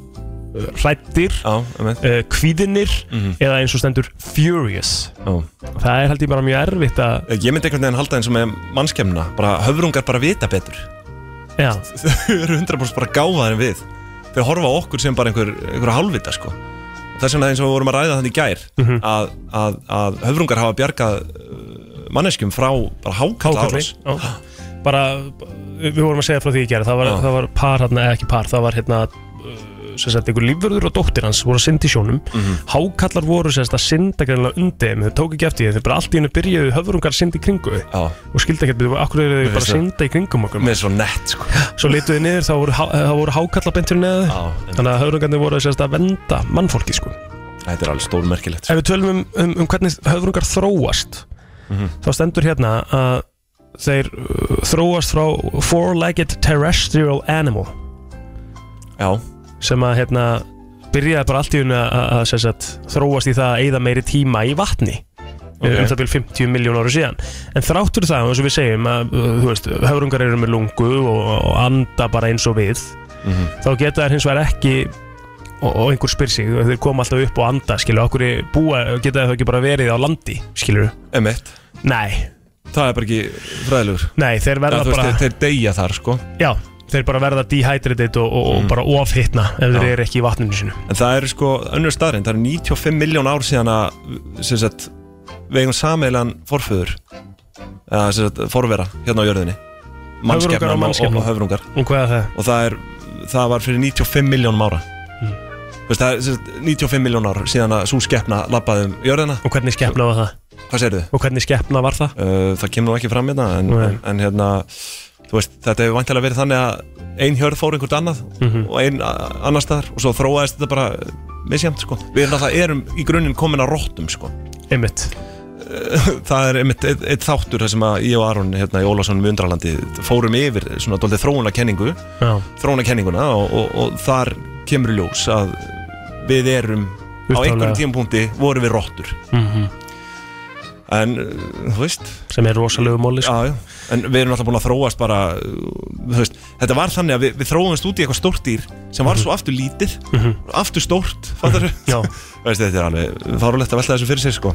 A: hrættir uh, Kvíðinir Eða eins og stendur furious
D: Já.
A: Það er held ég bara mjög erfitt að
D: Ég myndi einhvern veginn halda eins og með mannskemmna Bara höfrungar bara vita betur
A: Já,
D: Þau eru 100% bara gáfaðar en við Þau horfa á okkur sem bara einhver, einhver halvvita, sko Þess vegna eins og við vorum að ræða þannig í gær
A: Mhm.
D: að, að, að höfrungar hafa bjargað uh, manneskjum frá bara hákalla
A: hákalli
D: árás
A: já. Bara, við vorum að segja frá því í gera Það var,
D: Já.
A: það var par, hérna, eða ekki par Það var hérna uh, sem sagt, einhver lífverður og dóttir hans voru að synda í sjónum hákallar voru sem sagt, að synda greinlega undir þeim, þau tók ekki eftir því þau bara allt í hennu byrjuðu höfurungar að synda í kringu þau
D: Já.
A: og skildi ekkert, við akkur eru
D: Mér
A: þau bara
D: finnst
A: að
D: það-
A: synda í kringum okkur
D: Með svo nett, sko
A: svo leituðu niður, þá voru, há- þá voru hákallar bentur neðu, þannig að höfurungarnir voru sem sagt, að venda mannfólki sko.
D: Þetta er alveg stórmerkilegt sko.
A: Ef við tölum um, um, um hvernig höfurungar þróast þá stendur hérna að þeir uh, þróast frá four-legged terrestrial animal
D: Já
A: sem að hérna byrjaði bara allt í hún að, að sem sagt, þróast í það að eyða meiri tíma í vatni
D: Ok.
A: okay. um það byrjum 50 miljón ára síðan en þráttur það, eins og við segjum að uh, þú veist, höfrungar eru með lungu og, og anda bara eins og við þá geta þær hins vegar ekki og, og einhver spyr sig, þeir koma alltaf upp og anda skilur, okkur búa, geta þau ekki bara verið á landi, skilur
D: Emmett
A: Nei
D: Það er bara ekki fræðilegur
A: Nei, þeir verða
D: Já, þú
A: bara-
D: veist, Þeir, þeir deyja þar, sko
A: Já, þeir Mhm. bara verða dehydrated og, og, og bara ofhittna ef þeir
D: Já.
A: eru ekki í vatninu sinu
D: En það er sko önnur staðrind, það er 95 miljón ár síðan að sem sagt, við eigum sameilan forföður eða sem sagt, forvera hérna á jörðinni
A: Höfrungar og
D: mannskepnan og, og,
A: mannskepnan.
D: og höfrungar
A: Og hvað er það?
D: og það, er, það var fyrir 95 miljónum ára
A: Hmm.
D: Þú veist, það er sem sagt, 95 miljón ár síðan að svo skeppna labbaði um jörðina
A: Og hvernig skeppna var það?
D: Hvað segirðu?
A: Og hvernig skeppna var það?
D: Uh, það kemur nú ekki fram hérna en,
A: Nei.
D: en, en hérna þú veist, þetta hefur vantilega verið þannig að ein hjörð fór einhvert annað
A: Mhm.
D: og ein a- annar staðar og svo þróaðist þetta bara misjæmt sko. við erum alltaf erum í grunninn komin að róttum sko.
A: Einmitt
D: það er einmitt eitt, eitt þáttur þar sem að ég og Aron hérna í Ólássonum í Undralandi fórum yfir svona doldið þróunarkenningu
A: Já.
D: þróunarkenninguna og, og, og þar kemur í ljós að við erum á
A: Upphaflega.
D: einhverjum tímapunkti vorum við róttur
A: Mhm.
D: en uh, þú veist
A: sem er rosalegu móli
D: sko. já, já. en við erum alltaf búin að þróast bara uh, þú veist, þetta var þannig að við, við þróumst út í eitthvað stórt dýr sem var svo aftur lítið aftur stórt fattar veist, þetta er alveg fárulegt að velta þessu fyrir sér sko.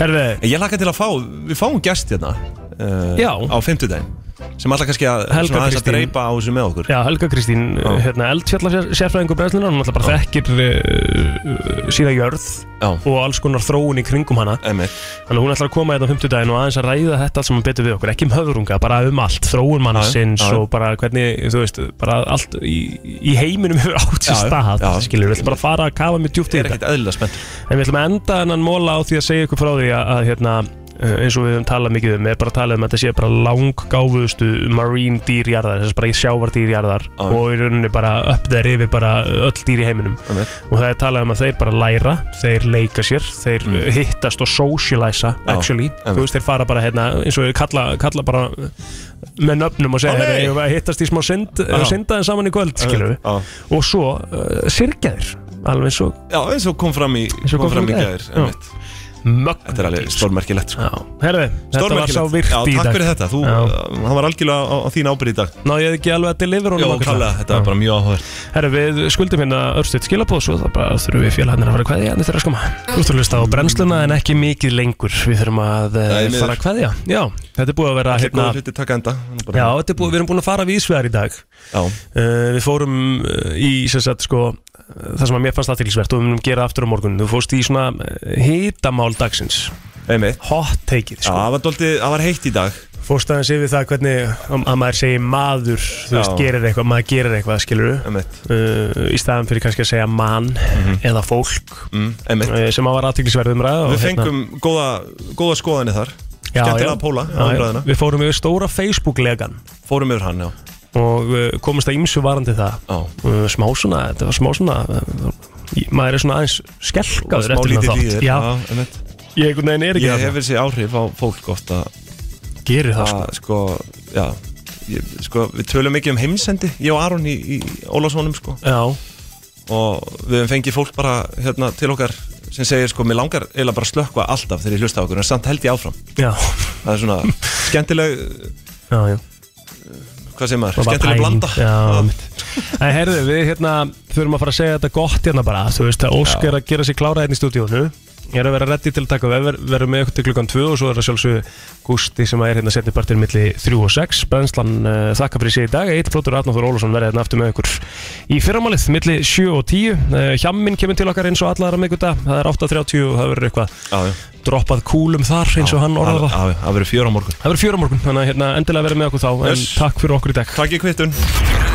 A: Herði
D: ég laka til að fá, við fáum gest hérna uh,
A: Já.
D: á fimmtudaginn sem alltaf kannski að,
A: Helga
D: svona aðeins að
A: Kristín.
D: dreipa á þessu með okkur
A: Já, Helga Kristín,
D: Já.
A: hérna, eldfjallarsérfræðingur brennslunar, hann alltaf bara þekkir uh, sína jörð
D: Já.
A: og alls konar þróun í kringum hana
D: Einmitt.
A: Þannig að hún ætlar að koma hérna á 50 og aðeins að ræða þetta allt sem hann betur við okkur, ekki um höfðrunga, bara um allt, þróun mannsins
D: Já, já.
A: og bara hvernig, þú veist, bara allt í, í heiminum hefur átt
D: Já,
A: sér
D: já.
A: stað,
D: Já.
A: skilur, við ætlum bara að fara að kafa mjög djúpt í
D: er
A: þetta
D: ekkert eðlilega spennt
A: En við ætlum að enda þennan móla á því að segja ykkur frá því að, að hérna, eh, eins og við höfum talað mikið um er bara að tala um að þetta sé bara langgáfuðustu marine dýrjarðar þess að bara sjávardýrjarðar ah. og í rauninni bara upp þeir yfir bara öll dýr í heiminum og það er talað um að þeir bara læra þeir leika sér, þeir mm. hittast og socialisa actually
D: einmitt.
A: þú veist þeir fara bara hérna eins og við kalla, kalla bara með nöfnum og segja
D: Á,
A: "Heyrðu,
D: nei."
A: eigum við að hittast í smá synd
D: Já.
A: og synda þeim saman í kvöld skilur við og svo uh, sirkja þeir alveg eins og
D: Já, eins og kom fram í,
A: Eins og
D: kom fram í gær
A: Já.
D: einmitt. Þetta er alveg stórmerkilegt sko.
A: Herði, þetta var
D: Stórmerkilegt.
A: sá virkt
D: Já,
A: í dag
D: takk fyrir þetta, þú, eh, hann var algjörlega á, á þín ábyrð í dag
A: Ná, ég hef ekki alveg að delivera honum
D: Jó,
A: ágætlega.
D: kalla, þetta
A: Já.
D: var bara mjög áhugaður
A: Herri, við skuldum hérna örstuðt skilabóð svo það bara þurfum við félagarnir að fara að kveðja en þetta er að skoma. Þú ert að hlusta á brennsluna en ekki mikið lengur. Við þurfum að eh,
D: Nei, miður.
A: fara að kveðja. Já, þetta er búið að vera
D: Allir
A: hérna...
D: góðir hlutir taka enda.
A: Já, þetta er búið, við erum búin að fara vísvegar í dag.
D: Já.
A: við fórum eh, í, sem sagt, sko, eh, það sem að mér fannst aðtilsvert og við munum gera aftur á morgun. Þú fórst í svona eh, hitamál dagsins.
D: Einmitt.
A: Hot take-ið,
D: Já,
A: sko.
D: það var, dálítið- það var heitt í dag
A: Fórst aðeins yfir það hvernig að að maður segir maður, þú
D: Já.
A: veist, gerir eitthvað, maður gerir eitthvað, skilur uh, í staðan fyrir kannski að segja mann
D: Mhm.
A: eða fólk
D: Mm,
A: uh, sem að var aðtýrlisverðum ræða og
D: Við
A: hérna-
D: fengum góða, góða skoðanir þar
A: Já,
D: Skemmtilega um
A: já.
D: póla
A: Já, já. Við fórum yfir stóra Facebook-legan
D: Fórum yfir hann, já
A: og uh, komist að ímsu varandi það uh, smá svona, þetta var smá svona uh, maður er svona aðeins skelkaður
D: Smá
A: eftir þennan
D: lítið
A: þátt.
D: líður,
A: Já,
D: já, einmitt.
A: ég einhvern veginn er ekki
D: Ég
A: þarna.
D: hef þessi áhrif á fólk oft að
A: Gerir það,
D: að, sko Já, ég, sko, við tölum mikið um heimsendi Ég og Aron í, í Ólafsvonum, sko
A: Já
D: Og við höfum fengið fólk bara hérna, til okkar sem segir, sko, mér langar eiginlega bara að slökva alltaf þegar ég hlusta á okkur, en samt held ég áfram
A: Já.
D: Það er svona skemmtileg
A: Já, já
D: Hvað segir maður?
A: Það var
D: Skemmtileg
A: pæling.
D: blanda
A: Já, mitt En herðu, við hérna þurfum að fara að segja þetta gott hérna bara Þú veist að Ósk er að gera sér klára hérna í stúdíónu Ég er að vera reddi til að taka við Verðum með ykkur til klukkan 2 og svo er það sjálfsög Gústi sem er hérna setni partir milli 3 og 6 Brennslan uh, þakka fyrir sig í dag Eitt plótur Arnáður Ólafsson verði hérna aftur með ykkur Í fyrramálið milli 7 og 10 uh, Hjamminn kemur til okkar eins og allara mikuta Það er 8.30 og það verður eitthvað
D: já.
A: Droppað kúlum þar eins og hann orðar það
D: Já, já, það verður fjör á morgun
A: Það verður fjör á morgun, þannig að hérna, endilega verið með okkur þá En
D: Yes.
A: takk fyrir okkur í dag
D: Takk í kvittun